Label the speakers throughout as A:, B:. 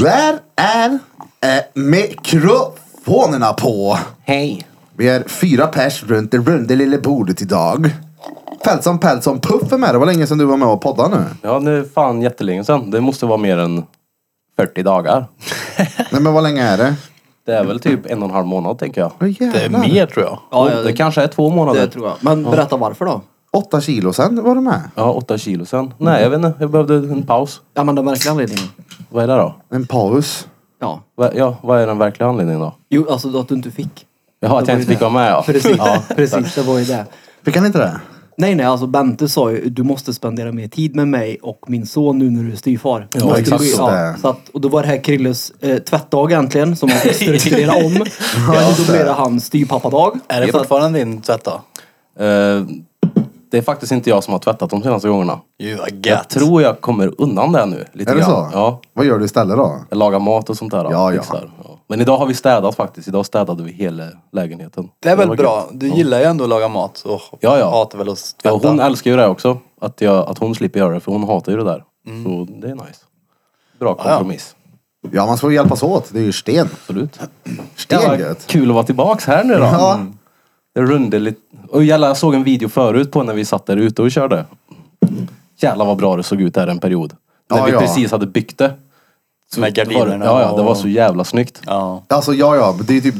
A: Där är eh, mikrofonerna på.
B: Hej.
A: Vi är fyra pers runt det runda lilla bordet idag. Pälsson Pälsson Puff är med. Det var länge sedan du var med och poddade nu.
B: Ja, nu fan jättelänge sedan. Det måste vara mer än 40 dagar.
A: Nej men vad länge är det?
B: Det är väl typ en och en halv månad tänker jag.
A: Åh, jävlar.
C: Det är mer tror jag.
D: Ja,
B: det,
D: ja, det,
B: kanske är två månader.
D: det tror jag. Men berätta varför då?
A: Åtta kilo sen var du med.
B: Ja, åtta kilo sen. Nej, jag vet inte. Jag behövde en paus.
D: Ja men den verkliga anledningen.
B: Vad är det då?
A: En paus.
D: Ja.
B: Va- Ja, vad är den verkliga anledningen då?
D: Jo, alltså att du inte fick.
B: Jaha, att
D: Det
B: jag
D: var
B: inte
D: ju
B: fick vara med ja.
D: Precis,
B: Ja.
D: precis det var ju det.
A: Fick han inte det?
D: Nej nej, alltså Bente sa ju du måste spendera mer tid med mig och min son nu när du är styvfar.
B: Ja,
D: Och-
B: exakt
A: så.
D: Ja, så att, och då var det här Krilles eh, tvättdag äntligen som han fick strukturera om. ja, och då blev det hans styvpappadag.
C: Är det fortfarande din tvätt då?
B: Eh, det är faktiskt inte jag som har tvättat de senaste gångerna.
C: Gud vad
B: Jag
C: gött.
B: tror jag kommer undan det nu. Lite
A: Är det så?
B: grann. Ja.
A: Vad gör du istället då?
B: Jag lagar mat och sånt där.
A: Ja, ja.
B: fixar. ja. Men idag har vi städat faktiskt. Idag städade vi hela lägenheten.
C: Det är
B: var
C: väl bra.
B: gött.
C: Du gillar ju ändå att laga mat och
B: Ja, ja.
C: hatar väl att
B: Ja,
C: tvätta.
B: hon älskar ju det också. Att, jag, att hon slipper göra det, för hon hatar ju det där. Så det är nice. Bra
C: Mm. Ja, ja.
B: kompromiss.
A: Ja man får hjälpas åt. Det är ju sten.
B: Absolut.
A: Sten
B: Jävlar,
A: gött.
B: kul att vara tillbaks här nu då.
A: Ja.
B: Mm. Det runde lite. Och jävlar, jag såg en video förut på när vi satt där ute och körde. Jävlar vad bra det såg ut där en period. När
A: Ja,
B: vi
A: ja.
B: precis hade byggt det. Så
C: Med
B: Var,
C: gardinerna
B: ja, ja, det
C: och-
B: var så jävla snyggt.
C: Ja.
A: Alltså ja, ja. Det är typ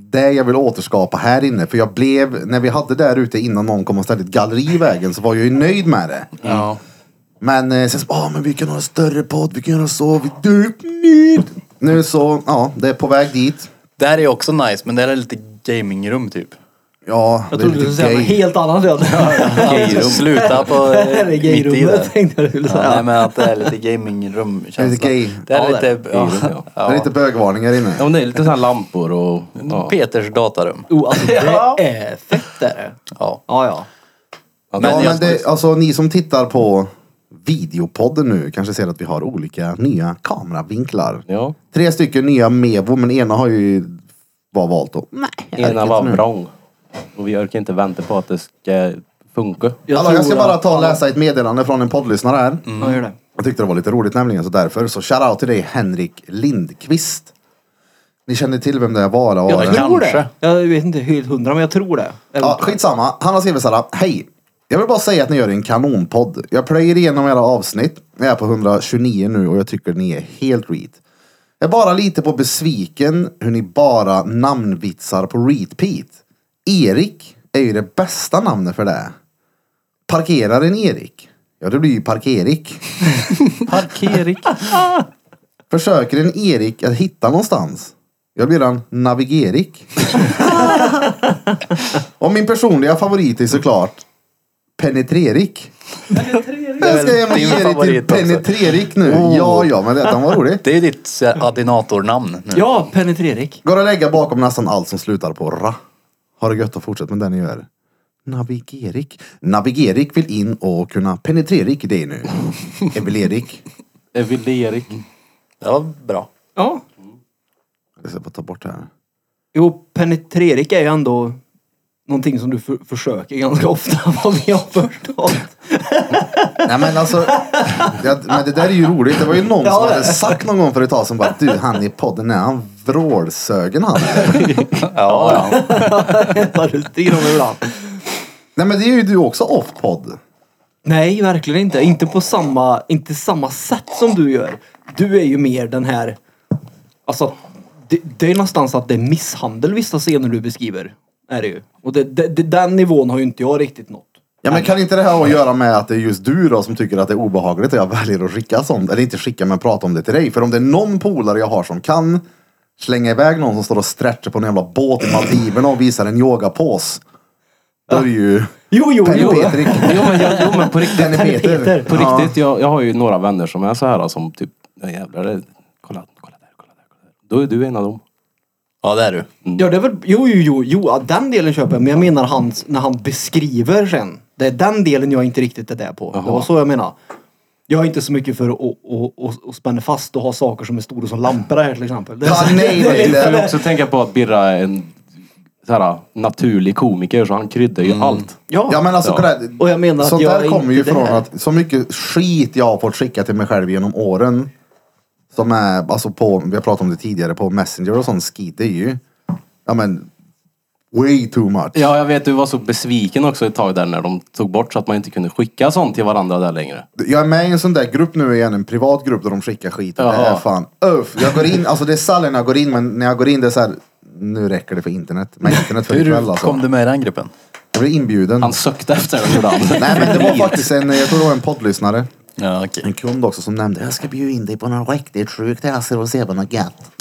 A: det jag vill återskapa här inne. För jag blev, när vi hade där ute innan någon kom och ställde ett galleri i vägen så var jag ju nöjd med det.
C: Ja.
A: Men eh, sen så, ah, men vi kan ha en större podd, vi kan göra så. Vi dyker ner." Nu så, ja, det är på väg dit.
C: Det här är ju också nice men det här är lite gamingrum typ.
A: Ja,
D: Jag
A: det är
D: trodde du
A: lite
D: skulle säga
A: gay.
D: något helt annat. redan.
C: Sluta på eh,
D: Det här är
C: mitt i
D: gayrummet
C: det.
D: tänkte jag du skulle
C: Ja, nej
D: säga.
C: men att det är lite gamingrum
A: Lite
C: känsla.
A: gay.
C: Det här är
D: Ja, det
C: lite... Ja.
B: Gamingrum, ja.
A: Det är lite bögvarningar
B: Ja,
A: inne.
B: men det är lite sådana lampor och... Ja.
C: Peters datarum.
D: Oh, alltså det är fett är det.
C: Ja.
D: Ja ja.
B: Ja,
A: Ja, men
B: jag-
A: det, alltså ni som tittar på videopodden nu kanske ser att vi har olika nya kameravinklar.
B: ja.
A: Tre stycken nya Mevo, men ena har ju var valt då. Nej, jag vet
B: Ena
A: inte
B: var
A: nu.
B: vrång. Och vi orkar inte vänta på att det ska funka.
D: Jag
A: Hallå, jag ska
D: tror
A: bara
D: att-
A: ta och läsa ett meddelande från en poddlyssnare här.
D: Ja, gör det.
A: Jag tyckte det var lite roligt nämligen, så därför. Så shoutout till dig Henrik Lindqvist. Ni känner till vem det är, Vara och
C: Ja,
D: tror det.
C: Kanske.
D: Jag vet inte helt hundra, men jag tror det. Eller-
A: Ja, skitsamma. Han har skrivit såhär. Hej! Jag vill bara säga att ni gör en kanonpodd. Jag plöjer igenom era avsnitt. Jag är på 129 nu och jag tycker ni är helt reet. Jag är bara lite på besviken hur ni bara namnvitsar på repeat. Erik är ju det bästa namnet för det. Parkeraren Erik. Ja, det blir ju Parkerik.
B: Parkering.
A: Försöker en Erik att hitta någonstans? Jag blir en Navigerik. Och min personliga favorit är såklart Penetrerik. Jag ska ge
C: din
A: mig Erik till
C: favorit också. Oh.
A: Penetrerik nu. Ja, ja, men detta var roligt.
C: Det är ju ditt så här, adinatornamn nu.
D: Ja, Penetrerik.
A: Går att lägga bakom nästan allt som slutar på ra. Har det gött och fortsätt med det ni gör. Navigerik. Navigerik vill in och kunna penetrerik i dig nu. Evel-Erik.
B: Evilerik.
C: Mm. Det var bra.
D: Ja.
A: Jag ska bara ta bort det här.
D: Jo, Penetrerik är ju ändå någonting som du för, försöker ganska ofta, vad vi har förstått.
A: Nej men alltså, ja, men det där är ju roligt. Det var ju någon
D: Ja,
A: som
D: det.
A: hade sagt någon gång för ett tag sedan bara du han i podden, är han vrålsögen han?
C: Ja, ja.
D: Vad du styr om ibland.
A: Nej men det är ju du också off-podd.
D: Nej, verkligen inte. Inte på samma, inte samma sätt som du gör. Du är ju mer den här... Alltså, det, det är någonstans att det är misshandel vissa scener du beskriver. Är det ju. Och det, det, det, den nivån har ju inte jag riktigt nått.
A: Ja men kan inte det här att göra med att det är just du då som tycker att det är obehagligt och jag väljer att skicka sånt, eller inte skicka men prata om det till dig. För om det är någon polare jag har som kan slänga iväg någon som står och stretchar på en jävla båt i Maldiverna och visar en yogapås. Då är det ju
D: Jo, jo,
A: Penny
D: jo.
A: Petrik.
B: Jo men, jag, jo, men på riktigt.
A: Penny Peter.
B: På riktigt, jag, jag har ju några vänner som är så här som typ, ja jävlar, det, kolla, kolla där, kolla där, kolla där. Då är du en av dem.
C: ja det är du.
D: Ja, det är väl, jo, jo, jo, jo, ja, den delen köper jag. Men jag menar hans, när han beskriver sen. Det är den delen jag inte riktigt är där på. Det var så jag menar. Jag är inte så mycket för att å, å, å, å spänna fast och ha saker som är stora som lampor här till exempel. Det är
A: Ja,
D: så-
A: nej, nej,
B: Jag vill
A: nej.
B: också tänka på att Birra är en så här, naturlig komiker så han kryddar ju allt.
D: Ja.
A: Ja men alltså
B: Ja.
A: kolla här,
D: Och jag menar att
A: sånt
D: jag
A: där
D: är
A: kommer ju
D: inte
A: från
D: där.
A: att så mycket skit jag har fått skicka till mig själv genom åren. Som är, alltså på, vi har pratat om det tidigare, på Messenger och sån skit. Det är ju, ja men, way too much.
B: Ja, jag vet. Du var så besviken också ett tag där när de tog bort så att man inte kunde skicka sånt till varandra där längre.
A: Jag är med i en sån där grupp nu igen, en privat grupp där de skickar skit. Och det
B: Jaha.
A: är fan, uff. Jag går in, alltså det är sällan jag går in, men när jag går in det är så här, nu räcker det för internet. Men internet för ikväll
C: Hur kom
A: alltså.
C: du med i den gruppen?
A: Jag blev inbjuden.
B: Han sökte efter den gjorde han.
A: Nej men det var faktiskt en, jag tror det var en poddlyssnare.
C: Ja, okej.
A: En kund också som nämnde, jag ska bjuda in dig på något riktigt sjukt, jag ska och se på något gött.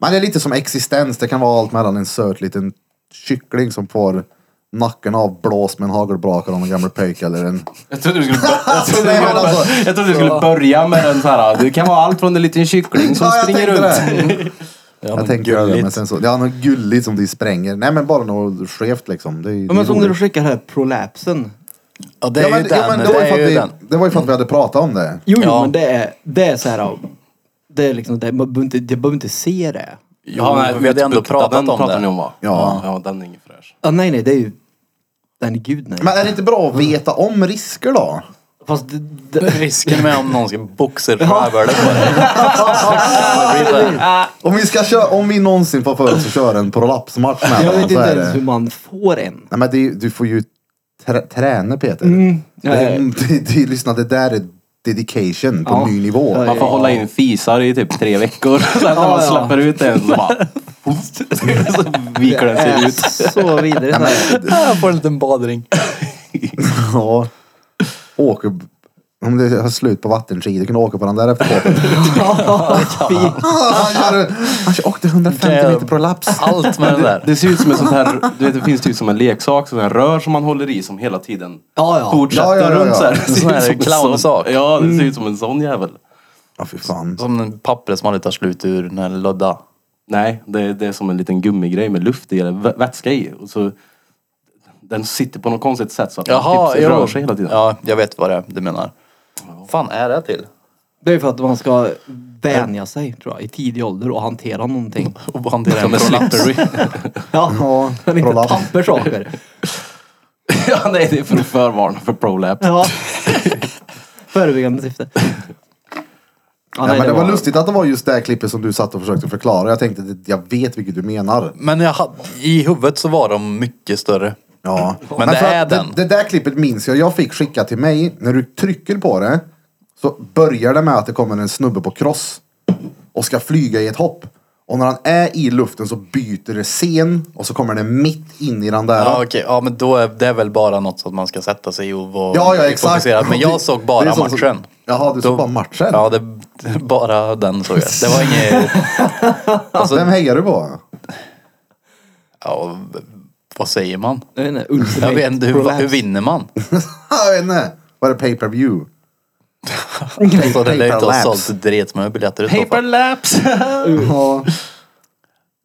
A: Men det är lite som existens, det kan vara allt mellan en söt liten kyckling som får nacken avblåst med en hagelbrakare av en gammal pöjk eller en...
B: Jag trodde du skulle, bör- jag trodde
A: Nej,
B: du
A: men alltså-
B: skulle, jag trodde du skulle börja med den så här. Det kan vara allt från en liten kyckling som
A: Ja, jag
B: springer
A: tänkte
B: runt.
C: Ja,
A: Jag
C: men
A: tänker göra det,
C: gulligt.
A: men sen så... Ja, något gulligt som de spränger. Nej men bara något skevt liksom. Det, är-
D: Ja,
A: det är
D: men som när du
A: roligt.
D: skickar här prolapsen.
C: Ja, det är
A: Ja, men-
C: ju
A: ja,
C: den.
A: men det var ju
C: Det
A: för
C: är
A: att vi-
C: ju den.
A: det var ju för att vi hade pratat om det.
D: Jo, jo
C: Ja.
D: men det är, det är så här. Det är liksom det. Man behöver inte, jag behöver inte se det.
C: Jo, vi hade ändå
B: utbukta,
C: pratat
B: Mm. den
C: om
B: pratar
C: det.
B: ni om va?
A: Ja.
B: Ja, den är ingen fräsch.
D: Ja, nej, nej, det är ju... Den är gud, nej.
A: Men är det inte bra
C: Mm.
A: att veta om risker då?
D: Fast det, det,
C: Risken med om någon ska boxa rövhålet på dig. Det blir så här,
A: Om vi, ska köra, om vi någonsin får för oss att köra en prolapsmatch med varandra,
D: jag vet
A: så
D: inte
A: är
D: ens
A: det-
D: hur man får en.
A: Nej men det, är ju- du får ju trä, träna Peter. Det,
D: Nej.
A: det, det, lyssna, det där är dedication på
D: Ja.
A: ny nivå.
D: Ja,
B: Man får hålla in fisar i typ tre veckor. Sen när
D: Ja,
B: man
D: ja.
B: släpper ut en så bara... Så viker den sig ut.
D: Eh, så vidare. Så här.
C: Jag får en liten badring.
A: Ja. Åker, om det har slut på vattenskidor kan du åka på den där efter båten. Ah,
D: Ja, fy.
A: han, kör, han kör, åkte 150
C: Damn.
A: meter prolaps.
C: Allt med den där.
B: Det ser ut som en sån här, du vet det finns typ som en leksak, sån här rör som man håller i som hela tiden
D: Ja, ja.
B: fortsätter
A: Ja, ja, ja, ja.
B: runt så här. Det
C: En
B: ser
C: sån
B: ut
C: här
B: som en
C: clownsak.
B: sån- Ja, det ser ut som en sån jävel.
A: Ja fy fan.
C: Som en pappret som aldrig tar slut ur den här lodda.
B: Nej, det, det är som en liten gummigrej med luft i, eller vä- vätska i. Och så, den sitter på något konstigt sätt så att den typ rör sig hela tiden.
C: Ja, jag vet vad det är du menar. fan är det till?
D: Det är för att man ska vänja sig, tror jag, i tidig ålder och hantera någonting.
C: Och hantera
B: Som
C: en
B: en
C: prolaps.
B: slippery.
A: Ja,
D: Ja, men inte
A: prolaps.
D: tapper saker.
B: ja, nej, det är för att förvarna för prolapse.
D: Ja. Förebyggande syfte. Ja,
A: Ja, men det var lustigt att det var just det här klippet som du satt och försökte förklara. Jag tänkte att jag vet vilket du menar.
C: Men jag hade, i huvudet så var de mycket större.
A: Ja.
C: Men det
A: för
C: är
A: att
C: den.
A: Det, det där klippet minns jag. Jag fick skicka till mig. När du trycker på det så börjar det med att det kommer en snubbe på cross och ska flyga i ett hopp. Och när han är i luften så byter det scen och så kommer det mitt in i den där.
C: Ja, okej. Ja, men då är det är väl bara något som man ska sätta sig i och vara
A: ja, ja, exakt.
C: fokuserad. Men
A: Det-
C: jag såg
A: det
C: bara
A: är sånt som-
C: matchen.
A: Jaha, du såg
C: Då-
A: bara matchen?
C: Ja, det, bara den såg jag. Det var inget... alltså,
A: Vem hejar du på?
C: ja, vad säger man?
D: Jag vet inte,
C: Jag vet
D: ultimate
C: inte, hur, hur
D: prolaps.
C: vinner man?
A: jag vet inte. Var det pay per view?
C: Så Alltså, det lär inte ha
A: Paperlaps.
C: sålt dret med biljetter i så fall.
B: Paperlapse!
A: Ja.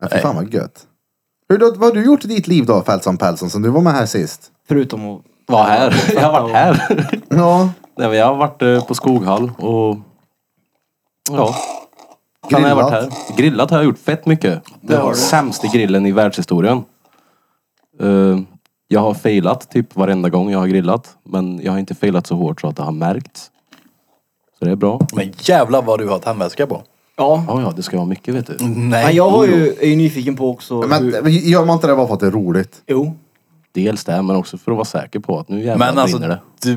A: ja fy fan vad gött. Hur, då, vad har du gjort i ditt liv då, Fältson Pälsson, sen du var med här sist?
D: Förutom att...
B: Var här. Jag har varit här.
A: Ja.
B: nej, men jag har varit eh, på Skoghall och... Ja. Sen har jag varit
A: Grillat.
B: här. Grillat har jag gjort fett mycket. Det var sämsta grillen i världshistorien. Eh, jag har failat typ varenda gång jag har grillat. Men jag har inte failat så hårt så att det har märkts. Så det är bra.
C: Men jävlar vad du har tändvätska på.
D: Ja.
B: Ja, ja, det ska vara mycket vet du.
D: Men
C: Nej.
D: jag har ju, är ju nyfiken på också
A: Men
D: hur...
A: gör man inte det bara för att det är roligt?
D: Jo,
B: Dels det, men också för att vara säker på att nu jävlar
C: Men alltså,
B: brinner det.
C: du,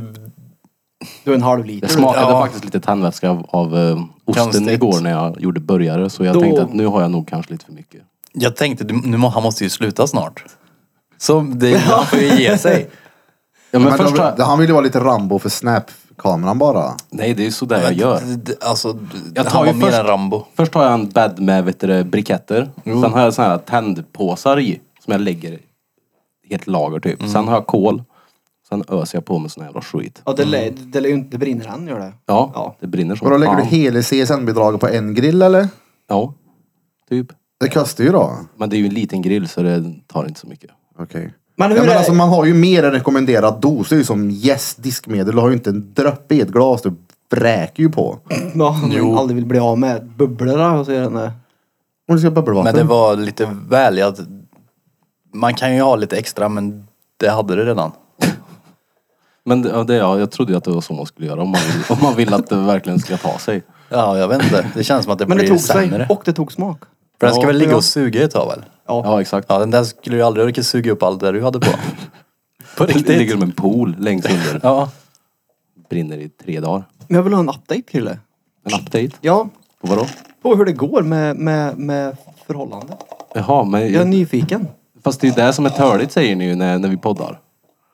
D: du är en halv
B: Jag
D: liter.
B: smakade
C: Ja.
B: faktiskt lite tandvätska av, av eh, osten
C: Konstigt.
B: igår när jag gjorde burgare. Så jag
D: Då-
B: tänkte att nu har jag nog kanske lite för mycket.
C: jag tänkte, du, nu, må- han måste ju sluta snart. Så det, han får ju ge sig.
B: Ja, men,
A: Men
B: först har
A: då, han ville ju vara lite Rambo för Snap-kameran bara.
B: Nej, det är ju sådär jag gör.
C: D- d- Alltså,
B: Jag
C: jag
B: tar
C: tar
B: ju
C: han var mer
B: först-
C: än Rambo.
B: Först har jag en bädd med vet du, det, briketter. Sen har jag såna här tändpåsar i. Som jag lägger i ett lager typ. Sen har jag kol. Sen öser jag på med sån här jävla skit.
D: Ja, det, lär- det, lär ju inte, det brinner han, gör det.
B: Ja,
D: Ja.
B: det brinner som
A: Och då lägger du
B: fan.
A: hela CSN-bidraget på en grill eller?
B: Ja, typ.
A: Det kostar ju då.
B: Men det är ju en liten grill så det tar inte så mycket.
A: Okej.
D: Men hur
A: ja, men
D: är-
A: alltså, man har ju mer än rekommenderad dos. Det är ju som yes, diskmedel. Du har ju inte en droppe i ett glas. Du vräker ju på.
D: Ja, om man aldrig vill bli av med bubblorna och så är den där.
A: Om du ska ha bubbelvatten.
C: Men det var lite väl, jag, man kan ju ha lite extra men det hade du redan.
B: Men det, ja, det, ja, jag trodde ju att det var så man skulle göra om man vill, om man vill att det verkligen ska ta sig.
C: Ja, jag vet inte. Det känns som att det
D: Men det
C: blir
D: tog sig
C: sämre.
D: och det tog smak.
C: För den ska
B: Ja,
C: väl ligga
B: ja.
C: och suga ett tag väl?
B: Ja, exakt.
C: Ja, den där skulle ju aldrig orka suga upp allt det du hade på. på
B: det ligger
C: riktigt.
B: som en pool längst under.
C: Ja.
B: Brinner i tre dagar.
D: Men jag vill ha en update Krille.
B: En update?
D: Ja,
B: På vadå?
D: på hur det går med, med, med förhållande.
B: Jaha, men...
D: Jag är nyfiken.
B: Fast det är ju det som är törligt säger ni ju när, när vi poddar.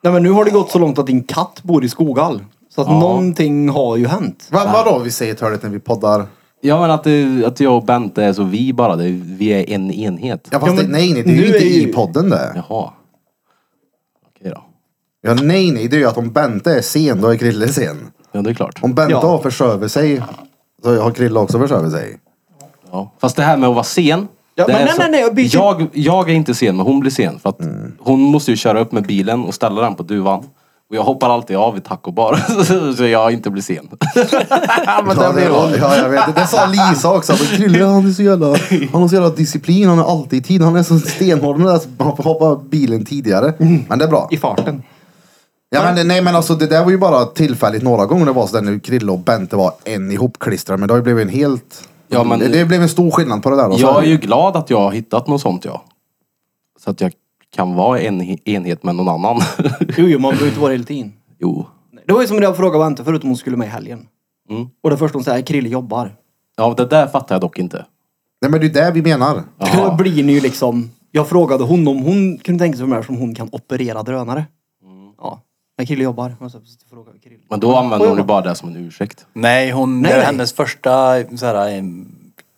D: Nej men nu har det gått så långt att din katt bor i Skoghall. Så att
B: Ja.
D: någonting har ju hänt.
A: Va, vadå vi säger törligt när vi poddar?
B: Ja men att, det, att jag och Bente är så vi bara. Det, vi är en enhet.
A: Ja, fast
D: Ja, men
A: det, nej, nej, det är ju
D: nu
A: inte
D: är ju-
A: i podden det.
B: Jaha. Okej då.
A: Ja, nej, nej, det är ju att om Bente är sen, då är Krille sen.
B: Ja det är klart.
A: Om Bente
D: Ja.
A: har försöver sig, så har Krille också försöver sig.
B: Ja. Fast det här med att vara sen.
D: Ja,
B: det
D: men
B: är
D: nej,
B: så-
D: nej, nej, jag byter-
B: jag, jag är inte sen men hon blir sen. För att hon måste ju köra upp med bilen och ställa den på duvan. Och jag hoppar alltid av i tacobar så jag inte blir sen.
A: Ja, men det var, ja, jag vet. Det sa Lisa också. Att Krille, han är så jävla, han har så jävla disciplin. Han är alltid i tid. Han är så stenhård med det där, så hoppa- hoppa bilen tidigare. Men det är bra.
D: I farten.
A: Ja, men, det- nej, men alltså, det där var ju bara tillfälligt några gånger. Det var så där när Krille och Bente var en ihopklistrad. Men det har ju blivit en helt...
B: Ja, men-
A: det, det blev en stor skillnad på det där. Då, så
B: Jag
A: här.
B: är ju glad att jag har hittat något sånt ja. Så att jag kan vara en enhet med någon annan.
D: Jo, jo, man behöver inte vara hela tiden.
B: jo.
D: Det var ju som när jag frågade Vente förut om hon skulle med i helgen.
B: Mm.
D: Och det första hon säger, Krille jobbar.
B: Ja det där fattar jag dock inte.
A: Nej, men det är ju det vi menar.
B: Ja.
D: Då blir ni ju liksom... Jag frågade hon om hon kunde tänka sig vara med som hon kan operera drönare.
B: Mm.
D: Ja. Men Krille jobbar. Och så frågade vi Krille.
B: Men då använder
D: Oj,
B: hon ju
D: vad-
B: bara det som en ursäkt.
C: Nej, hon,
D: Nej,
C: det var
D: nej.
C: hennes första så här, eh,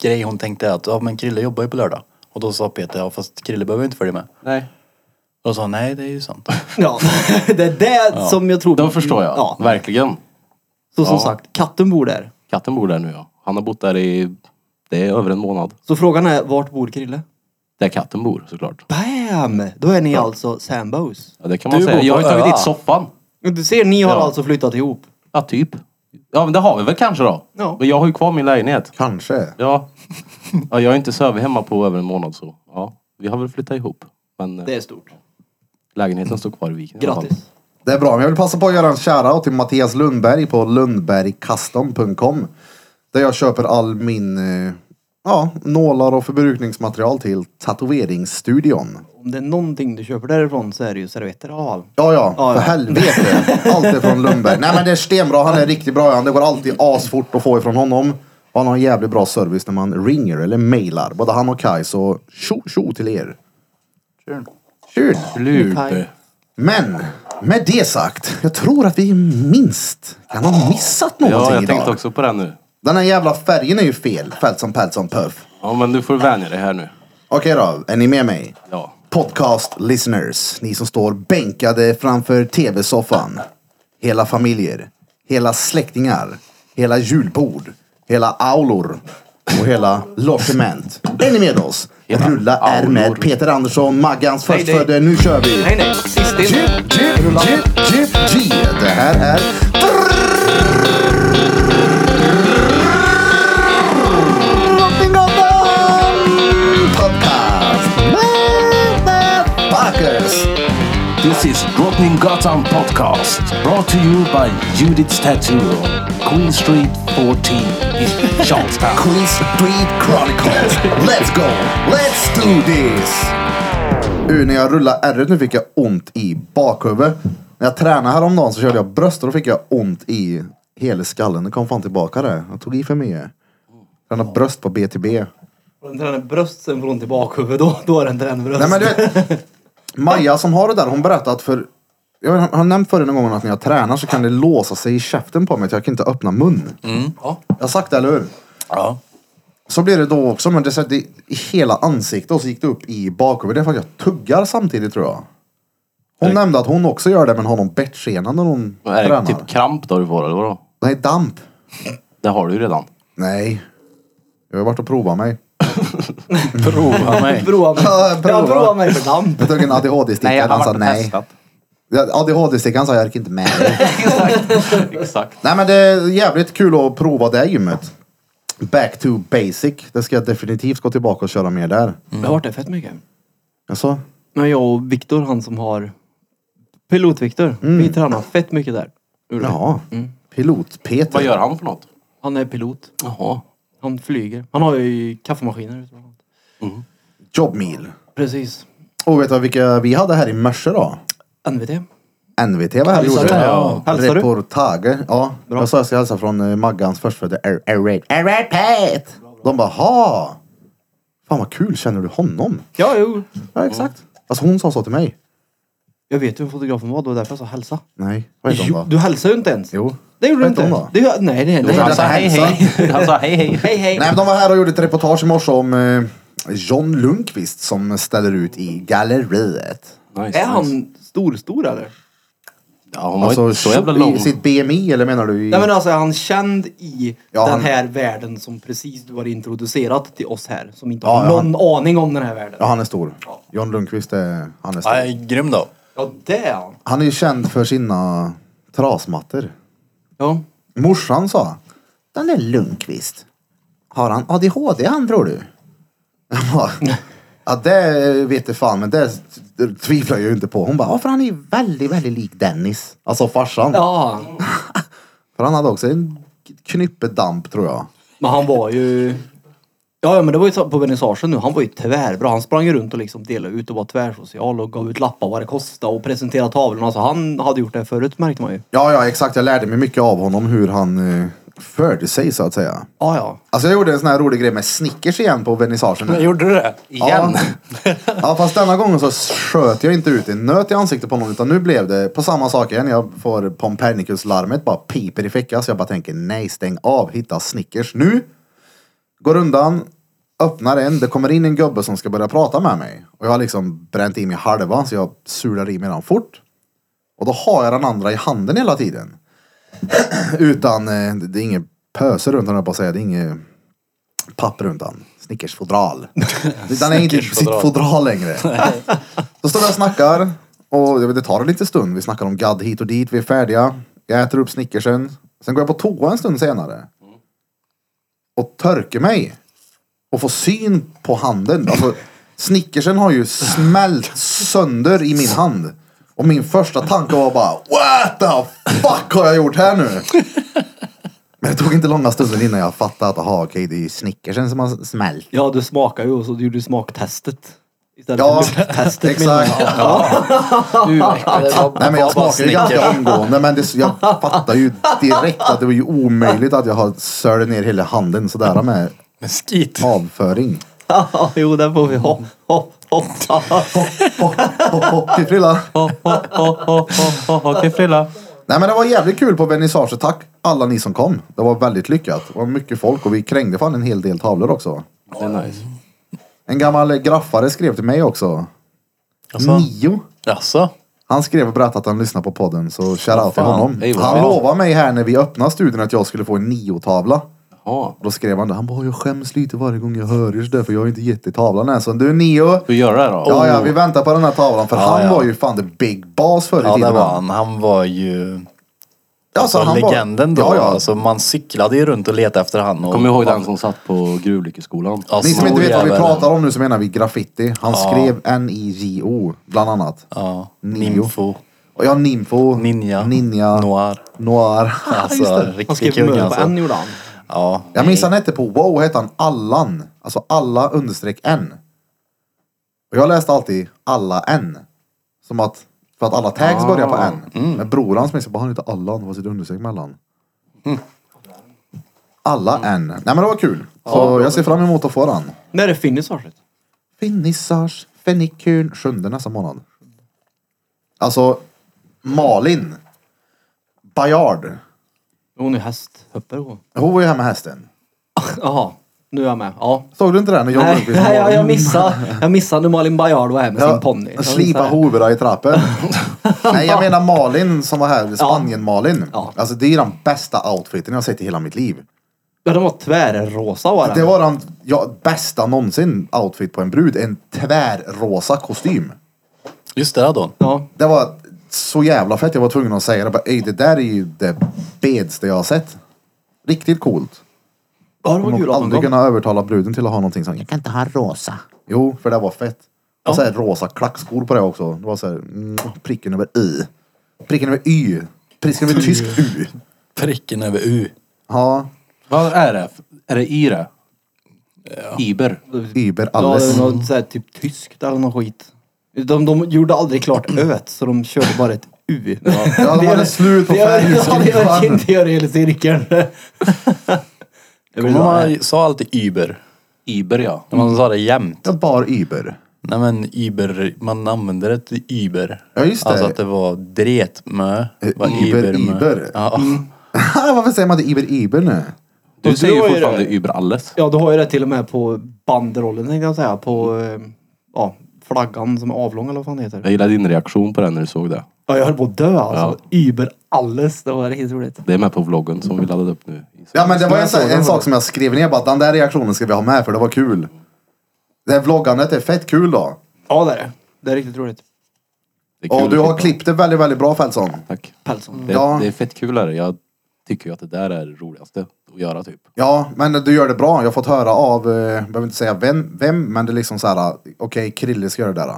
C: grej hon tänkte att ja, men Krille jobbar ju på lördag. Och då sa Peter, ja fast Krille behöver ju inte följa med.
B: Nej.
C: Och då sa hon, nej det är ju sant.
D: Ja, det är det som jag tror...
B: Då förstår jag.
D: Ja.
B: Verkligen.
D: Så som
B: Ja.
D: sagt, katten bor där.
B: Katten bor där nu ja. Han har bott där i, det är över en månad.
D: Så frågan är, vart bor Krille?
B: Där katten bor såklart.
D: Bam! Då är ni alltså sambos.
B: Ja, det kan man
C: Du
B: säga.
C: bor
B: Jag har
C: på
B: ju tagit
C: Öa.
B: dit soffan.
D: Du ser, ni har
B: Ja.
D: alltså flyttat ihop.
B: Ja, typ. Ja, men det har vi väl kanske då.
D: Ja.
B: Men jag har ju kvar min lägenhet.
A: Kanske.
B: Ja. ja jag har inte sovit hemma på över en månad så. Ja, vi har väl flyttat ihop. Men eh,
D: Det är stort.
B: lägenheten står kvar i viken i alla fall.
D: Grattis.
A: Det är bra, men jag vill passa på att göra en shoutout till Mattias Lundberg på lundbergcustom.com. Där jag köper all min, eh, ja, nålar och förbrukningsmaterial till tatueringsstudion.
D: Om det är någonting du köper därifrån så är det ju servetter i alla fall.
A: Ja, ja,
D: Ja, ja.
A: för helvete. Allt är från Lundberg. Nej, men det är stenbra. Han är riktigt bra. Han. Det går alltid asfort att få ifrån honom. Och han har en jävligt bra service när man ringer eller mailar. Både han och Kaj, så tjo, tjo till er. Tjur.
B: Lurpe.
A: Men, med det sagt. Jag tror att vi minst kan ha missat någonting
B: Ja, jag
A: idag.
B: tänkte också på det nu.
A: Den här jävla färgen är ju fel. Feltson, Peltson, Puff.
B: Ja, men du får vänja dig här nu.
A: Okej då, är ni med mig?
B: Ja.
A: Podcast listeners, ni som står bänkade framför tv-soffan. Hela familjer, hela släktingar, hela julbord, hela aulor och hela logement. Är ni med oss?
B: Hela
A: Rulla är
B: aulor.
A: med Peter Andersson, Maggans
D: Nej, nej.
A: förstfödde. Nu kör vi!
D: Nej, nej. Sist in.
A: Jip, jip, jip, jip, jip. Det här är... Drottninggatan Podcast. Motherfuckers.
B: This is Drottninggatan Podcast, brought to you by Judith's Tattoo on Queen Street 14 in Charlestown.
A: Queen Street Chronicles. Let's go! Let's do this! Uh, när jag rullade ärret nu fick jag ont i bakhuvudet. När jag tränade häromdagen så körde jag bröst och då fick jag ont i hela skallen. Det kom fan tillbaka det. Jag tog i för mycket. Tränade bröst på BTB.
D: Får den träna bröst sen får hon till bakhuvud. Då, då är den träna bröst.
A: Nej men du vet. Maja som har det där hon berättat för. Jag vet, har nämnt förut någon gång att när jag tränar så kan det låsa sig i käften på mig att jag kan inte öppna mun.
C: ja.
A: Jag har sagt det, eller hur?
C: ja.
A: Så blir det då också, men det satt i i hela ansiktet och så gick det upp i bakhuvudet. Det är för att jag tuggar samtidigt tror jag. Hon nämnde att hon också gör det, men har någon bettskena när hon
B: Är det
A: tränar.
B: typ kramp då du får eller vadå?
A: Nej, damp.
B: Det har du ju redan.
A: Nej. Jag har varit och provat mig.
C: Prova mig.
D: Prova mig.
A: Ja,
D: Ja,
A: prova.
D: prova mig för damp.
A: Jag tog en ADHD-sticka, han sa nej. Ja, ADHD-stickan sa jag orkar inte med dig."
B: Exakt. Exakt.
A: Nej men det är jävligt kul att prova det gymmet. Back to basic. Det ska jag definitivt gå tillbaka och köra mer där.
D: Jag har varit där fett mycket.
B: Mm.
A: Alltså,
D: Men jag och Viktor, han som har...
A: Mm.
D: Pilot-Viktor. Vi tränar fett mycket där. Gjorde vi.
A: ja. Pilot-Peter.
B: Vad gör han för något?
D: Han är pilot.
B: Jaha.
D: Han flyger. Han har ju kaffemaskiner. ute bland annat.
A: Jobmil.
D: Precis.
A: Och vet du vilka vi hade här i morse då?
D: NVT.
A: NVT var här och
C: Hälsar
A: gjorde
C: du?
A: det.
C: Ja.
D: Hälsar du?
A: Reportage. Ja, jag sa jag ska hälsa från eh, Maggans förstfödde Er- Eric. Eric Pate! De bara, ha! Fan vad kul, känner du honom?
D: Ja, jo.
A: Ja, exakt. Alltså hon sa så till mig.
D: Jag vet ju vem fotografen var. Det var därför jag sa hälsa.
A: Nej, vad heter
D: Jo,
A: hon då?
D: du hälsar ju inte ens.
A: Jo.
D: Det gjorde du
A: Vet hon
D: inte.
A: då?
D: Det, gör- nej, nej, nej.
A: hon
B: Han sa hej hej. Han sa hej hej.
D: Hej, hej.
A: Nej, men de var här och gjorde ett reportage i morse om eh, John Lundqvist som ställer ut i galleriet.
B: Nice,
D: Är
B: nice.
D: han stor, stor eller?
B: Ja, hon var
A: Alltså,
B: inte så jävla lång.
A: i sitt BMI eller menar du? I...
D: Nej men alltså är han känd i
A: Ja,
D: den
A: han-
D: här världen som precis du har introducerat till oss här. Som inte
A: Ja,
D: har
A: ja,
D: någon aning om den här världen.
A: Ja, han är stor. John Lundqvist är, han är stor.
C: Nej, grym då.
D: Ja, det är han.
A: Han är ju känd för sina trasmattor.
D: Ja.
A: Morsan sa, den där Lundqvist, har han ADHD han tror du? Jag bara, ja det vet jag fan men det tvivlar jag ju inte på. Hon bara, ja för han är ju väldigt, väldigt lik Dennis. Alltså farsan.
D: Ja.
A: För han hade också en knyppe damp tror jag.
D: Men han var ju... Ja, ja men det var ju så- på vernissagen nu. Han var ju tvärbra. Han sprang ju runt och liksom delade ut och var tvärsocial och gav ut lappar vad det kostade och presenterade tavlorna. Alltså han hade gjort det förut märkte man ju.
A: Ja, ja exakt. Jag lärde mig mycket av honom hur han eh, förde sig så att säga.
D: Ja, ja.
A: Alltså jag gjorde en sån här rolig grej med Snickers igen på vernissagen.
C: Men gjorde du det?
B: Igen.
A: Ja fast denna gången så sköt jag inte ut en nöt i ansiktet på någon utan nu blev det på samma sak igen. Jag får Pompernicus-larmet bara piper i fickan så jag bara tänker nej stäng av, hitta Snickers nu. Går undan, öppnar en, det kommer in en gubbe som ska börja prata med mig. Och jag har liksom bränt i mig halva så jag sular i mig den fort. Och då har jag den andra i handen hela tiden. Utan, eh, det är ingen pöse runt den jag på att säga, det är inget papp runt den. Snickersfodral. Den är inte i sitt
C: Snickersfodral.
A: fodral längre. Så står jag och snackar. Och jag vet, det tar en liten stund. Vi snackar om gadd hit och dit. Vi är färdiga. Jag äter upp snickersen. Sen går jag på toa en stund senare. Och törker mig. Och får syn på handen. Alltså, snickersen har ju smält sönder i min hand. Och min första tanke var bara What the fuck har jag gjort här nu? Men det tog inte långa stunder innan jag fattade att aha, okej, det är ju snickersen som har smält.
D: Ja, du smakar ju och så gjorde du smaktestet. Istället
A: Ja,
D: för lukttestet. menar
A: exakt.
D: jag.
A: Nej men jag smakade ju ganska omgående men det, jag fattar ju direkt att det var ju omöjligt att jag har sölat ner hela handen sådär med
C: Med skit.
A: avföring.
D: Ja, jo, den får vi ha.
A: Alltså,
D: ha, ha, ha.
A: Hopp, hopp, till frilla.
B: Okej Frilla.
A: Nej men det var jävligt kul på vernissage. Tack alla ni som kom. Det var väldigt lyckat. Det var mycket folk och vi krängde fan en hel del tavlor också.
B: Det är nice.
A: En gammal graffare skrev till mig också.
C: Alltså.
A: Nio.
C: Jaså?
A: Han skrev och berättade att han lyssnar på podden så shoutout till
B: fan.
A: honom.
B: Hej, vad
A: Han
B: bra.
A: lovade mig här när vi öppnade studion att jag skulle få en nio-tavla.
B: Ja.
A: Och då skrev han det. Han bara, jag skäms lite varje gång jag hör er sådär för jag har inte gett dig tavlan än. Så du Neo.
B: Du gör det då?
A: Ja, ja, vi väntar på den här tavlan. För
C: Oh. Ja,
A: han
C: ja.
A: var ju fan the big boss förr i
C: Ja,
A: tiden.
C: det var han. Han var ju...
A: Alltså,
C: Alltså,
A: han var-
C: legenden då.
A: Ja, ja.
C: Alltså, man cyklade ju runt och letade efter han. Och...
B: Kommer ihåg den som satt på gruvlyckeskolan?
C: Ja,
A: Ni som
C: stor
A: inte vet vad vi
C: jävel.
A: pratar om nu så menar vi graffiti. Han skrev N-I-J-O bland annat.
C: Ja.
A: Nio.
C: Nymfo.
A: Och ja, Nimfo.
C: Ninja.
A: Ninja.
C: Noir.
A: Noir.
C: Alltså,
D: Han
C: riktig
D: skrev
C: kung
D: mö på en
C: alltså.
D: gjorde han.
C: Ja.
A: Jag minns han hette på wow hette han Allan. Alltså alla understreck N. Och jag läste alltid alla N. Som att, för att alla tags
B: Ah,
A: börjar på N.
D: Mm.
A: Men bror hans minns jag bara, han heter Allan, vad sitter understreck mellan?
D: Hm.
A: Alla
D: Mm.
A: N. Nej men det var kul. Så jag ser fram emot att få den.
D: När är finissaget?
A: Finissage, fennikul, sjunde nästa månad. Alltså, Malin. Bayard.
D: Hon är hästhöppare hon.
A: Hon var ju här med hästen.
D: Jaha, nu är jag med. Ja.
A: Såg du inte det? När jag
D: Nej, nej jag, jag missade. Jag missade när Malin Bajard var här med sin ponny. Jag
A: Slipa
D: missade.
A: hovorna i trappen. Nej, jag menar Malin som var här. Spanien-Malin.
D: Ja.
A: Alltså det är den bästa outfiten jag har sett i hela mitt liv.
D: Ja, den var tvärrosa var den.
A: Det var den ja, bästa någonsin outfit på en brud. En tvärrosa kostym.
C: Just det då.
D: Ja.
A: Det var så jävla fett. Jag var tvungen att säga det. Jag Bara, "Ey, det där är ju det bedaste jag har sett. Riktigt coolt.
D: ja, det
A: Man
D: var kul
A: har
D: att hon
A: aldrig
D: kom.
A: kunnat övertala bruden till att ha någonting sånt. Jag kan inte ha rosa. Jo, för det var fett. Och så här rosa klackskor på det också. Det var så här, mm, pricken över i. Pricken över y. Pricken över tysk u.
C: Pricken över U.
A: Ja.
B: Vad är det? Är det Ire? Iber?
A: Uber
D: Ja, det
A: alles.
D: var något så här, typ tyskt eller något skit. De, de gjorde aldrig klart öet så de körde bara ett U.
A: Ja, de hade slut på
D: Det är- ja, det är
A: färgskrivan.
D: verkligen teoretikercirkeln.
C: Kommer man sa alltid Uber?
B: Iber ja.
C: Men Man sa det jämt.
A: Jag bar Uber.
C: Nej men Uber, man använde det till Uber.
A: Ja, just det. Eh,
C: Alltså att det var dretmö. Var
A: Uber, Mm.
C: Ibermö.
A: Iber.
C: Ja.
A: Varför säger man inte Uber Uber nu?
B: Du
D: Och
B: säger
D: då är
B: ju
D: det-
B: fortfarande Uber alles.
D: Ja, du har ju det till och med på banderollen tänkte jag säga. På eh, ja, flaggan som är avlång eller vad fan det heter.
B: Jag gillar din reaktion på den när du såg det.
D: Ja, jag höll på att dö alltså. Uber alles. Det var riktigt roligt.
B: Det är med på vloggen som vi laddade upp nu.
A: Ja men det var
D: jag
A: en,
D: såg
A: sak-
D: den
A: en
D: var
A: sak
D: det.
A: som jag skrev ner bara, den där reaktionen ska vi ha med för det var kul. Det här vloggandet är fett kul då.
D: Ja, det är det. Det är riktigt roligt.
B: Det är kul
A: Och du
B: att
A: har
B: titta.
A: klippt det väldigt, väldigt bra Fältson.
B: Tack.
D: Pälsson.
B: Det,
A: Ja.
B: det är fett kul är det. Jag tycker ju att det där är det roligaste att göra typ.
A: Ja, men du gör det bra. Jag har fått höra av, eh, jag behöver inte säga vem, vem men det är liksom så här. okej Krille ska göra det där.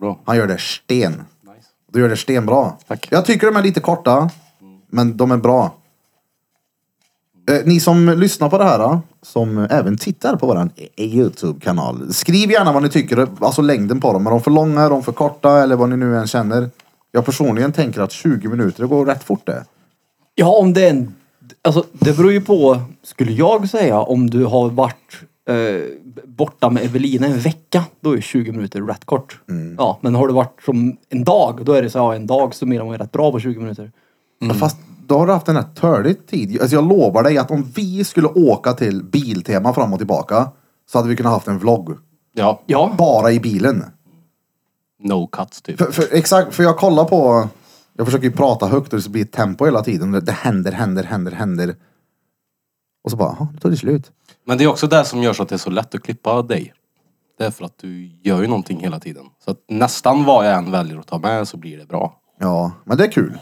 B: Bra.
A: Han gör det sten. Du gör det stenbra.
B: Tack.
A: Jag tycker de är lite korta, men de är bra. Eh, ni som lyssnar på det här, eh, som även tittar på vår YouTube-kanal. Skriv gärna vad ni tycker, alltså längden på dem. Är de för långa, är de för korta eller vad ni nu än känner. Jag personligen tänker att 20 minuter, det går rätt fort det.
D: Ja, om det är en... Alltså, det beror ju på, skulle jag säga, om du har varit eh, borta med Evelina en vecka, då är 20 minuter rätt kort. Ja, men har du varit som en dag, då är det så ja, en dag summerar man ju rätt bra på 20 minuter.
B: Mm.
A: Fast då har du haft en rätt törlig tid. Alltså jag lovar dig att om vi skulle åka till Biltema fram och tillbaka så hade vi kunnat haft en vlogg.
B: Ja.
D: Ja,
A: Bara i bilen.
B: No cuts typ.
A: För, för, exakt, för jag kollar på... Jag försöker ju prata högt och det blir ett tempo hela tiden. Det, det händer, händer, händer, händer. Och så bara, "Jaha, nu tar det slut.
B: Men det är också det som gör så att det är så lätt att klippa dig. Det är för att du gör ju någonting hela tiden. Så att nästan vad jag än väljer att ta med så blir det bra.
A: Ja, men det är kul.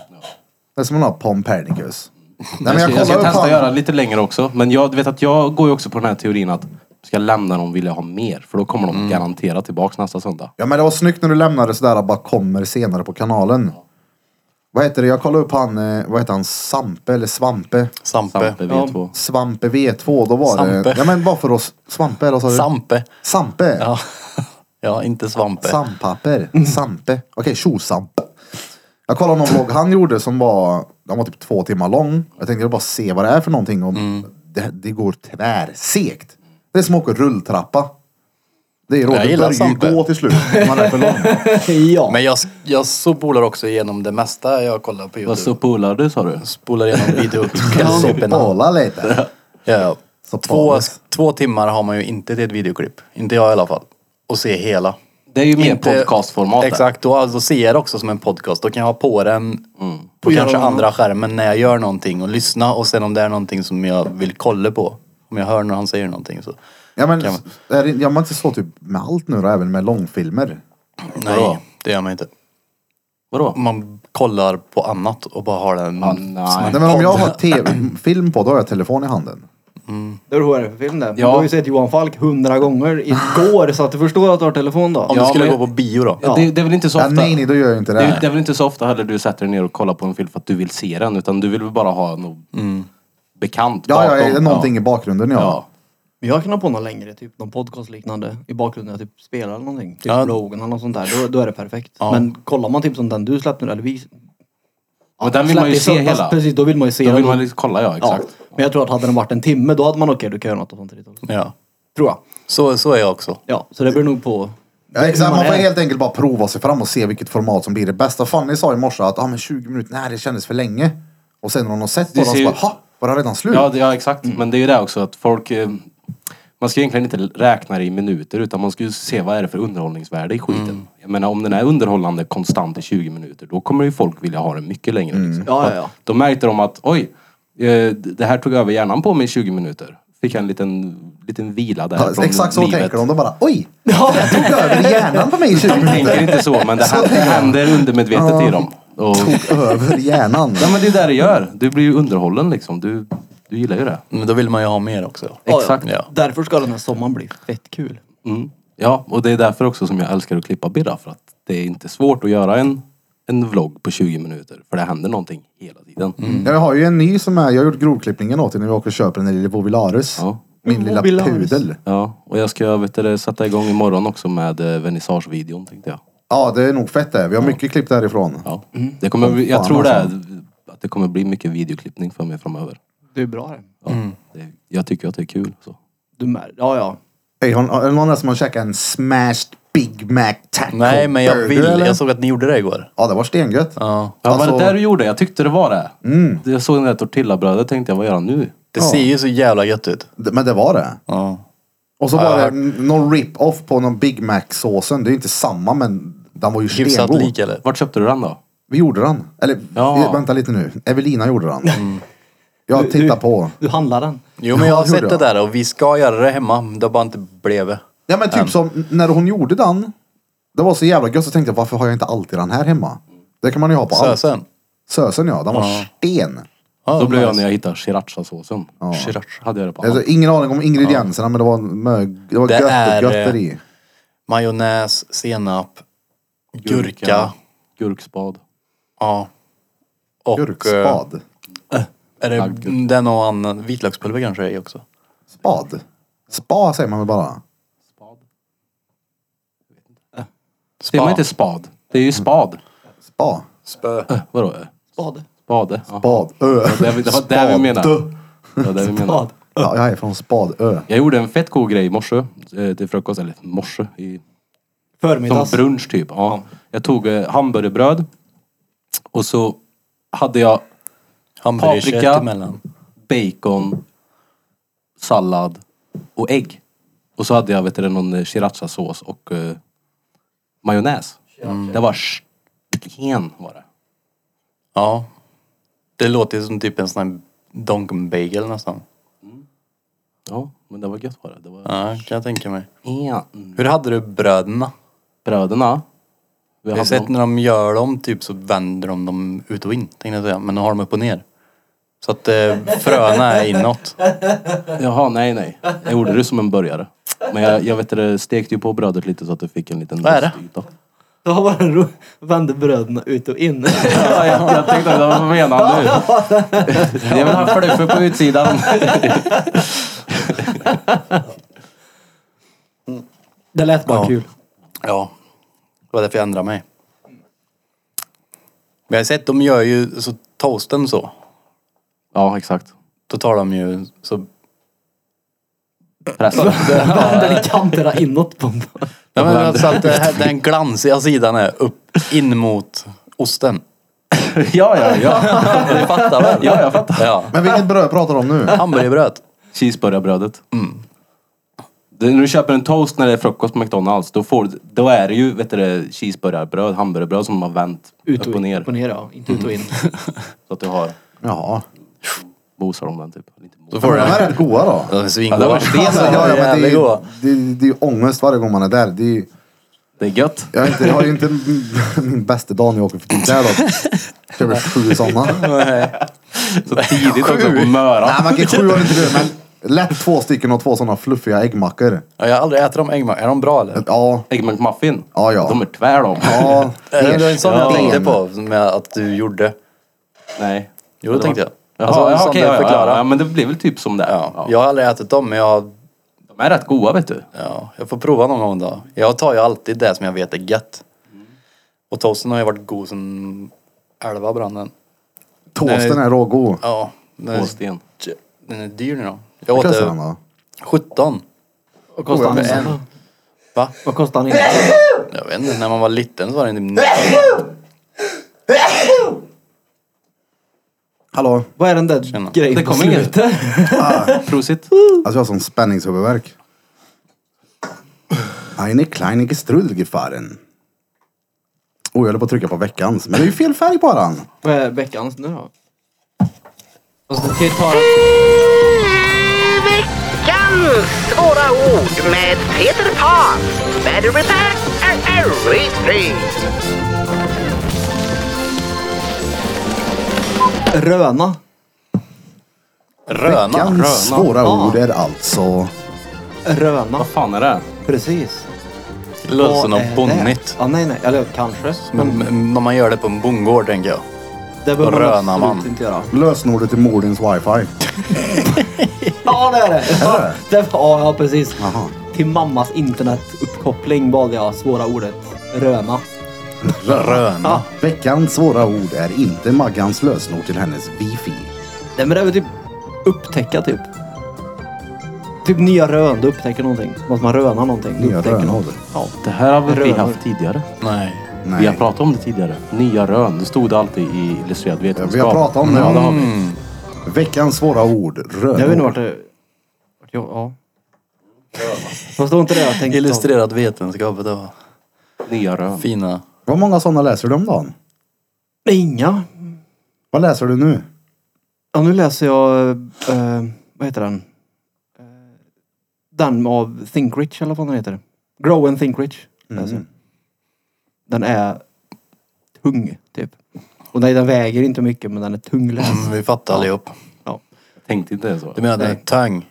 A: Det är som att ha Pompernicus. Nej,
B: Jag,
A: men
B: ska, jag
A: jag
B: ska
A: kollar upp
B: testa att göra
A: han.
B: lite längre också. Men jag du vet att jag går ju också på den här teorin att ska jag lämna dem vill jag ha mer. För då kommer de
A: Mm.
B: garanterat tillbaka nästa söndag.
A: Ja, men det var snyggt när du lämnade sådär och bara kommer senare på kanalen. Vad heter det? Jag kollar upp han, eh, vad heter han, Sampe eller Svampe?
C: Sampe.
B: Sampe V2.
A: Svampe V2, då var det...
C: Sampe.
A: Ja, men bara för oss. Svampe, eller vad sa du?
C: Sampe.
A: Sampe.
C: Ja. Mm. ja, inte Svampe.
A: Sandpapper. Sampe. Okej, tjosamp. Jag kollade någon vlogg han gjorde som var, den var typ två timmar lång. Jag tänkte bara se vad det är för någonting. Och
C: Mm.
A: det, det går tvärsegt. Det är som att åka rulltrappa. Det är råd.
C: Jag
A: Det
C: gillar
A: börjar ju
C: Sampe.
A: gå till slut. när Man är för lång.
D: ja.
C: Men jag, jag spolar också igenom det mesta jag kollar på
B: Vad så
C: Youtube.
B: polar du sa du?
C: Spolar igenom videoklippen.
A: Soppala lite.
C: Ja,
A: Så
C: ja. Två,
A: paus.
C: två timmar har man ju inte till ett videoklipp. Inte jag i alla fall. Och se hela.
B: Det är ju mer
C: Inte-
B: podcastformat. där.
C: Exakt, då, alltså, ser jag det också som en podcast. Då kan jag ha på den på
B: Mm.
D: Och göra
C: kanske
D: något
C: andra skärmen när jag gör någonting och lyssna och sen om det är någonting som jag vill kolla på. Om jag hör när han säger någonting så.
A: Ja men,
C: Kan
A: är det, gör man inte så typ med allt nu då? Även med långfilmer?
C: Nej,
B: Vadå?
C: det gör man inte.
B: Vadå?
A: Mm.
C: Man kollar på annat och bara har den
B: Ah, nej.
C: som en
A: Nej, men om jag
C: podd.
A: har tv-film på, då har jag telefon i handen.
D: Det beror på vad det är för film det. Du
B: Ja.
D: har ju sett Johan Falk hundra gånger igår, så att du förstår att du har telefon då.
C: Om
B: Ja,
C: du skulle
B: men-
C: gå på bio då?
B: Ja. Det, det är väl inte så
A: Ja,
B: ofta?
A: nej, nej, då gör jag inte det.
B: Det är, det är väl inte så ofta heller du sätter dig ner och kollar på en film för att du vill se den utan du vill väl bara ha något bekant
A: Mm. ja, ja, är det någonting
B: ja.
A: i bakgrunden ja.
B: Ja.
D: Men Jag kan ha på någon längre, typ någon podcast liknande i bakgrunden. Jag typ spelar eller någonting. Typ
C: Ja.
D: Rogan eller något sånt där. Då, då är det perfekt. Men kollar man typ som den du släppte nu, eller vi
B: Men den vill man ju
D: släppte i
B: se
D: söndags,
B: hela.
D: Precis, då vill man ju se
B: Då
D: den.
B: vill man liksom kolla ja,
D: ja.
B: exakt.
D: Men jag tror att hade den varit en timme, då hade man okej, du kan göra något samtidigt också.
C: Ja.
D: Tror jag.
C: Så, så är jag också.
D: Ja, så det beror nog på.
A: Ja, exakt.
D: hur
A: Man får
D: är.
A: helt enkelt bara prova sig fram och se vilket format som blir det bästa. Fanny sa i morse att ah, men 20 minuter, nej det kändes för länge. Och sen när hon har sett
B: Det
A: båda så
B: ser ju-
A: bara, ha, var det redan slut?
B: Ja, det, ja exakt. Men det är ju det också att folk... eh, Man ska egentligen inte räkna det i minuter utan man ska ju se vad är det för underhållningsvärde i skiten. Jag menar om den är underhållande konstant i 20 minuter då kommer ju folk vilja ha den mycket längre. Liksom.
D: Ja,
B: För att
D: ja, ja.
B: Då märkte de att oj, eh, det här tog över hjärnan på mig i 20 minuter. Fick jag en liten, liten vila där
A: Ja,
B: från
A: exakt så
B: livet.
A: tänker de. De bara, oj! Jag tog över hjärnan på mig i 20
B: tänker
A: minuter.
B: inte så, men det, händer, det händer undermedvetet i dem. Och,
A: Över hjärnan.
B: ja, men det är det det gör. Du blir ju underhållen liksom. Du, du gillar ju det.
C: Men då vill man ju ha mer också.
D: Ja,
B: Exakt.
D: Ja. Därför ska den här sommaren bli fett kul.
B: Mm. Ja, och det är därför också som jag älskar att klippa Birra. För att det är inte svårt att göra en en vlogg på 20 minuter. För det händer någonting hela tiden.
A: Jag har ju en ny som är, jag har gjort grovklippningen åt dig när vi åker och köper den där lilla Vovilarus.
B: Ja.
A: Min lilla
D: Vovilarus.
A: pudel.
B: Ja, och jag ska vet du, sätta igång imorgon också med eh, vernissagevideon tänkte jag.
A: Ja, det är nog fett det. Vi har mycket klipp därifrån.
B: Ja. Det kommer, bli-
A: Mm. Fan, alltså.
B: jag tror det, är- att det kommer bli mycket videoklippning för mig framöver.
D: Det är bra det.
B: Ja.
A: Mm.
B: Det, jag tycker att det är kul. Så.
D: Du mär- ja, ja.
A: Hey, har, är det någon där som har käkat en smashed Big Mac taco
C: Nej, men jag
A: burger,
C: vill.
A: eller?
C: Jag såg att ni gjorde det igår.
A: Ja, det var stengött.
C: Ja.
B: Ja,
A: Alltså- Mm.
B: var det där du gjorde? Jag tyckte det var det. Jag såg den där tortillabrödet tänkte jag, vad gör han nu?
C: Det ser ju så jävla gött ut.
A: D- Men det var det.
C: Ja.
A: Och så
C: Ja,
A: var
C: jag
A: det
C: har
A: n- någon rip-off på någon Big Mac-såsen. Det är ju inte samma, men den var ju
C: Hyfsat
A: stengod.
C: lik eller?
B: Vart köpte du den då?
A: Vi gjorde den. Eller,
B: Ja.
A: vi- vänta lite nu. Evelina gjorde den.
C: Mm.
A: Jag
D: Du,
A: tittar på.
D: du handlar den.
C: Jo men
A: Ja,
C: jag har
A: gjorde
C: sett det
A: jag.
C: där och vi ska göra det hemma. Det har bara inte blivit.
A: Ja men typ
C: Ehm.
A: som n- när hon gjorde den. Det var så jävla gött så tänkte jag varför har jag inte alltid den här hemma? Det kan man ju ha på allt.
C: Sösen.
A: Sösen ja, den var
C: Ja.
A: sten.
C: Ja,
B: Då blev jag
C: nice.
B: när jag hittade srirachasåsen. Ja.
C: Sriracha.
B: Hade jag det på
A: Alltså,
B: allt.
A: ingen aning om ingredienserna men det var, mö- det var
C: Det
A: gött
C: är,
A: och götter
C: eh,
A: i.
C: Majonnäs, senap, gurka.
B: Gurkspad.
C: Ja. Och... eh,
A: Gurkspad.
C: Är det
B: Agurk.
C: den och annan vitlökspulver kanske i också?
A: Spad. Spa säger man väl bara.
B: Spad.
C: Spa.
B: Säger man inte spad? Det är ju spad.
A: Spa.
C: Spö.
B: Äh, vadå? äh?
D: Spade.
B: Spade? Ja.
A: Spad. Ö.
B: Det var det vi- det var det vi menade.
A: Spad.
B: Det var det vi menade.
D: Spad.
A: Ja, jag är från Spadö.
B: Jag gjorde en fett god grej i morse eh, till frukost, eller morse, i, som
D: Förmiddags.
B: brunch typ. Ja. Jag tog eh, hamburgerbröd och så hade jag
C: Hamburgerkött
B: Paprika.
C: emellan.
B: bacon, sallad och ägg. Och så hade jag vet du, det, någon eh, srirachasås och eh, majonnäs. Det var sten var det.
C: Ja. Det låter ju som typ en sån här donkenbagel nästan.
B: Ja, men det var gött var det. Det var
C: Ja, kan jag tänka mig.
B: sten.
C: Hur hade du bröderna?
B: Bröderna. Vi
C: Jag har
B: hade
C: sett
B: dem-
C: när de gör dem typ så vänder de dem ut och in tänkte jag säga. Men de har dem upp och ner. Så att eh, fröna är inåt.
B: Jaha, nej nej. Jag gjorde det som en burgare. Men jag, jag vet det, stekte ju på brödet lite så att det fick en liten
C: Vad är det?
B: rostyta.
D: Då var det ro- vände bröderna ut och in.
B: Ja, jag, jag tänkte, vad menar han nu? Det är väl han fluffer på utsidan.
D: Det lät bara
C: Ja.
D: kul.
C: Ja. Det var därför jag ändrade mig. Men jag har sett, de gör ju så toasten så.
B: Ja, exakt.
C: Då tar de ju så...
B: Pressen.
D: Vänder i kanterna inåt. på dem.
C: Ja,
B: vänder
C: men, så att det här, den glansiga sidan är upp in mot osten.
B: Ja, ja, ja.
C: Du fattar väl?
B: Ja, jag fattar.
C: Ja.
A: Men vilket bröd pratar du om nu?
C: Hamburgerbröd.
B: Cheeseburgarbrödet. Det- När du köper en toast när det är frukost på McDonalds, då, får, du- då är det ju vet du, det, cheeseburgarbröd, hamburgerbröd som man har vänt
D: Ut
B: upp och ner.
D: Upp och ner ja. Inte ut och in.
B: Så att du har,
A: Jaha.
B: mosar om den typ. Inte mos.
C: Då
A: De
C: får du
A: här är
C: det.
A: rätt goda då.
C: De är
B: Ja, det
C: svingoda.
B: var sten.
A: Alltså, ja, ja, men det, är
C: Jävligt
A: ju,
C: goda.
A: det, det är ju ångest varje gång man är där. Det är ju,
B: Det är gött.
A: jag, har inte, jag har ju inte min bästa dag när jag åker förbi där då. Köper sju sådana.
B: Så tidigt också på Möra.
A: Nej, man kan sju har inte det, men lätt två stycken och två sådana fluffiga äggmackor.
C: Ja, jag har aldrig ätit dem äggmackor. Är de bra eller?
A: Ja,
B: Egg McMuffin.
A: Ja, ja.
B: De är tvär de.
A: ja.
C: Är det en sån jag
A: Ja.
C: tänkte på med att du gjorde?
B: Nej.
C: Jo, det tänkte jag.
B: Jaha,
C: Alltså,
B: jaha,
C: som
B: okej,
C: du
B: ja, ja,
C: förklarar.
B: ja, ja, men det blir väl typ som det.
C: Ja. Jag har aldrig ätit dem men jag,
B: De är rätt goda vet du.
C: ja, jag får prova någon gång då. Jag tar ju alltid det som jag vet är gött. Och toasten har ju varit god sen elva brann den.
A: Toasten är rågod.
C: Ja. Den är,
B: Åsten.
C: den är dyr nu då. Jag
A: Vad
C: åt
A: kostar den
C: det
A: då?
C: 17.
D: Vad kostar han
A: Oh, jag
D: innan?
C: Va?
D: Vad kostar han innan?
C: Jag vet inte, när man var liten så var den typ 19.
A: Hallå?
D: Vad är den där grejen
B: Det
D: på
B: kom inget.
D: slutet?
B: Prosit.
A: Alltså jag har sån spänningshuvudvärk. Eine kleinige Strudelgefahren. Oh, jag höll på att trycka på veckans. Men det är ju fel färg på den.
D: Vad är veckans nu då? Alltså, du kan ju ta
E: Veckans svåra ord med Peter Pan. Battery pack and everything.
D: röna.
C: Röna.
A: Veckans svåra
D: Ja.
A: ord är alltså...
D: Röna.
B: Fan är det?
D: Precis.
C: Lösen
D: Vad
C: och
D: är det?
C: bonnit.
D: Ja, nej, nej. Eller kanske. Men
C: Men, men, när man gör det på en bondgård tänker jag.
D: det behöver man
C: rönar
D: absolut
C: man.
D: inte göra.
A: Lösenordet till Mordins wifi.
D: Ja, det är det.
A: Är det?
D: det ja, ja, precis.
A: Jaha.
D: Till mammas internetuppkoppling valde jag svåra ordet röna.
C: Röna.
A: Veckans svåra ord är inte Maggans lösenord till hennes wifi.
D: Nej, men det är väl typ upptäcka typ. Typ nya rön, du upptäcker någonting. Måste man röna någonting. du
A: Nya
D: upptäcker
A: rön har
D: något.
A: du.
D: Ja.
B: Det här har väl vi
D: Rönor.
B: haft tidigare?
C: Nej.
B: Vi
A: Nej.
B: har pratat om det tidigare. Nya rön. Det stod det alltid i illustrerad
A: Ja,
B: vetenskap.
A: vi har pratat om det.
B: Ja, det har vi.
C: Mm.
A: Veckans svåra ord.
D: Jag vet inte
A: Rönord.
D: vart det... Vart eh, jag, ja. Fast det var inte det jag tänkte. ta.
C: Illustrerat vetenskap, det var
B: Nya rön.
C: fina.
A: Vad många sådana läser du om dagen?
D: Nej, Inga.
A: Vad läser du nu?
D: Ja, nu läser jag... eh, vad heter den? Eh, den av Think Rich eller vad den heter. Grow and Think Rich.
B: Mm.
D: läser jag. Den är tung, typ. Och nej, den väger inte mycket, men den är tungläst.
C: Mm, vi fattar allihop.
D: Ja.
B: Tänkte inte så.
C: Du menar den är tang?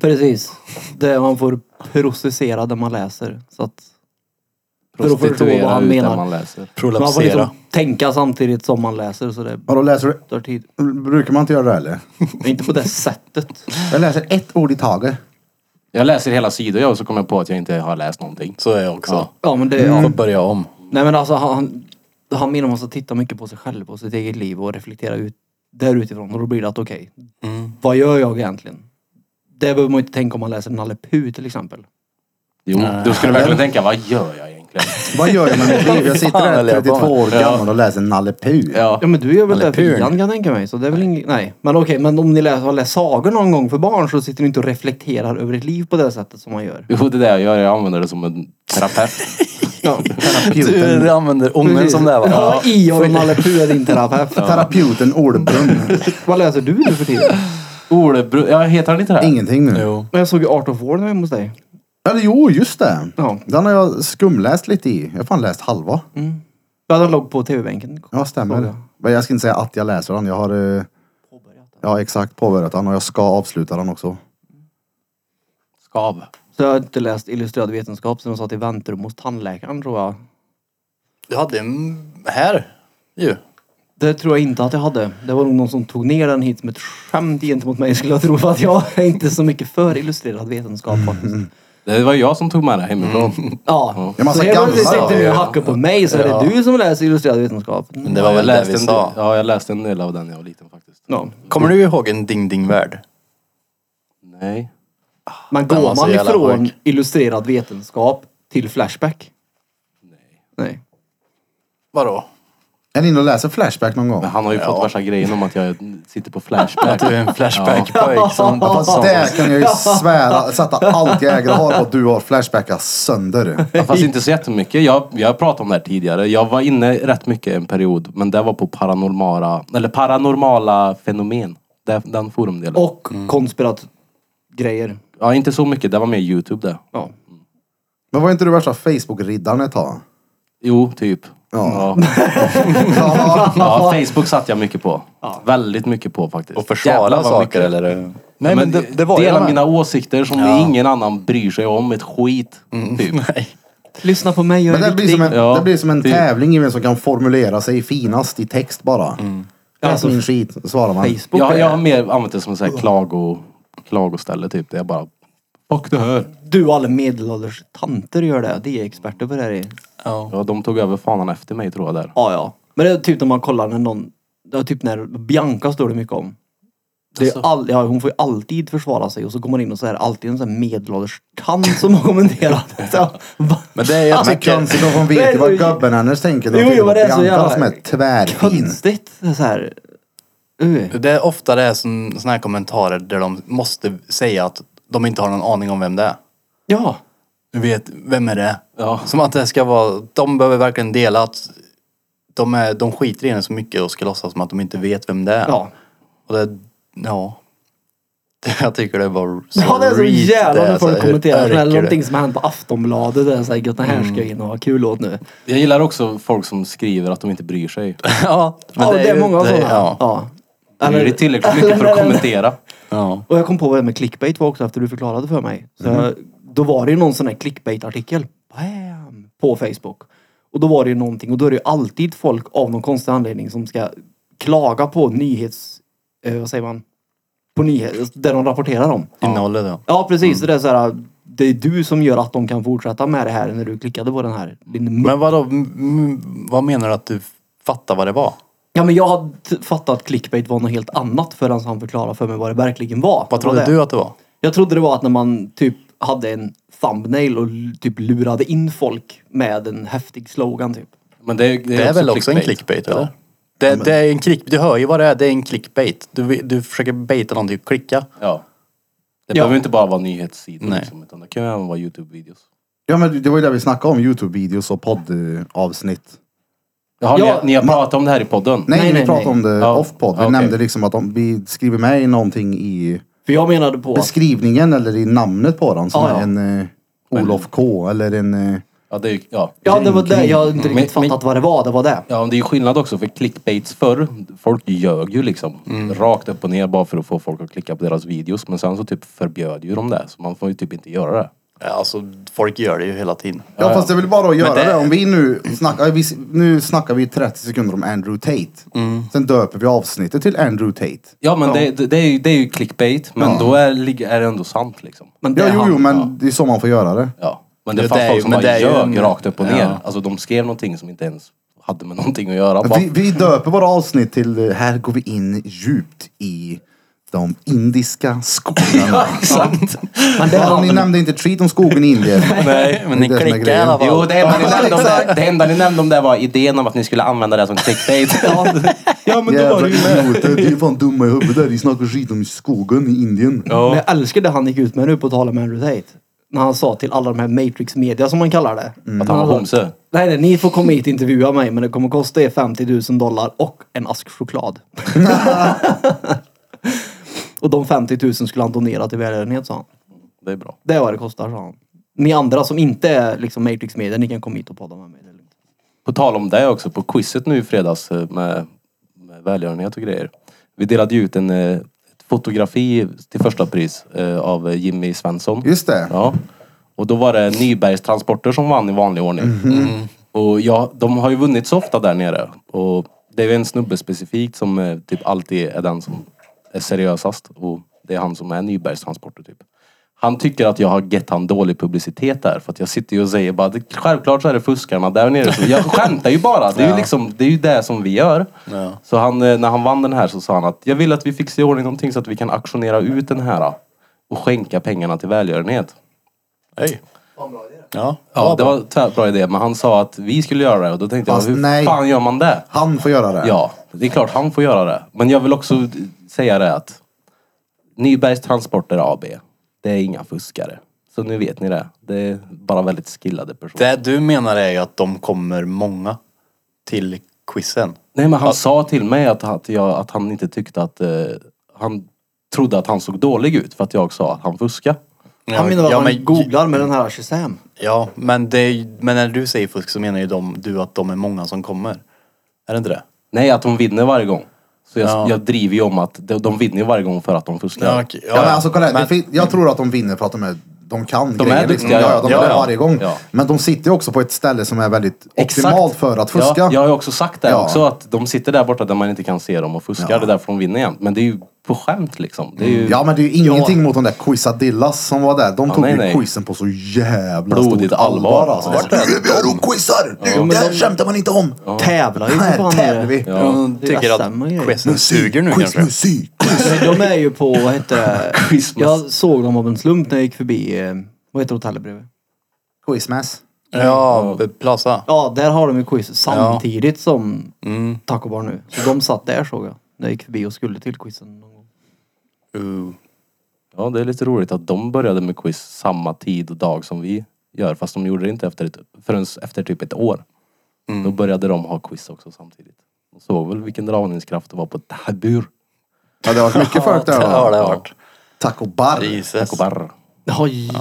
D: Precis. Det man får processera det man läser. Så att för att förstå
B: Prostituera
D: vad han
B: ut det
D: menar.
B: man läser.
D: man får
C: Prolapsera.
D: liksom tänka samtidigt som man läser så det
A: Och då läser du...
D: tar tid.
A: Brukar man inte göra det eller?
D: Inte på det sättet.
A: Jag läser ett ord i taget.
B: Jag läser hela sidor jag och så kommer jag på att jag inte har läst någonting.
C: Så är jag också.
B: Ja.
D: Ja men det, ja.
B: Mm.
C: Får börja om.
D: Nej men alltså han, han menar man ska titta mycket på sig själv och sitt eget liv och reflektera ut där utifrån och då blir det att okej,
C: Mm.
D: vad gör jag egentligt? Det behöver man inte tänka om man läser Nalle Puh till exempel.
B: Jo, då skulle jag verkligen tänka, vad gör jag egentligen?
A: Vad gör jag med mitt liv? Jag sitter
C: Fan,
A: här
C: eller jag
A: 32 år
B: bara- Ja.
A: gammal och läser Nalle Puh.
B: Ja.
D: Ja men du gör väl
C: Nalle
D: det för
C: Puh.
D: Ian kan jag tänka mig. Så det är väl inget, nej. Men okej, men om ni läser, har läst sagor någon gång för barn så sitter ni inte och reflekterar över ett liv på det sättet som man gör.
B: Jo, det är det jag gör. Jag använder det som en terapeut.
D: Ja.
A: Terapeuten,
C: Du använder ången som det här, va?
D: Ja, Ion och Nalle Puh är din terapeut.
A: terapeuten Olbrunn.
D: Vad läser du nu för tiden?
B: Olebro... Ja, heter han inte det?
A: Ingenting nu.
C: Jo.
D: Men jag såg ju Art of War när jag var hemma hos dig.
A: Eller jo, just det.
D: Ja.
A: Den har jag skumläst lite i. Jag har fan läst halva.
D: Ja, den låg på tv-bänken.
A: Ja, stämmer.
D: Såg jag.
A: Men jag ska inte säga att jag läser den. Jag har... eh, Ja, exakt påbörjat den och jag ska avsluta den också.
B: Skav.
D: Så jag har inte läst illustrerad vetenskap som jag satt i väntrum hos tandläkaren tror jag.
C: Du hade en här ju.
D: Det tror jag inte att jag hade. Det var nog någon som tog ner den hit som ett skämt gentemot mig skulle jag tro. För att jag är inte så mycket för illustrerad vetenskap faktiskt.
B: Det var jag som tog med det hemifrån.
D: Ja.
A: Ja, man
D: så
A: ser
D: helt
A: gamla
D: plötsligt
A: saker.
D: sitter ni och hackar på mig så är det du som läser illustrerad vetenskap.
C: Men det var
B: Ja,
C: väl
B: jag
C: det
B: läste
C: vi
B: en
C: sa.
B: del, ja, jag läste en del av den när jag var liten faktiskt.
D: Ja.
C: Kommer du ihåg en Ding Ding Värld?
B: Nej.
D: Men
C: Den var
D: går
C: så
D: man
C: jävla
D: ifrån
C: sjuk.
D: illustrerad vetenskap till Flashback? Nej. Nej.
C: Vadå?
A: Är ni inne och läser Flashback någon gång?
B: Men han har ju fått värsta grejen om att jag sitter på Flashback.
C: Att du är en flashback-pojk som...
A: Ja, fast där kan jag ju svära, sätta allt jag äger och har på att du har Flashbackat sönder.
B: Ja, Fast inte så jättemycket. Jag, jag har pratat om det här tidigare. Jag var inne rätt mycket en period, men det var på paranormala, eller paranormala fenomen. Det- Den forumdelen.
D: Och konspirat grejer.
B: Ja, inte så mycket. Det var mer YouTube det.
D: Ja.
A: Men var inte du värsta Facebook-riddaren ett tag?
B: Jo, typ. Ja. Ja.
A: Ja,
B: Facebook satt jag mycket på. Väldigt mycket på faktiskt.
C: Och försvara
B: Jävlar vad
C: saker
B: mycket.
C: eller?
B: Nej, men det,
C: ju
B: dela
C: de här.
B: mina åsikter som ingen annan bryr sig om ett skit. Typ.
C: Nej.
D: Lyssna på mig, jag är
A: Men det blir som en,
B: Ja.
A: det blir som en
B: Det-
A: tävling i vem som kan formulera sig finast i text bara. Läs
D: Alltså,
A: min skit, svarar man.
D: Facebook
B: Jag, jag har
D: är-
B: mer använt det som så här klago, klagoställe typ. Där jag bara... Fuck det här.
D: Du och alla medelålders tanter gör det. De är experter på det här. i-
C: Ja.
B: Ja, de tog över fanan efter mig tror jag där.
D: Ja, ja. Men det är typ när man kollar när någon... Det är typ när Bianca står det mycket om. Det
C: Alltså.
D: är all, ja, hon får ju alltid försvara sig och så går man in och så är det alltid en sån här medelålders tant som har kommenterat. Så, va?
C: Men det är jag
A: Men
C: tycker...
A: konstigt om hon
D: Det
A: vet
D: är
A: ju vad
D: ju-
A: gubben hennes tänker. De
D: Jo, jo,
A: tycker
D: men det är så
A: Bianca
D: jävla-
A: som är tvärfin.
D: Konstigt. Det är Så här. Uh.
C: Det är ofta det är sån, såna här kommentarer där de måste säga att de inte har någon aning om vem det är.
D: Ja.
C: Du vet, vem är det?
B: Ja.
C: Som att det ska vara... De behöver verkligen dela att de, är, de skiter i henne så mycket och ska låtsas som att de inte vet vem det är.
D: Ja.
C: Och det... Ja. Jag tycker det var så
D: Ja, det är så
C: reet
D: jävla
C: det är,
D: när
C: så här,
D: folk
C: hur
D: kommenterar
C: örker Mm.
D: sådär,
C: det.
D: någonting som har hänt på Aftonbladet. Det är såhär, gött det här ska jag in och ha kul åt nu.
B: Jag gillar också folk som skriver att de inte bryr sig.
C: Ja, men
D: ja, det är,
C: ju-
D: många
C: det är-
D: sådana.
C: Ja.
D: Ja.
B: De gör det tillräckligt mycket för att kommentera.
C: ja.
D: Och jag kom på vad det
C: Mm.
D: med clickbait var också efter du förklarade för mig. Så jag, då var det ju någon sån här clickbait-artikel. Bam! på Facebook. Och då var det ju någonting och då är det ju alltid folk av någon konstig anledning som ska klaga på nyhets... Eh, vad säger man? På nyheter, där de rapporterar om.
C: Innehållet ja.
D: Ja, precis. Så det är så här, det är du som gör att de kan fortsätta med det här när du klickade på den här. Din
C: Men vadå, m- m- vad menar du att du fattar vad det var?
D: Ja, men jag hade t- fattat att clickbait var något helt annat förrän han förklarade för mig vad det verkligen var.
C: Vad
D: Det
C: trodde
D: var det.
C: du att det var?
D: Jag trodde det var att när man typ hade en thumbnail och l- typ lurade in folk med en häftig slogan typ.
B: Men det, är- det,
C: Det är, väl också en clickbait eller? Det, det är en klick, du hör ju vad det är, det är en clickbait. Du, vill- du försöker baita någon till att klicka.
B: Ja. Det
D: Ja.
B: behöver inte bara vara nyhetssidor
C: Nej.
B: liksom, utan det kan ju även vara Youtube-videos.
A: Ja men det var ju det vi snackade om, Youtube-videos och poddavsnitt.
B: Jaha,
D: Ja,
B: ni, ni har pratat om det här i podden?
A: Nej,
D: Nej,
A: vi
D: nej,
A: pratade
D: nej.
A: om det
B: Ja,
A: off-podd. Vi
B: okej.
A: nämnde liksom att om vi skriver med i någonting i
D: För jag menade på... att-
A: beskrivningen eller i namnet på den som
D: Ja, ja.
A: är en eh, Olof K eller en... Eh,
B: Ja, det är ju, ja.
D: Ja, det var det. Jag hade inte
B: Mm.
D: riktigt
B: Men-
D: fattat vad det var. Det var det.
B: Ja, men det är ju skillnad också för clickbaits förr, folk ljög ju liksom
C: Mm.
B: rakt upp och ner bara för att få folk att klicka på deras videos. Men sen så typ förbjöd ju de det, så man får ju typ inte göra det.
C: Ja, Alltså folk gör det ju hela tiden.
A: Ja, fast det är väl bara att göra det...
C: det-
A: Om vi nu snackar, vi, nu snackar vi 30 sekunder om Andrew Tate. Sen döper vi avsnittet till Andrew Tate.
B: Ja, men Det, det, det, är ju, det är ju clickbait, men då är, ligger- är det ändå sant liksom.
D: Men det
A: Ja,
D: är
A: jo,
D: han.
A: jo, men det är så man får göra det.
B: Ja. Men det
C: Ja,
B: fanns
C: det är
B: folk
C: ju-
B: som
C: men det
B: bara
C: är ju
B: ljög
C: en-
B: rakt upp och ner.
C: Ja.
B: Alltså de skrev någonting som inte ens hade med någonting att göra. Bara,
A: Vi, vi döper våra avsnitt till eh, Här går vi in djupt i de indiska skogarna.
B: sant.
D: Men det är
A: ja,
D: han.
A: ni nämnde inte Treat om skogen i Indien.
C: Nej, men ni
A: Det är det som är
C: klickar i
A: grejen.
C: alla fall.
B: Jo, det enda, ni nämnde om det, det enda ni nämnde om det var idén om att ni skulle använda det som clickbait. ja, men
A: Jävla idioter, det är fan dumma i huvudet. De snackar skit om skogen i Indien.
D: Men jag älskar det han gick ut med nu på tal om Andrew Tate. När han sa till alla de här Matrix Media som man kallar det.
A: Mm.
B: Att han var homse.
D: Nej, nej, ni får komma hit och intervjua mig men det kommer kosta er 50 000 dollar och en ask choklad. och de 50 000 skulle han donera till välgörenhet sa han.
B: Det är bra.
D: Det är vad det kostar sa han. Ni andra som inte är liksom Matrix Media, ni kan komma hit och podda med mig. Det är lugnt.
B: På tal om det också, på quizet nu i fredags eh, med, med välgörenhet och grejer. Vi delade ju ut en eh, ett fotografi till första pris eh, av eh, Jimmy Svensson.
A: Just det.
B: Ja. Och då var det Nybergs Transporter som vann i vanlig ordning. Och ja, de har ju vunnit så ofta där nere. Och det är ju en snubbe specifikt som eh, typ alltid är den som är seriösast. Och det är han som är Nybergs Transporter typ. Han tycker att jag har gett han dålig publicitet där. För att jag sitter ju och säger bara, "Det- självklart så är det fuskarna där nere. Så jag skämtar ju bara. Det är ju liksom, det är ju det som vi gör.
C: Ja.
B: Så han, eh, när han vann den här så sa han att jag vill att vi fixar i ordning någonting så att vi kan auktionera ut den här. eh, Och skänka pengarna till välgörenhet.
C: Hej. Ja,
B: Ja, det var tvärt bra idé. Men han sa att vi skulle göra det och då tänkte
A: Fast
B: jag, hur
A: nej.
B: fan gör man det?
A: Han får göra det.
B: Ja, det är klart han får göra det. Men jag vill också d- säga det att Nybergs Transporter AB, det är inga fuskare. Så nu vet ni det. Det är bara väldigt skillade personer.
C: Det du menar är ju att de kommer många till quizen.
B: Nej men han sa till mig att, att, jag, att han inte tyckte att... Eh, han trodde att han såg dålig ut för att jag sa att han fuskade.
D: Han menar att
C: ja,
D: han
C: men,
D: googlar med den här Shazam.
C: Ja, men, det är, ju- men när du säger fusk så menar ju de, du att de är många som kommer. Är det inte det?
B: Nej, att de vinner varje gång. Så jag,
C: Ja.
B: jag driver ju om att de, de vinner varje gång för att de fuskar.
A: Ja, men alltså kolla här, det fin- jag tror att de vinner för att de är de kan
B: De är
A: grejer, liksom.
B: duktiga,
A: ja,
B: ja.
A: ja, de
B: Ja,
A: är det
B: ja.
A: varje gång.
B: Ja.
A: Men de sitter ju också på ett ställe som är väldigt optimalt för att fuska.
B: Ja, jag har ju också sagt det
A: Ja.
B: också, att de sitter där borta där man inte kan se dem och fuskar. Det är därför de vinner igen. Men det är ju på skämt liksom. Det är ju
A: Ja, men det är ju ingenting mot de där quizadillas som var där. De tog
B: nej,
A: ju
B: nej.
A: quizen på så jävla
B: Blodigt
A: stort
B: allvar.
A: alltså.
B: Vart
A: är det där de quizar?
D: Ja,
A: Det
D: men
A: där
D: de-
A: skämtar man inte om.
D: Tävlar ju för
A: Här
D: fan
A: tävlar
D: med det.
A: vi.
B: Ja.
C: De
D: det är
C: tycker
D: samma
C: att
D: grej.
C: quizen suger nu kanske.
A: Quizmusik.
D: Nej, De är ju på, vad hette det?
B: Christmas.
D: Jag såg dem av en slump när jag gick förbi, eh, vad heter hotellet bredvid?
A: Quizmass.
C: Ja, Plaza.
D: Ja, där har de ju quiz samtidigt som Taco Bar nu. Så de satt där såg jag. När jag gick förbi och skulle till quizen någon gång.
C: Uh.
B: ja, det är lite roligt att de började med quiz samma tid och dag som vi gör. Fast de gjorde det inte efter ett, förrän efter typ ett år.
A: Mm.
B: Då började de ha quiz också samtidigt. De såg väl vilken dragningskraft det var på Tabur.
A: Ja, det har varit mycket folk där.
C: Ja, det har
A: va?
C: det varit.
A: Taco Bar.
C: Jesus.
B: Kobar.
D: Ja, ja,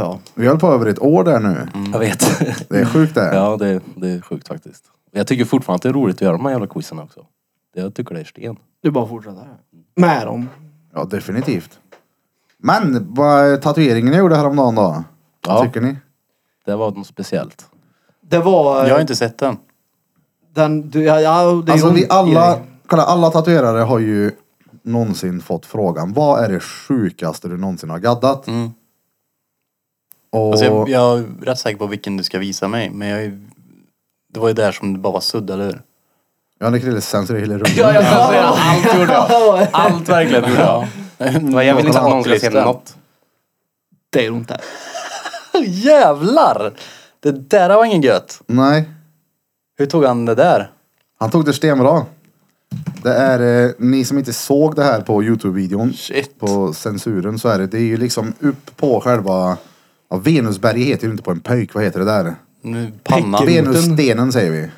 D: ja.
A: Vi höll på över ett år där nu.
C: Mm.
B: Jag vet.
A: Det är sjukt det.
B: ja, det, det är sjukt faktiskt. Jag tycker fortfarande att det är roligt att göra de här jävla quizen också. Jag tycker det är sten.
D: Du bara fortsätter. Med dem.
A: Ja, definitivt. Men vad tatueringen jag gjorde häromdagen då? Vad
B: Ja.
A: tycker ni?
B: Det var något speciellt.
D: Det var...
C: Jag har inte sett den.
D: Den, du, ja, ja, det är ju
A: Alltså
D: hon-
A: vi alla, kolla, alla tatuerare har ju någonsin fått frågan, vad är det sjukaste du någonsin har gaddat? Och,
C: Mm. Alltså jag, jag är rätt säker på vilken du ska visa mig, men jag är... Det var ju där som det bara var sudd, eller hur?
A: ja, det är Krilles sensor i hela rummet.
B: Ja, jag censurerar allt gjorde jag. Allt verkligen gjorde jag. Men jag vill inte att någon ska se något.
D: Det är hon inte.
C: Jävlar! Det där var ingen gött.
A: Nej,
C: Hur tog han det där?
A: han tog det stenbra. Det är, eh, ni som inte såg det här på Youtube-videon,
C: Shit.
A: på censuren så är det, det är ju liksom upp på själva, ja, Venusberget heter ju inte på en pöjk, vad heter det där?
C: Nu, pannan.
D: Pickel.
A: Venusstenen säger vi.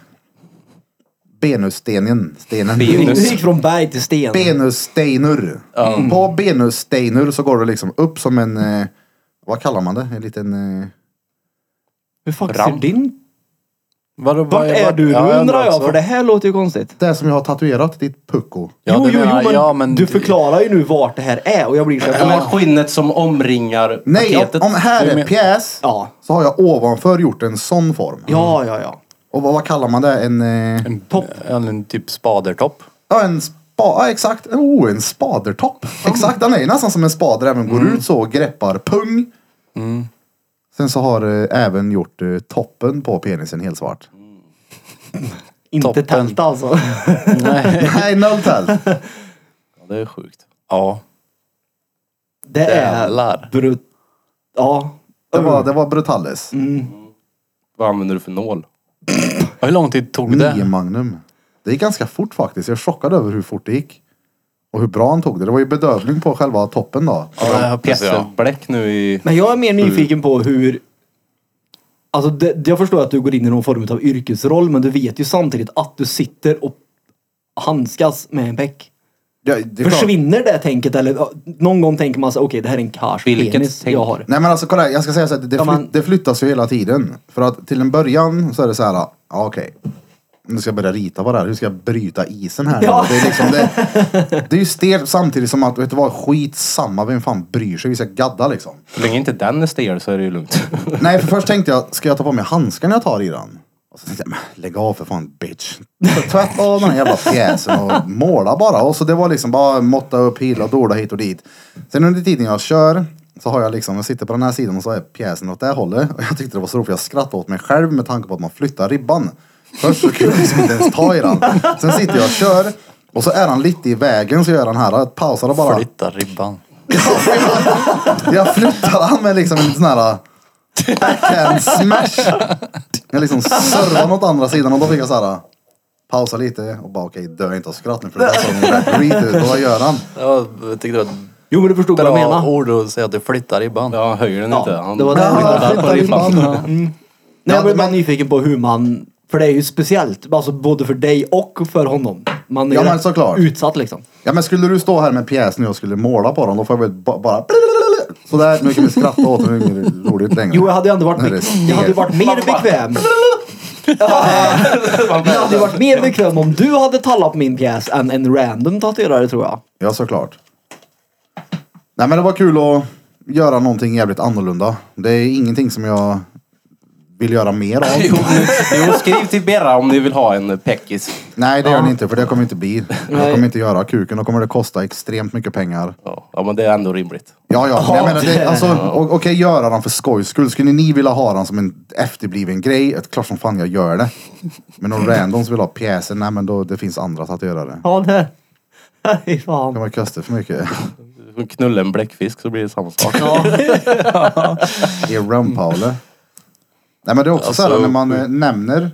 A: Benusstenen. Stenen.
D: Du gick från berg till sten.
A: Benussteinur. På benussteinur så går det liksom upp som en, eh, vad kallar man det? En liten... Eh,
D: Hur fan ser
C: Ramp.
D: din...
C: Vadå, vad-
D: Vart är
C: vart-
D: du nu
C: Ja, alltså.
D: undrar jag,
C: också.
D: för det här låter ju konstigt.
A: det som jag har tatuerat, ditt pucko.
C: Ja,
D: jo,
C: det
D: jo,
C: menar
D: jo, men,
C: jag, ja, men
D: du
C: det-
D: förklarar ju nu vart det här är och jag blir så här,
B: Men
D: men,
B: skinnet som omringar
A: Nej, om,
B: paketet.
A: om här är pjäs
D: Ja.
A: så har jag ovanför gjort en sån form.
D: Ja, ja, ja.
A: Och vad, vad kallar man det? En... Eh,
C: En topp. En, en typ spadertopp.
A: Ja, en spa, ja, exakt. Oh, en spadertopp. Exakt, den är ju nästan som en spader. Även går
C: Mm.
A: ut så och greppar pung. Sen så har eh, även gjort eh, toppen på penisen helt svart.
D: Inte
C: Toppen.
D: tält alltså.
A: Nej, noll tält.
B: Ja, det är sjukt.
C: Ja.
D: Det
C: Jävlar.
D: är brut... Ja.
A: Det var, det var brutalis.
C: Mm.
B: Vad använder du för nål?
C: Hur lång tid tog det?
A: Nio magnum. Det gick ganska fort faktiskt. Jag är chockad över hur fort det gick. Och hur bra han tog det. Det var ju bedövning på själva toppen då.
C: Ja, det här pissar jag.
B: Alltså, Bläck nu i...
D: Men jag är mer
C: Mm.
D: nyfiken på hur... Alltså det, jag förstår att du går in i någon form av yrkesroll men du vet ju samtidigt att du sitter och handskas med en bäck.
A: Ja, det är klart.
D: Försvinner det tänket eller ja, någon gång tänker man så okej det här är en kars
B: Vilket
D: penis
B: tänk?
D: jag har.
A: Nej men alltså kolla, här, jag ska säga så att det,
D: Ja,
A: flyt,
D: man-
A: det flyttas ju hela tiden. För att till en början så är det så här, ja okej. Nu ska jag börja rita på det här, hur ska jag bryta isen här
D: Ja.
A: nu? Det är, liksom, det, det är ju stelt samtidigt som att, vet du vad, skitsamma, vem fan bryr sig? Vi ska gadda liksom.
B: Så länge inte den är stel så är det ju lugnt.
A: Nej för först tänkte jag, ska jag ta på mig handskar när jag tar i den? Och så tänkte jag, men lägg av för fan bitch. Så Tvätta av den här jävla pjäsen och måla bara. Och så det var liksom bara måtta upp, hila och dola hit och dit. Sen under tiden jag kör så har jag liksom, jag sitter på den här sidan och så är pjäsen åt det här hållet. Och jag tyckte det var så roligt för jag skrattade åt mig själv med tanke på att man flyttar ribban. Först så kunde jag liksom inte ens ta i den. Sen sitter jag och kör. Och så är han lite i vägen så gör han här, pausar och bara.
C: Flytta ribban.
A: Jag flyttade han med liksom en sån här äh, backhand smash. Jag liksom servade åt andra sidan och då fick jag så här äh, pausa lite och bara okej dö inte av skratt nu för det där såg rätt skit ut. Och vad gör han?
C: Ja, jag tyckte det var ett
D: Jo men du förstod vad jag
C: bra
D: menar.
C: ord att säga att du flyttar ribban.
B: Ja, han höjer den
D: Ja,
B: inte. Han
D: det var det.
B: han
A: Ja,
B: flyttar på
A: flyttar ribban.
B: ribban.
D: Nej,
A: Ja,
D: jag blir
A: men-
D: bara nyfiken på hur man... För det är ju speciellt, alltså både för dig och för honom. Man är
A: Ja,
D: ju
A: men
D: rätt
A: såklart.
D: utsatt liksom.
A: Ja men skulle du stå här med en pjäs nu och skulle måla på den då får jag väl ba- bara sådär nu kan vi skratta åt den, nu är det inget roligt längre.
D: Jo, jag hade ju ändå varit,
A: Nu är det
D: bek- jag hade ju
A: stelt.
D: varit mer bekväm. Jag hade ju varit mer bekväm om du hade tallat på min pjäs än en random tatuerare tror jag.
A: Ja såklart. Nej men det var kul att göra någonting jävligt annorlunda. Det är ingenting som jag vill göra mer av.
B: Jo, jo, skriv till Berra om ni vill ha en peckis.
A: Nej det gör ni inte för det kommer inte bli. Jag kommer inte göra kuken. Då kommer det kosta extremt mycket pengar.
B: Ja, ja, men det är ändå rimligt.
A: Ja ja. men jag menar,
D: det-
A: det, alltså, o- Okej göra den för skojs skull. Skulle ni vilja ha den som en efterbliven grej? Ett, klart som fan jag gör det. Men om random som vill ha pjäsen. Nej men då det finns andra tatuerare.
D: Ja, det... Nej,
A: Det
D: fan.
A: kommer kosta för mycket.
B: Knulla en bläckfisk så blir det samma sak.
A: I rumpaule. Nej men det är också så här när man eh, nämner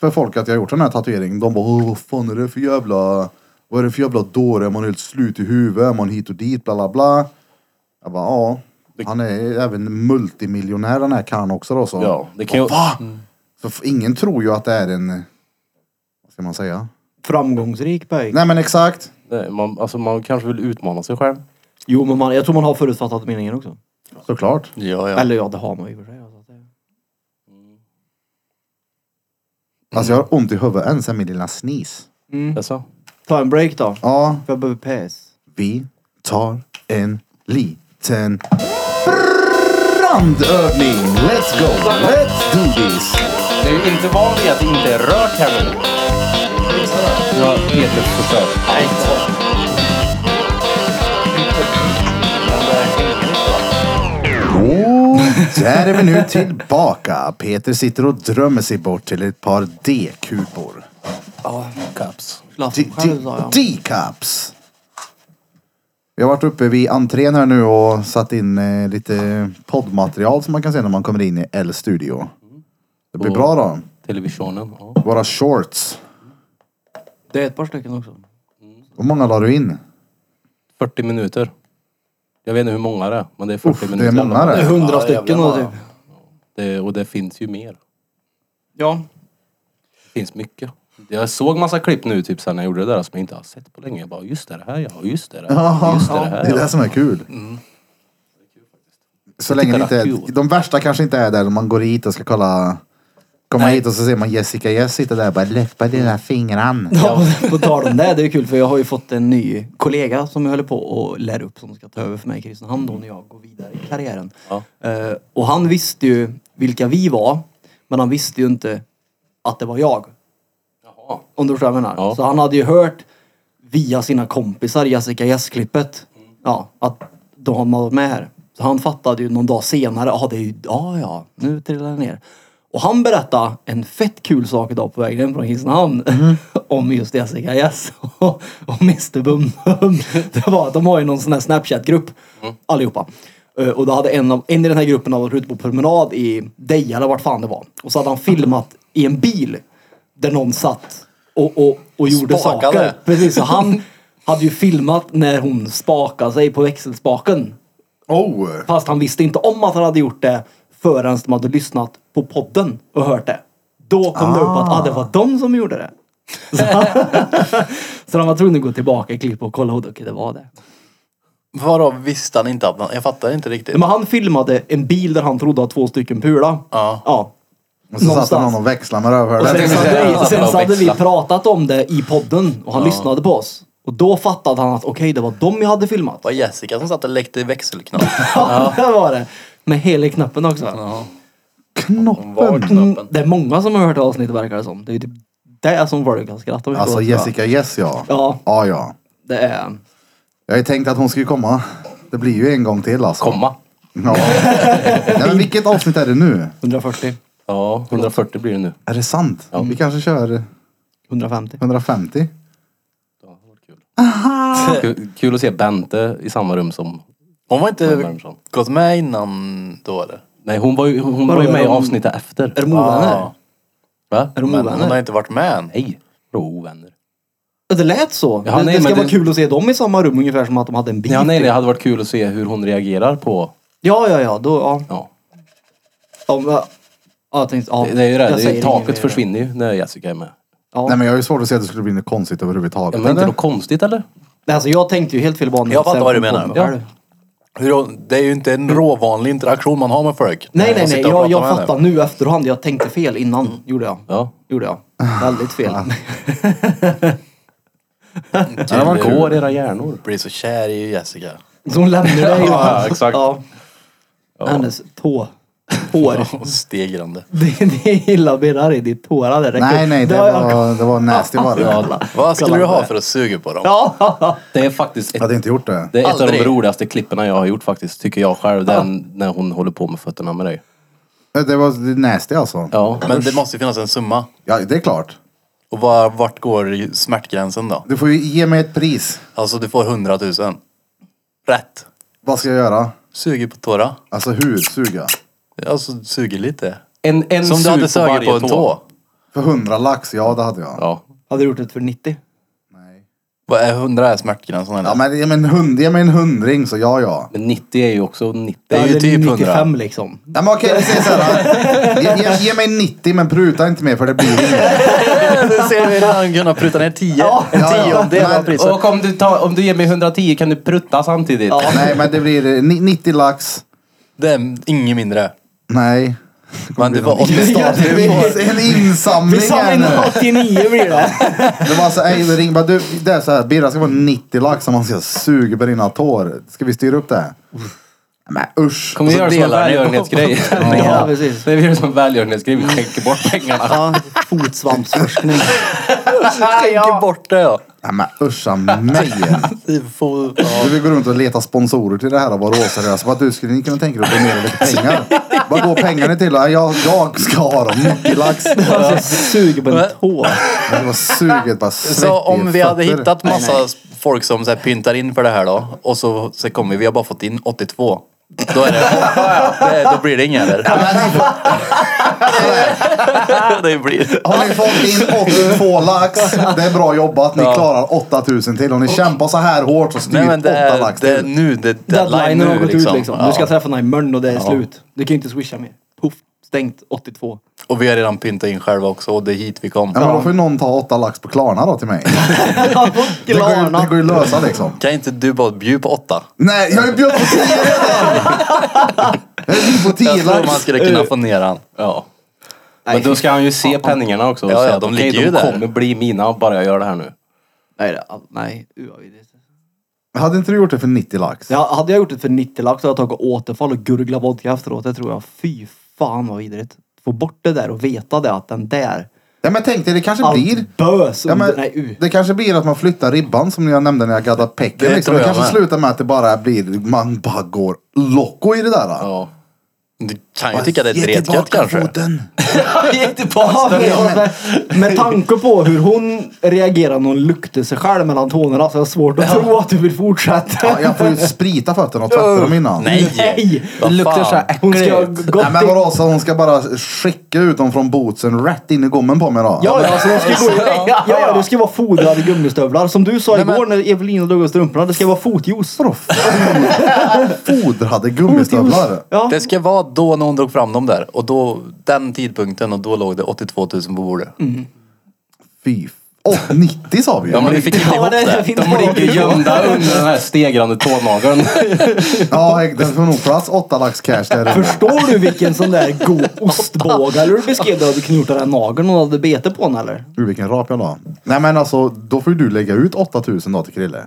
A: för folk att jag har gjort den här tatueringen. De bara "Åh, vad fan är det för jävla... Vad är det för jävla dåre? Är man helt slut i huvudet? Är man hit och dit? Bla bla bla. Jag bara ja. Han är även multimiljonär den här kan också då så.
B: Ja, det kan ju...
A: så f- ingen tror ju att det är en... Vad ska man säga?
D: Framgångsrik bög.
A: Nej men exakt.
B: Nej, man, alltså, man kanske vill utmana sig själv.
D: Jo, men man, jag tror man har förutfattat meningen också.
A: Såklart.
C: Ja, ja.
D: Eller ja, det har man ju i och för sig. alltså.
A: Alltså jag har ont i huvudet än sen med lilla snis.
B: Jaså?
D: Ta en break då.
A: Ja.
D: För jag behöver pes.
A: Vi tar en liten brandövning. Let's go, let's do this.
C: Din van vid att det inte är rört här nu.
B: Jag Peter förstör.
C: Nej, inte så. Men det hänger inte, va?
A: Och där är vi nu tillbaka. Peter sitter och drömmer sig bort till ett par D-kupor.
B: Cups.
A: D-
D: Glassen
A: D-
D: sa jag.
A: D-cups. Vi har varit uppe vid entrén här nu och satt in eh, lite poddmaterial som man kan se när man kommer in i L-studio. Det blir
D: Mm.
A: bra
B: Och-
A: då.
B: Televisionen. Ja.
A: Våra shorts.
D: Det är ett par stycken också.
A: Hur många la du in?
B: 40 minuter. Jag vet inte hur många det är, men det är 40
A: Uff, det är
B: minuter. i alla
A: många
B: fall.
A: det.
D: Hundra
C: Ja,
D: stycken
C: jävlar,
D: och typ.
C: ja.
B: det. Eh, Och det finns ju mer.
D: Ja.
B: Det finns mycket. Jag såg massa klipp nu typ sen när jag gjorde det där som jag inte har sett på länge. Jag bara, just det, det här ja, just det, det här. Just det, det
A: Det är
B: här. Mm.
A: det
B: Ja.
A: som är kul. Så länge det inte är,
B: Kul.
A: De värsta kanske inte är där om man går hit och ska kolla... Komma hit och så ser man Jessica Jess sitta där och bara läppa
B: Mm.
A: dina fingrar.
D: Ja, på tal om det, det är kul för jag har ju fått en ny kollega som jag håller på och lär upp som ska ta över för mig i Kristinehamn då när jag går vidare i karriären.
B: Ja.
D: Eh, och han visste ju vilka vi var, men han visste ju inte att det var jag.
B: Jaha.
D: Om du förstår vad jag menar.
B: Ja.
D: Så han hade ju hört via sina kompisar, Jessica Jess-klippet, ja, att de hade varit med här. Så han fattade ju någon dag senare, ja det är ju, ja ja, nu trillar det ner. Och han berättade en fett kul sak idag på vägen hem från Kristinehamn om just Jessica Jess och, och Mr Bum Bum. Det var att de har ju någon sån här Snapchat-grupp allihopa. Eh, Och då hade en, av, en i den här gruppen hade varit ute på promenad i Deja eller vart fan det var. Och så hade han filmat i en bil där någon satt och, och, och gjorde
C: Spakade.
D: saker. Precis, så han hade ju filmat när hon spakade sig på växelspaken.
A: Oh!
D: Fast han visste inte om att han hade gjort det förrän de hade lyssnat på podden och hört det. Då kom det upp att ah, det var de som gjorde det. Så, så de var tvungna att gå tillbaka i klipp och kolla och okej, det var det.
C: Vadå, visste han inte att man... Jag fattar inte riktigt.
D: Men han filmade en bil där han trodde att två stycken pula.
C: Ja.
D: ja.
A: Och så satt
D: Någonstans.
A: han och växlade med
D: Och sen,
A: rövhålet.
D: så hade vi, sen så hade vi
C: Växla.
D: pratat om det i podden och han lyssnade på oss. Och då fattade han att okej, det var dem jag hade filmat.
C: var Jessica som satt och läckte i växelknapp.
D: Ja, det var det. Med hela knappen också.
C: Hon var
D: Mm,
C: knappen.
D: det är många som har hört avsnittet verkar det som. Det är ju typ det som folk kan skratta mycket
A: Alltså
D: åt,
A: Jessica Jess ja.
D: Ja.
A: Ja, ja.
D: Det är...
A: Jag har ju tänkt att hon skulle komma. Det blir ju en gång till alltså.
B: Komma.
A: Ja. Nej, men vilket avsnitt är det nu?
D: 140.
B: Ja, 140 blir det nu.
A: Är det sant? Vi kanske kör
D: 150.
A: 150?
B: Ja, det var kul. Kul- Kul att se Bente i samma rum som...
C: Hon var
D: Eh,
B: Hon
C: inte
B: Värmsson.
C: gått med innan då eller?
B: Nej, hon var ju, hon
D: Vadå,
B: var ju med i
D: är de-
B: avsnittet efter.
D: Är de ovänner?
C: Ah.
B: Va?
D: Är de
C: Men hon har
D: ovänner?
C: inte varit med än.
B: Nej, då ovänner.
D: Ja, Det lät så.
B: Ja,
D: det,
B: nej,
D: det ska
B: men
D: vara
B: det-
D: kul att se dem i samma rum ungefär som att de hade en bil.
B: Ja, nej, det hade varit kul att se hur hon reagerar på...
D: ja, ja, ja. Då, ja.
B: Ja.
D: De, ja, jag tänkte, ja,
B: Det, det är ju det,
D: jag
B: det är ju,
D: säger inget mer.
B: taket försvinner ju när Jessica är med.
D: Ja.
A: Nej men jag har ju svårt att se att det skulle bli något konstigt
B: Ja,
A: överhuvudtaget.
B: men inte
A: eller?
B: något konstigt eller?
D: Nej, Alltså, jag tänkte ju helt fel bana.
C: Jag fattar
D: Sen
C: vad du
D: kom
C: menar.
D: på mig
B: Ja.
D: själv.
C: Hur hon- Det är ju inte en råvanlig interaktion man har med folk.
D: Nej, nej,
C: Man
D: nej.
C: sitter Eh, och
D: Jag,
C: pratar
D: jag
C: med henne.
D: fattar nu efterhand. Jag tänkte fel innan. Gjorde jag.
B: Ja.
D: Gjorde jag.
C: Ah.
D: Väldigt fel.
B: Det var går era hjärnor.
C: blir så kär i Jessica.
D: Så hon lämnar dig.
B: Ja, exakt.
D: Ja. Hennes tå. Hår.
C: Och stegrande.
D: Det, det är illa birrar i ditt tår. Det räcker.
A: Nej nej, det
D: har jag-
A: var, det var nasty var det.
B: Ja,
C: Vad skulle du ha för att suga på dem?
D: Ja,
B: det är faktiskt ett,
A: Jag hade inte gjort det.
B: det är ett av de
C: Aldrig.
B: roligaste klippen jag har gjort faktiskt, tycker jag själv. Den när hon håller på med fötterna med dig.
A: Det var nasty alltså.
B: Ja.
C: Men det måste ju finnas en summa.
A: Ja, det är klart.
C: Och var, vart går smärtgränsen då?
A: Du får ju ge mig ett pris.
C: Alltså du får 100 000. Rätt.
A: Vad ska jag göra?
C: Suger på tåra.
A: Alltså hur? Suga?
C: Alltså suger lite.
B: En, en
C: Som du
B: sug
C: hade sugit
B: varje
C: på en tå.
A: För hundra lax? Ja, det hade jag.
B: Ja.
D: hade du gjort det för 90?
A: Nej.
C: Vad är 100 är smärtgränsen eller?
A: Ja, men ge mig en, hund, ge mig en hundring så ja, ja.
B: Men 90 är ju också 90.
C: Det är ju
D: Eller
C: typ
D: 95
C: 100.
D: liksom.
A: Nej, men okej, vi säger så här. Ge, ge, ge mig 90 men pruta inte mer för det blir inget.
C: Nu ser vi hur han kunde pruta ner 10. En
A: ja, ja.
C: tiondel av
A: Men-
C: priset.
B: Och om du, tar, om du ger mig 110 kan du prutta samtidigt.
A: Nej, men det blir eh, ni- 90 lax.
C: Det är inget mindre.
A: Nej. Det kommer
C: Men
A: bli
C: det var
A: någon-
C: 80
D: Ja, det
C: stater.
A: Det är en insamling
D: Vi samlar
A: här
D: in
A: nu.
D: 89 blir det.
A: Det var alltså, ej, ring bara, du, det är så här, Birra ska vara 90 lax om han ska suga på dina tår. Ska vi styra upp det? Men usch.
B: Kommer vi
C: Och så
B: göra det som en
C: delar ni på-
B: välgörenhetsgrej?
D: Ja, precis.
C: Ah.
B: Nej, vi gör det som en välgörenhetsgrej. Vi skänker bort pengarna.
D: Ja, fotsvampsforskning.
C: Tänker bort det ja.
A: Nej, men uscha mig.
C: Vi får...
A: Du vill gå runt och leta sponsorer till det här och vara råseriös. Bara du skulle ni kunna tänka dig att donera lite
C: Alltså,
A: pengar. Vad går pengarna till? Ja, Jag, jag ska ha dem. Mycket lax.
D: Alltså, jag suger på en tå.
A: Men Det var suget bara svett
C: Så om
A: i
C: vi hade
A: fötter.
C: hittat massa folk som så här pyntar in för det här då och så, så kommer vi, vi har bara fått in 82. Då, är det, det, då blir det inga eller? det blir
A: Har ni fått in 82 lax? Det är bra jobbat. Ni klarar 8000 till. Om ni kämpar så här hårt så styr
C: Nej men det
A: 8
C: är,
A: lax
C: det är
A: till.
C: nu, det är deadline
D: Deadlinen har
C: nu
D: gått
C: liksom.
D: ut liksom.
C: Ja.
D: Du ska träffa någon imorgon och det är slut. Du kan ju inte swisha mer. Puff, stängt 82.
C: Och vi har redan pyntat in själva också och det är hit vi kom.
A: Ja, men då får ju någon ta 8 lax på Klarna då till mig. Det går ju, det
D: Klarna.
A: går ju lösa liksom.
C: Kan inte du bara bjuda på åtta?
A: Nej, jag är bjud på 10 redan! Jag är bjud på 10
C: Jag tror
A: lax.
C: man skulle kunna få ner han.
B: Ja. Men då ska han ju se penningarna också. och
C: Ja, ja,
B: säga att,
C: de
B: okej,
C: ligger ju
B: de
C: där.
B: kommer bli mina bara jag gör det här nu.
D: Nej, det- all- nej. UAV.
A: Hade inte du gjort det för 90 lax?
D: Ja, hade jag gjort det för 90 lax hade jag tagit återfall och gurglat vodka efteråt. Det tror jag. Fy fan vad vidrigt. Få bort det där och veta det att den där.
A: Ja, men tänk dig, det kanske blir...
D: Allt bös
A: Ja,
D: under...
A: men,
D: Nej, u.
A: det kanske blir att man flyttar ribban som jag nämnde när jag gaddade
C: Det
A: pecken. Liksom.
C: tror
A: Det
C: jag
A: kanske
C: med.
A: slutar med att det bara blir, man bara går loco i det där. då.
B: Ja.
C: Du kan ju tycka det är
A: Ge
C: dretgött
A: tillbaka
C: kanske.
A: foten.
D: Ja, med, med tanke på hur hon reagerar när hon luktar sig själv mellan tårna så är det svårt att tro att du vill fortsätta.
A: Ja, jag får ju sprita fötterna och tvätta dem innan.
C: Nej!
D: Nej!
C: Vad fan.
D: Hon ska ha gått
A: Nej men vadå, så hon ska bara skicka ut dem från bootsen rätt in i gommen på mig då?
D: Ja, ja, alltså de ska gå, ja, ja, det ska vara fodrade gummistövlar. Som du sa igår när Evelina drog av strumporna, det ska vara fotjuice.
A: Vadå? Fodrade gummistövlar.
D: Ja.
C: Det ska vara då när hon drog fram dem där. Och då, den tidpunkten och då låg det 82 000 på bordet.
A: Fy. f- Åh, 90 sa vi ju.
C: Ja men vi fick inte
D: Ja,
C: ihop
D: det- det
C: det.
D: finns-
B: De ligger gömda under den här stegrande tånageln.
A: Ja, det får nog plats 8 lax cash där inne.
D: Förstår du vilken sån där god ostbåge eller hur du beskrev det? Hade du kunnat gjort av den nageln och hade bete på den eller?
A: Ur vilken rap jag la. Nej men alltså, då får ju du lägga ut 8000 då till Krille.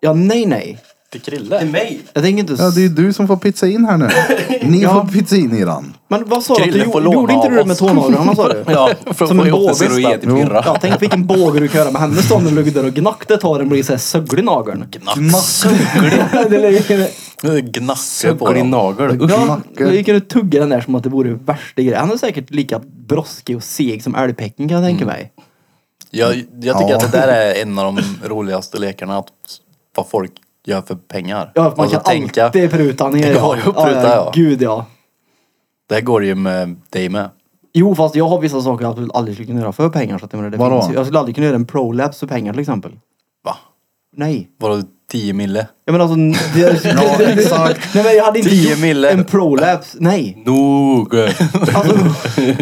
D: Ja, nej, nej.
C: Till Krille.
D: Jag tänker inte... s-
A: Ja, det är ju du som får pizza in här nu. Ni får pizza in i den.
D: Men vad sa du? att Du
C: Krille får
D: gjorde, gjorde
C: låna
D: inte
C: av
D: du det med
C: oss.
D: tånaglarna sa du?
B: Ja, för att
D: Som
B: få
D: en
B: ihop det
D: båge
B: så det är
D: nästan.
B: till pirra.
D: Ja, tänk vilken båge du kan göra med henne stående och lugg där och gnack det tar den blir såhär sögglig nageln. Det ligger-
C: Gnasse på
B: Går i
C: dem.
B: nagel. Usch.
D: Ja,
A: Knacke.
D: vi kunde tugga den där som att det vore värsta grejen. Han är säkert lika broskig och seg som älgpecken kan jag tänka mig.
C: Jag, jag tycker
A: Ja.
C: att det där är en av de roligaste lekarna. Att, vad folk gör för pengar.
D: Ja, man
C: Och så
D: kan alltid pruta ner.
C: Det går ju att pruta, ja.
D: Gud ja.
C: Det här går ju med dig med.
D: Jo, fast jag har vissa saker jag absolut aldrig skulle kunna göra för pengar. Så att jag, menar, det
A: Vadå?
D: finns ju. jag skulle aldrig kunna göra en prolapse för pengar till exempel.
C: Va?
D: Nej.
C: Vadå 10 mille?
D: Jag menar alltså... Det,
A: Ja, exakt.
D: nej men jag hade inte
C: 10
D: gjort
C: mille.
D: en prolapse. Nej.
B: Nog.
D: Alltså,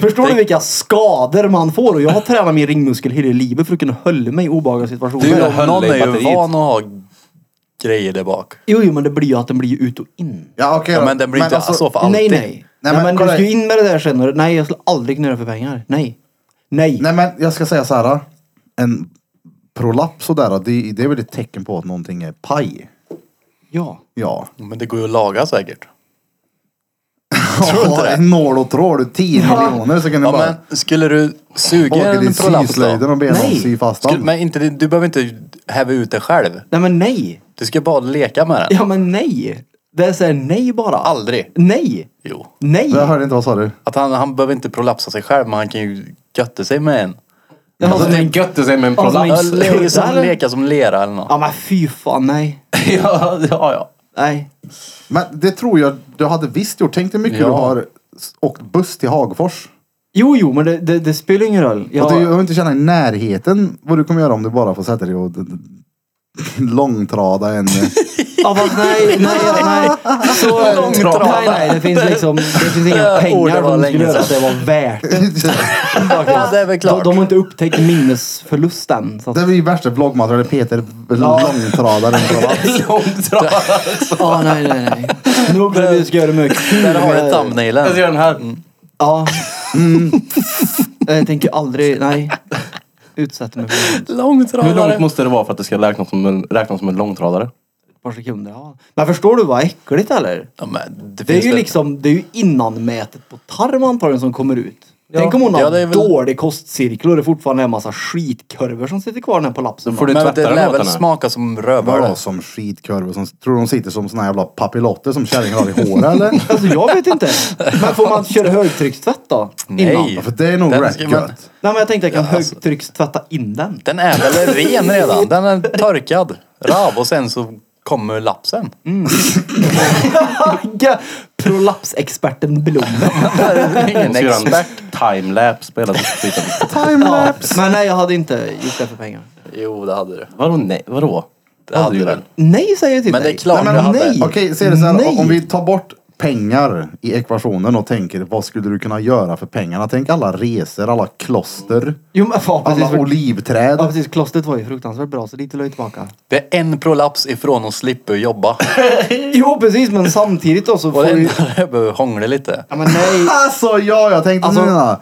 D: förstår du vilka skador man får? Och jag har tränat min ringmuskel hela livet för att kunna hålla mig i obehagliga situationer.
B: Du-
C: Men
B: höll
C: Någon
B: dig i
C: är ju
B: batteriet.
C: van att ha grejer där bak.
D: Jo, jo, men det blir ju att den blir ju ut och in.
A: Ja, okej då.
C: Ja,
A: alltså-
C: men den blir inte så för alltid.
D: Nej, nej. Nej,
A: men
D: men, du
A: kolla-
D: ska ju in med det där sen. och- Nej, jag skulle aldrig kunna göra det för pengar. Nej. Nej.
A: Nej men jag ska säga så här. En prolaps sådär, det, det är väl ett tecken på att någonting är paj.
D: Ja.
A: Ja.
C: Men det går ju att laga säkert.
A: Tror
C: inte det?
A: Nål och tråd och 10 miljoner så kan du
C: Ja,
A: bara
C: men skulle du suga
A: baka
C: en
A: din
C: prolaps
A: syslöjden
C: då?
A: och be någon
D: Nej.
A: sy fast
C: Skulle,
A: den.
C: men inte, du behöver inte häva ut det själv.
D: Nej, men nej.
C: Du ska bara leka med den.
D: Ja, men nej. Det är såhär nej bara.
C: Aldrig.
D: Nej.
C: Jo.
D: Nej.
A: Jag hörde inte, vad sa du?
C: Att han, han behöver inte prolapsa sig själv men han kan ju götta sig med en.
D: Jag har
B: Alltså,
C: typ-
D: sån-
B: det är gött att säga med en
D: Alltså,
B: prolaps.
C: Ja, le-
D: sluta,
C: som,
D: eller?
C: leka som lera eller något.
D: Ja, men fy fan nej.
B: Ja, ja, ja.
D: Nej.
A: Men det tror jag du hade visst gjort. Tänk dig mycket
C: Ja.
A: du har s- åkt buss till Hagfors.
D: Jo, jo, men det, det, det spelar ingen roll. Jag,
A: Och du behöver inte känna i närheten vad du kommer göra om du bara får sätta dig och d- d- långtrada en...
D: Ja, fast nej, nej, nej.
C: Alltså,
D: Så, nej, nej, det finns liksom, det finns inga
C: Ja, ord, det
D: pengar
C: var
D: som
C: länge
D: skulle göra att det
C: sedan.
D: var värt det.
C: Ja, det är
D: De,
C: väl klart.
D: de har inte upptäckt minnesförlust än. Så att,
A: det blir värsta vloggmaterialet. Peter långtradar en prolaps.
B: Långt dra.
D: ja, nej, nej, nej. Nog när vi ska göra mycket.
C: Där har du thumbnailen.
B: Alltså, Jag ska göra den här.
D: Ja. mm. Jag tänker aldrig, nej. Utsätta mig för det.
B: Hur långt
C: Långtradare.
B: måste det vara för att det ska räknas som en, räknas som en långtradare?
D: ett par sekunder. Ja. Men förstår du vad äckligt eller?
C: Ja, men
D: Det är
C: finns
D: ju
C: väl-
D: liksom, det är ju innanmätet på tarm antagligen som kommer ut. Tänk om hon har
C: Ja, det är väl-
D: dålig kostcirkel och det fortfarande är en massa skitkurvor som sitter kvar den här prolapsen.
B: får du
C: Men
B: tvätta
C: det
B: den
C: lär
B: åt
C: väl
B: henne?
C: smaka som rövhål.
A: Vadå som skitkurvor? Som, tror du de sitter som såna jävla papillotter som kärringar har i håret eller?
D: Alltså jag vet inte. Men får man köra högtryckstvätt då? Innan?
C: Nej. Alltså.
A: Ja, för det är nog
C: Den
A: rätt
C: ska man-
A: gött.
D: Nej men jag tänkte jag kan högtryckstvätta in den.
C: Den är väl ren redan? Den är torkad. Rav och sen så kommer lapsen.
D: Hagga! Prolapsexperten Blom.
C: Det är Ingen
B: Och så gör han
C: expert.
B: timelapse på hela skiten.
D: Ja. Men nej jag hade inte gjort det för pengar.
C: Jo, det hade du.
B: Vadå nej? Vadå?
C: Det hade du väl?
D: Nej säger jag till
C: Men det
D: dig.
C: är klart
D: nej,
C: du
D: men
C: hade.
D: nej.
A: Okej, ser det så här,
D: Nej.
A: om vi tar bort pengar i ekvationen och tänker vad skulle du kunna göra för pengarna? Tänk alla resor, alla kloster,
D: Jo men fan precis.
A: alla
D: För, ja
A: olivträd.
D: precis, klostret var ju fruktansvärt bra så dit la jag tillbaka.
C: Det är en prolaps ifrån att slippa jobba.
D: Jo precis men samtidigt då så
C: Och
D: får
C: det
D: du...
C: enda jag behöver hångla lite.
D: Ja men nej.
A: Alltså ja, jag tänkte
D: Alltså-
A: nu då.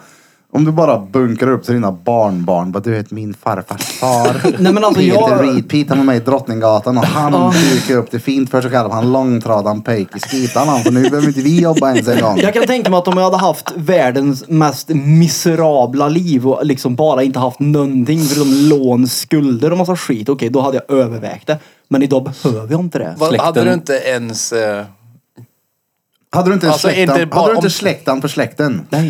A: om du bara bunkrar upp till dina barnbarn. Bara, du vet min farfars far.
D: Nej, men alltså,
A: Peter
D: jag-
A: Reed, Pete han var med i Drottninggatan och han dukade upp det fint för sig själv. Han långtradaren pejk i skitan han. För nu behöver inte vi jobba ens en gång.
D: Jag kan tänka mig att om jag hade haft världens mest miserabla liv och liksom bara inte haft någonting förutom lån, skulder och massa skit. Okej, då hade jag övervägt det. Men idag behöver jag inte det.
C: Vad-
B: Släkten.
C: Hade du inte ens... eh,
A: Hade du inte,
C: Alltså,
A: släktan,
C: inte bara
A: hade du inte
C: om-
A: släktan för släkten?
D: Nej.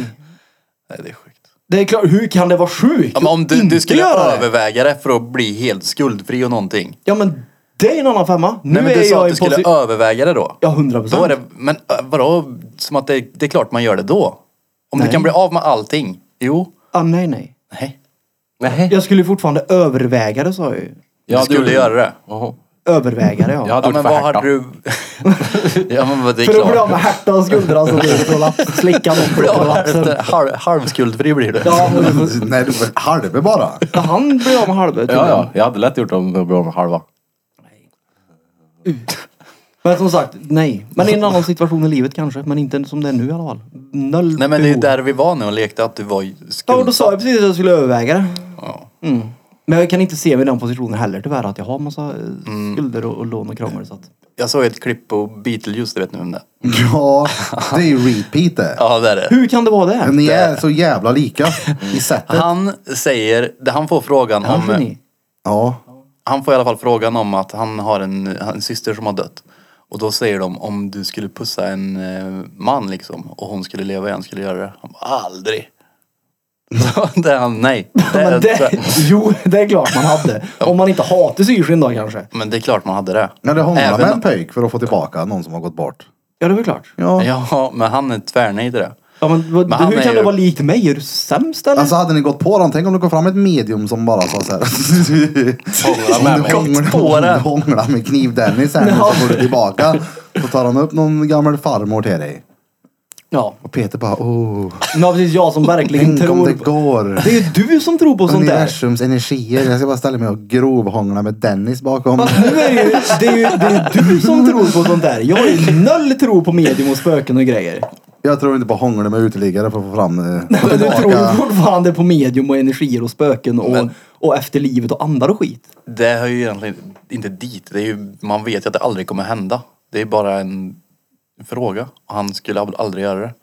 C: Nej, det är sjukt.
D: Det är klart, hur kan det vara sjukt?
C: Ja, men om
D: att
C: du,
D: inte
C: du skulle
D: göra det?
C: överväga det för att bli helt skuldfri och någonting.
D: Ja men det är en annan femma. Nu
C: Nej men
D: är
C: du sa
D: jag
C: att
D: i
C: du skulle
D: posi-
C: överväga det då.
D: Ja, 100%.
C: Då är det, men ö, vadå? Som att det, det är klart man gör det då. Om
D: Nej.
C: du kan bli av med allting. Jo.
D: ah, nej nej.
C: Nej.
B: Nej.
D: Jag skulle ju fortfarande överväga det sa jag ju.
C: Du skulle göra det.
B: Jaha.
D: Överväga det ja.
B: Jag hade gjort
C: Ja men
B: för
C: vad
B: Hertha.
C: hade du... ja men vad det är
D: För att bli av
C: klart.
D: med härta och skulder alltså. Det är prolaps. Slicka någon på prolapsen.
C: Efter halv, halvskuldfri blir du.
D: Ja, och du
A: Nej, du halve bara.
D: får- han blir av med halva
B: Ja, ja. Jag hade lätt gjort om jag blev av med halva.
D: Men som sagt, nej. Men i en annan situation i livet kanske. Men inte som det är nu i alla fall. Noll
C: Nej men det är ju
D: behov.
C: där vi var nu och lekte att du var ju
D: Ja, och då
C: skuldsatt.
D: sa jag precis att jag skulle överväga det.
C: Ja.
D: Mm. Men jag kan inte se mig i den positionen heller tyvärr. Att jag har massa eh,
C: Mm.
D: skulder och, och lån och krångel. Så att...
C: Jag såg ett klipp på Beetlejuice, du vet nu om det
A: Ja, det är ju repeat det.
C: Ja det är det.
D: Hur kan det vara
A: Men
D: det?
A: Ni är så jävla lika i sättet.
C: Han säger, det- han får frågan
D: Han
C: om...
D: geni.
A: Ja.
C: Han får i alla fall frågan om att han har en, en syster som har dött. Och då säger de om du skulle pussa en eh, man liksom och hon skulle leva igen, skulle du göra det? Han bara, aldrig. Så det är han, nej. Det är,
D: Men det,
C: det...
D: jo, det är klart man hade. Om man inte hatar syrsken då kanske.
C: Men det är klart man hade det.
A: När det hånglar med en
C: Även,
A: pöjk för att få tillbaka någon som har gått bort.
D: Ja, det är väl klart.
A: Ja.
C: ja, men han är tvärnej till det.
D: Ja, men, vad-
C: Men han
D: hur
C: är
D: kan det
C: ju-
D: vara likt mig? Är du sämst eller?
A: Alltså hade ni gått på dem, tänk om det kom fram ett medium som bara sa så här.
B: Hångla med mig.
A: Hångla-
C: på det.
A: Hångla med kniv-Dennis här nu så
D: Ja.
A: får du tillbaka. Så tar han upp någon gammal farmor till dig.
D: Ja.
A: Och Peter bara åh,
D: Men precis, jag som verkligen
A: tänk om
D: tror
A: det
D: på...
A: går.
D: Det är ju du som tror på sånt där.
A: Universums energier. Jag ska bara ställa mig och grovhångla med Dennis bakom.
D: Fast nu är det, ju, det, är ju, det är ju du som tror på sånt där. Jag har ju noll tro på medium och spöken och grejer.
A: Jag tror inte på hångla med uteliggare för att få fram eh,
D: Men du tror ju
A: tillbaka.
D: fortfarande på medium och energier och spöken och,
C: Men-
D: och efterlivet och andar och skit.
C: Det hör ju egentligen inte dit. Det är ju, man vet ju att det aldrig kommer hända. Det är bara en fråga. Och han skulle ab- aldrig göra det.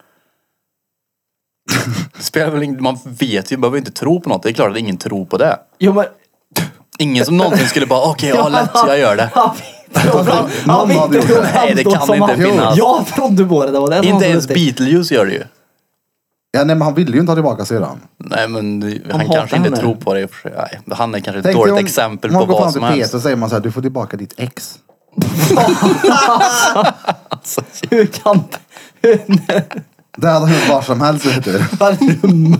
C: det spelar väl ingen, man vet ju, behöver inte tro på något. Det är klart att ingen tror på det.
D: Jo men...
C: Ingen som någonsin skulle bara, okej, ja lätt, jag gör det.
D: Han han- han
A: Någon
D: fick
A: hade gjort
D: det
A: det.
D: att
C: Nej, det
D: framstå
C: kan
D: som
C: inte
D: att-
C: finnas.
D: Jag trodde på det. Det var det som var
C: Inte
D: så
C: ens
D: lustigt.
C: Beetlejuice gör det ju.
A: Ja, nej, men han ville ju inte ha tillbaka syrran.
C: Nej men det- han,
D: hatar
C: kanske inte
D: henne.
C: tror på det i och för sig. Nej, han är kanske
A: Tänk
C: ett
A: dig
C: dåligt
A: om-
C: exempel
A: om
C: på
A: man går fram
C: vad
A: till
C: som helst.
A: Peter och säger man så här, du får tillbaka ditt ex.
D: Hur kan... Hur,
A: Det hade hänt var som helst vet du.
D: Vad är det m-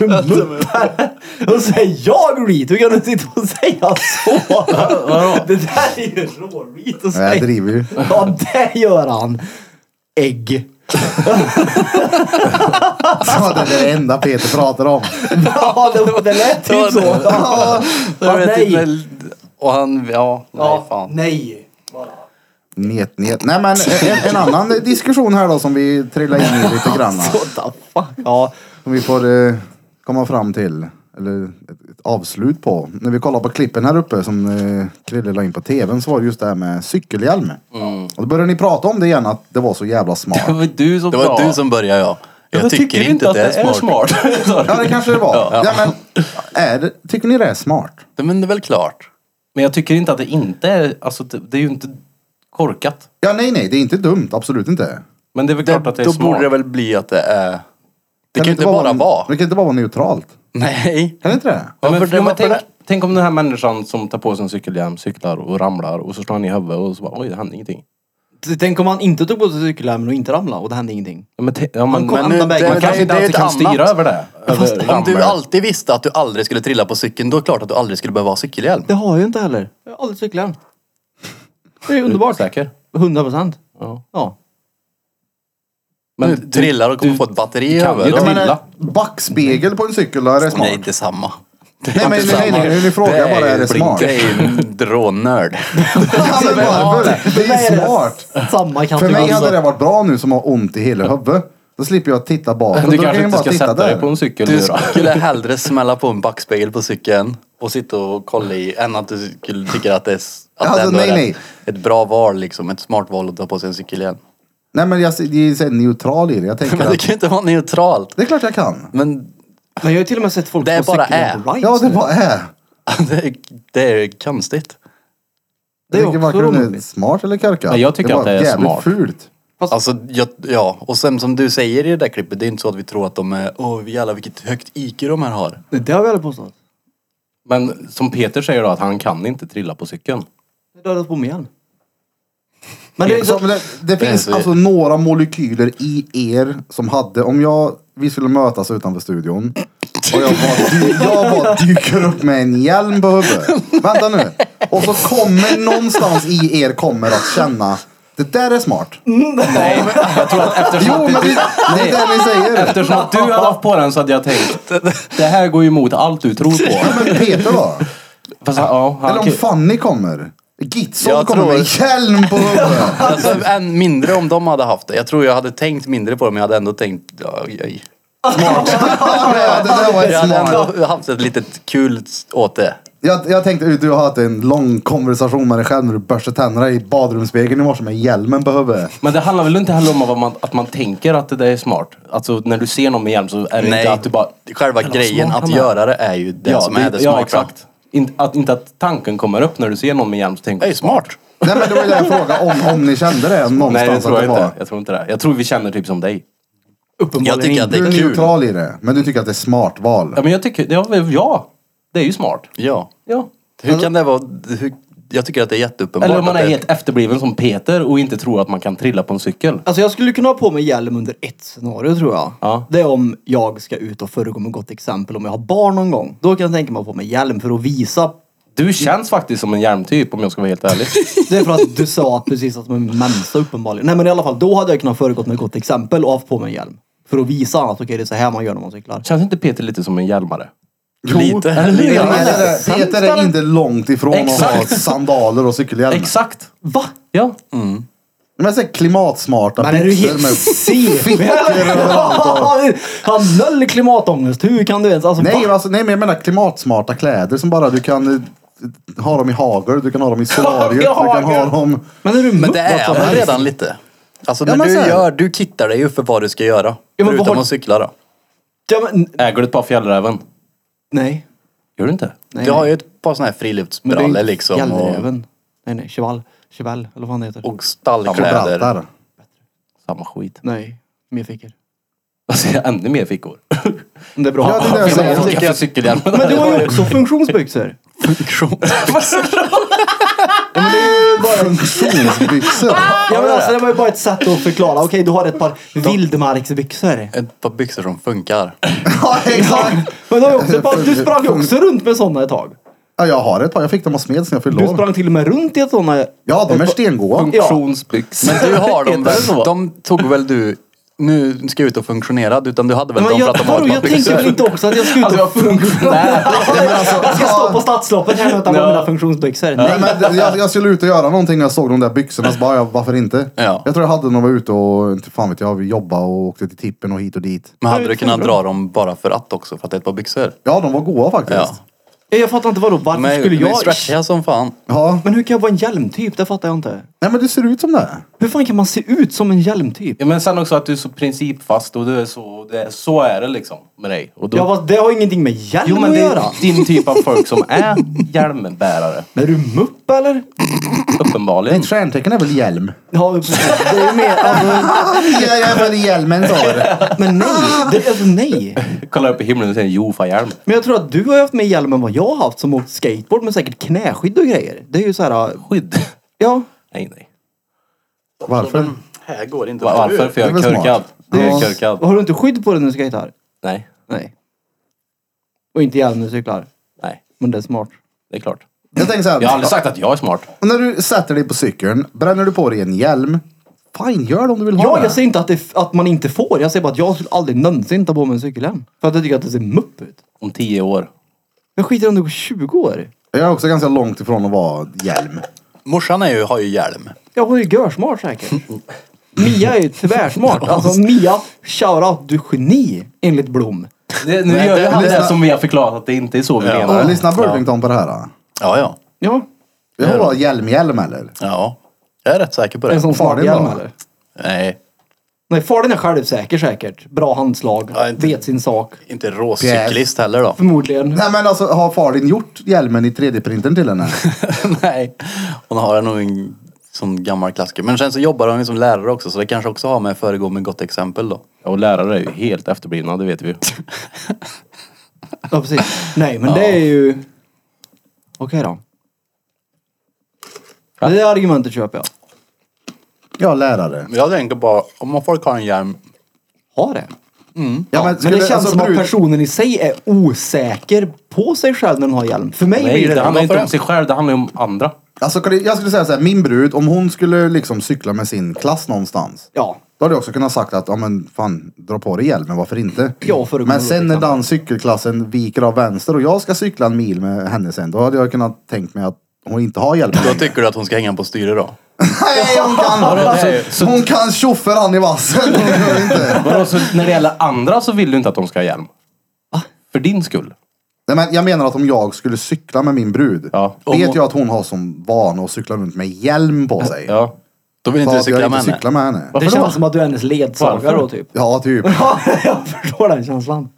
D: Är du mupp här? Då säger jag reet. Hur kan du sitta och säga så? Det där är ju rå-reet
A: Nej,
D: att
A: jag
D: säga.
A: driver ju.
D: Ja, det gör han. Ägg.
A: Så det är det enda Peter pratar om.
D: Ja, det, det lät typ så. Ja,
C: Jag vet
D: nej.
C: inte, och han, ja, nej
D: Ja,
C: fan.
D: nej.
A: Njet, njet. Nej men en, en annan diskussion här då som vi trillar in i lite grann.
D: What the fuck? Ja,
A: Som vi får eh, komma fram till. eller ett, ett avslut på. När vi kollar på klippen här uppe som eh, Krille la in på tvn så var det just det här med cykelhjälm.
C: Mm.
A: Och då började ni prata om det igen att det var så jävla smart.
B: Det var du som
C: Det var
B: sa-
C: du som började ja.
B: Ja,
C: Jag tycker inte att det är smart.
B: smart.
A: Ja det kanske det var. Ja, men, är det, tycker ni det är smart?
C: Men det är väl klart.
B: Men jag tycker inte att det inte är, alltså det, det är ju inte korkat.
A: Ja nej nej det är inte dumt, absolut inte.
B: Men det är väl
C: Det,
B: klart att det är
C: då
B: smart.
C: borde det väl bli att det är... Det kan ju inte bara vara.
A: Det kan inte bara vara neutralt.
C: Nej.
A: Kan det inte det?
B: Ja, men,
C: Varför det-
B: ja, men
C: varför
B: tänk,
C: det?
B: tänk om den här människan som tar på sig en cykelhjälm, cyklar och ramlar och så slår han i huvudet och så bara oj det hände ingenting.
D: Tänk om han inte tog på sig cykelhjälmen och inte ramlade och det hände ingenting.
B: Ja, men, te- ja, men,
D: kom-
B: men
D: Andan Bergman
B: man kanske inte
C: är
B: alltid
C: ett
B: kan styra
C: annat.
B: över det. Över
C: Om
B: ramlar.
C: du alltid visste att du aldrig skulle trilla på cykeln, då är det klart att du aldrig skulle behöva ha cykelhjälm.
D: Det har jag ju inte heller. Jag har aldrig cykelhjälm. Det är
B: Är du
D: underbart.
B: Säker?
D: 100 procent.
B: Ja.
D: Ja.
B: Men
C: du trillar och kommer
B: du-
C: få ett batteri
B: du kan
C: över.
B: ju
C: Då-
A: Jag
B: trilla.
A: menar, backspegel på en cykel, då är det smart?
C: Nej, inte samma.
A: Nej, men nej, nej, nej, nu frågar jag bara, är det smart?
C: Det är ju en drånörd.
A: Ja, men varför? Det är ju smart.
D: Samma
A: För
D: kategori.
A: mig
B: Alltså-
A: hade det varit bra nu som har ont i hela huvudet. Då slipper jag titta bakåt.
B: Du
A: Då kan
B: kanske
A: jag
B: inte
A: bara
B: ska
A: titta
B: sätta dig
A: där.
B: på en cykel
C: Du
B: nu då.
C: skulle hellre smälla på en backspegel på cykeln och sitta och kolla i än att du skulle tycka att det är, s- att
A: Alltså,
C: det ändå
A: nej,
C: är
A: nej.
C: Ett, ett bra val liksom. Ett smart val att ta på sig en cykelhjälm.
A: Nej men jag är så här neutral i det. Jag tänker
C: Men det
A: att
C: kan ju inte vara neutralt.
A: det är klart jag kan.
C: Men
D: Men jag har ju till och med sett folk
C: Det är
D: som
C: bara
D: cykelhjälm på rides.
A: Ja det äh. bara är.
C: det är, det är konstigt.
D: Det är
A: Jag tänker
D: också
A: varken det är
D: roligt.
A: smart eller korkat.
B: Nej, jag tycker
A: bara
B: att det är
A: jävligt
B: smart.
A: fult.
C: Alltså, ja, ja. Och sen som du säger i det där klippet, det är inte så att vi tror att de är, åh jävlar vilket högt IQ de här har.
D: Det har vi aldrig påstått.
B: Men som Peter säger då att han kan inte trilla på cykeln.
D: Det har dödat på mig igen. Men det är
A: Så, men det,
D: så...
A: det
C: Det är
A: finns
C: så-
A: alltså några molekyler i er som hade, om jag, vi skulle mötas utanför studion och jag bara, dy, jag bara dyker upp med en hjälm på huvudet. Vänta nu. Och så kommer någonstans i er kommer att känna, det där är smart.
B: Nej, jag tror att eftersom
A: Jo men det, det är det ni säger.
B: Eftersom att du hade haft på den så hade jag tänkt, det här går ju emot allt du tror på.
A: Men Peter då?
B: Fast, han- ja, han,
A: Eller om
B: kan-
A: Fanny kommer. Gitson
C: Jag
A: kommer med
C: tror-
A: hjälm på huvudet.
C: Alltså än mindre om de hade haft det. Jag tror jag hade tänkt mindre på dem, men jag hade ändå tänkt, ja, oj,
A: Ja, det där var
C: jag
A: ett
C: hade
A: smart.
C: ändå haft ett litet kul åt det.
A: Jag, jag tänkte ut, du har haft en lång konversation med dig själv när du borstade tänderna i badrumsspegeln i morse med hjälmen på huvudet.
B: men det handlar väl inte heller om vad man, att man tänker att det där är smart. Alltså när du ser någon med hjälm så är det
C: Nej,
B: inte att du bara...
C: själva
B: "Jävlar, vad
C: grejen
B: smart
C: att
B: han är."
C: göra det är ju det som är det smarta.
B: Ja, exakt. In, att, inte att tanken kommer upp när du ser någon med hjälm så tänker
C: Det är
B: du...
C: ju smart.
A: Nej men det var ju det jag frågade om, om ni kände det någonstans.
B: Nej, det tror jag
A: att
B: inte. Jag tror inte det. Jag tror vi känner typ som dig.
D: Uppenbarligen
C: Jag tycker att det
A: Du
C: är
A: är
C: kul.
A: neutral i det, men du tycker att det är smart val.
B: Ja, men jag tycker... Ja, ja det är ju smart.
C: Ja.
B: Ja.
C: Hur kan det vara... Hur, jag tycker att det är jätteuppenbart.
B: Eller om man
C: att
B: är
C: det-
B: helt efterbliven som Peter och inte tror att man kan trilla på en cykel.
D: Alltså jag skulle kunna ha på mig hjälm under ett scenario tror jag.
B: Ja.
D: Det är om jag ska ut och föregå med gott exempel. Om jag har barn någon gång. Då kan jag tänka mig att ha på mig hjälm för att visa.
B: Du känns faktiskt som en hjälmtyp om jag ska vara helt ärlig.
D: Det är för att du sa precis att man är mensa uppenbarligen. Nej men i alla fall, då hade jag kunnat föregå med gott exempel och haft på mig en hjälm. För att visa att okej det är så här man gör när man cyklar.
B: Känns inte Peter lite som en hjälmare?
C: Lite.
A: Peter
C: lite.
A: är- Peter är inte långt ifrån att ha
B: Exakt.
A: sandaler och cykelhjälm.
B: Exakt!
D: Va?
B: Ja.
A: Men så här klimatsmarta
D: Men är du helt CV? Han höll klimatångest. Hur kan du ens? Alltså,
A: Nej,
D: va?
A: alltså, nej men jag menar klimatsmarta kläder som bara du kan eh, ha dem i hagel, du kan ha dem i solariet, du kan ha dem...
D: Men är du
C: Men det är
D: mutt?
C: han väl redan lite. Alltså
A: Ja,
C: när
A: men
C: du
A: så här-
C: gör, du kittar dig ju för vad du ska göra.
D: men vad
C: förutom
D: har-
C: att cykla då.
D: Ja, men,
B: Äger du ett par fjällräven?
D: nej.
B: Gör du inte?
D: nej.
C: du har ju ett par sådana här
D: Men det är
C: friluftsbrallor
D: inte
C: liksom. Och,
D: Fjällräven. Nej, nej. Cheval. Cheval, eller vad fan det heter.
C: och
A: Kläder.
C: stallkläder.
B: Samma skit.
D: Nej, mer fickor.
B: Alltså jag har ännu mer fickor.
D: Men det är bra.
A: Ja, det är det jag säger.
B: Jag tycker jag cykelhjälmen.
D: Men du har ju också funktionsbyxor.
A: Funktionsbyxor.
D: Ja, men alltså, det var ju bara ett sätt att förklara. Okej, du har ett par vildmarksbyxor.
C: Ett par byxor som funkar.
A: ja, exakt.
D: Men du, har ju också ett par, du sprang ju också runt med sådana ett tag.
A: Ja, jag har ett par. Jag fick dem av Smed sen jag fyllde
D: Du
A: år.
D: sprang till och med runt i ett sådana.
A: Ja, de är stengoda.
D: Ja.
B: Funktionsbyxor.
C: Men du har dem
B: Heter det så?
C: väl? De tog väl du nu ska jag ut och funktionera. Utan du hade väl
D: Men
C: de
D: jag,
C: pratat om
D: vadå, jag tänker väl inte också att jag typ ska ut och...
B: funktionär.
D: jag ska stå på stadsloppet här och ta på mina funktionsbyxor. Nej.
A: Nej, men jag, jag skulle ut och göra någonting när jag såg de där byxorna. Så bara, ja, varför inte?
C: Ja.
A: Jag tror jag hade när jag var ute och inte fan vet jag, vi jobbade och åkte till tippen och hit och dit.
C: Men hade du kunnat dra dem bara för att också? För att det är ett par byxor?
A: Ja, de var goa faktiskt.
C: Ja.
A: Ja.
D: Jag fattar inte vadå, varför
C: Men,
D: skulle
C: men
D: jag...
C: stretchiga som fan.
D: Men hur kan jag vara en hjälmtyp? Det fattar jag inte.
A: Nej, men det ser ut som det.
D: Hur fan kan man se ut som en hjälmtyp?
B: Ja, men sen också att du är så principfast och du är så, det är, så är det liksom med dig. Och då,
D: Ja, fast det har ingenting med hjälm
B: jo men
D: att
B: det
D: göra.
B: är din typ av folk som är hjälmbärare.
D: Är du mupp eller?
B: Uppenbarligen.
A: Ett stjärntecken är väl hjälm?
D: Ja, precis. det är mer... Alltså,
A: ja, jag är väl hjälmen sa det.
D: men nej, det, alltså nej.
B: Kollar upp i himlen och säger Jofa-hjälm.
D: Men jag tror att du har haft mer hjälm än vad jag har haft som åkt skateboard med säkert knäskydd och grejer. Det är ju så här,
B: Skydd.
D: ja.
B: Nej nej.
A: Varför?
F: Här går inte.
B: Va- Varför? För jag
A: Det
B: är
A: är väl
B: körkad.
A: smart.
B: Jag är
A: Ja.
B: körkad.
D: Har du inte skydd på dig när du skejtar?
B: Nej.
D: Nej. Och inte hjälm när du cyklar.
B: Nej.
D: Men det är smart.
B: Det är klart.
A: Jag tänker så här.
B: Jag har aldrig sagt att jag är smart.
A: När du sätter dig på cykeln, bränner du på dig en hjälm? Fine, gör det om du vill ha
D: Ja,
A: det.
D: jag säger inte att, det, att man inte får. Jag säger bara att jag skulle aldrig någonsin ta på mig en cykelhjälm. För att jag tycker att det ser mupp ut.
B: Om tio år.
D: Jag skiter om det går 20 år.
A: jag är också ganska långt ifrån att vara hjälm.
C: Morsan är ju, har ju hjälm.
D: Ja, hon är ju görsmart säkert. Mia är ju tvärsmart. Alltså Mia, shoutout, du är geni enligt Blom.
B: Det, nu
C: Nej,
B: gör
C: det-
B: ju han
A: lyssna.
B: det som vi har förklarat att det inte är så vi
C: Ja.
B: menar. det.
A: Lyssna Burlington på det här. då.
C: Ja, ja.
D: Ja,
A: Jag har bara hjälm-hjälm eller?
C: Ja. Jag är rätt säker på det.
D: en sån
A: Far, det
D: smart
A: är
D: hjälm
A: bra.
D: eller?
C: Nej,
D: Nej, far den är självsäker säkert. Bra handslag,
C: Ja, inte-
D: vet sin sak.
C: inte råcyklist heller då.
D: Förmodligen.
A: Nej men alltså, har far din gjort hjälmen i 3D-printern till henne?
C: Nej. Hon har nog en sån gammal klassiker. Men sen så jobbar hon ju som lärare också så det kanske också har med att föregå med gott exempel då.
B: Ja, och lärare är ju helt efterblivna, det vet vi ju.
D: Ja, precis. Nej, men det är ju... Okej då. Men Det argumentet köper jag.
A: Ja, lärare.
C: Men Jag tänker bara, om folk har en hjälm.
D: Ha det.
A: Ja,
D: Men det
A: skulle-
D: känns
A: alltså,
D: som att
A: brud-
D: personen i sig är osäker på sig själv när den har hjälm. För mig
B: Nej,
D: blir det
B: det handlar
D: det.
B: inte om sig själv, det handlar ju om andra.
A: Alltså, kan det- jag skulle säga så här, min brud, om hon skulle liksom cykla med sin klass någonstans.
D: Ja.
A: Då hade jag också kunnat sagt att, ja men fan, dra på dig hjälmen, varför inte?
D: Ja, för att
A: men
D: gå
A: sen när
D: lite
A: den cykelklassen viker av vänster och jag ska cykla en mil med henne sen, då hade jag kunnat tänkt mig att hon inte har hjälmen.
C: Då tycker du att hon ska hänga på styre då?
A: Nej, hon kan!
B: Så-
A: Alltså, Hon kan tjoffa han i vassen. Det gör hon inte.
B: Vadå, så när det gäller andra så vill du inte att de ska ha hjälm? För din skull?
A: Nej, men jag menar att om jag skulle cykla med min brud,
B: Ja.
A: vet jag att hon har som vana att cykla runt med hjälm på sig.
B: Ja.
C: Då
A: Så
C: vill inte du
A: att jag
C: cykla
A: inte
C: med henne?
A: cykla med henne.
B: Varför
D: Det
B: då?
D: känns som att du är hennes ledsagare
B: Varför?
D: då typ.
A: Ja, typ.
D: Ja, jag förstår den känslan.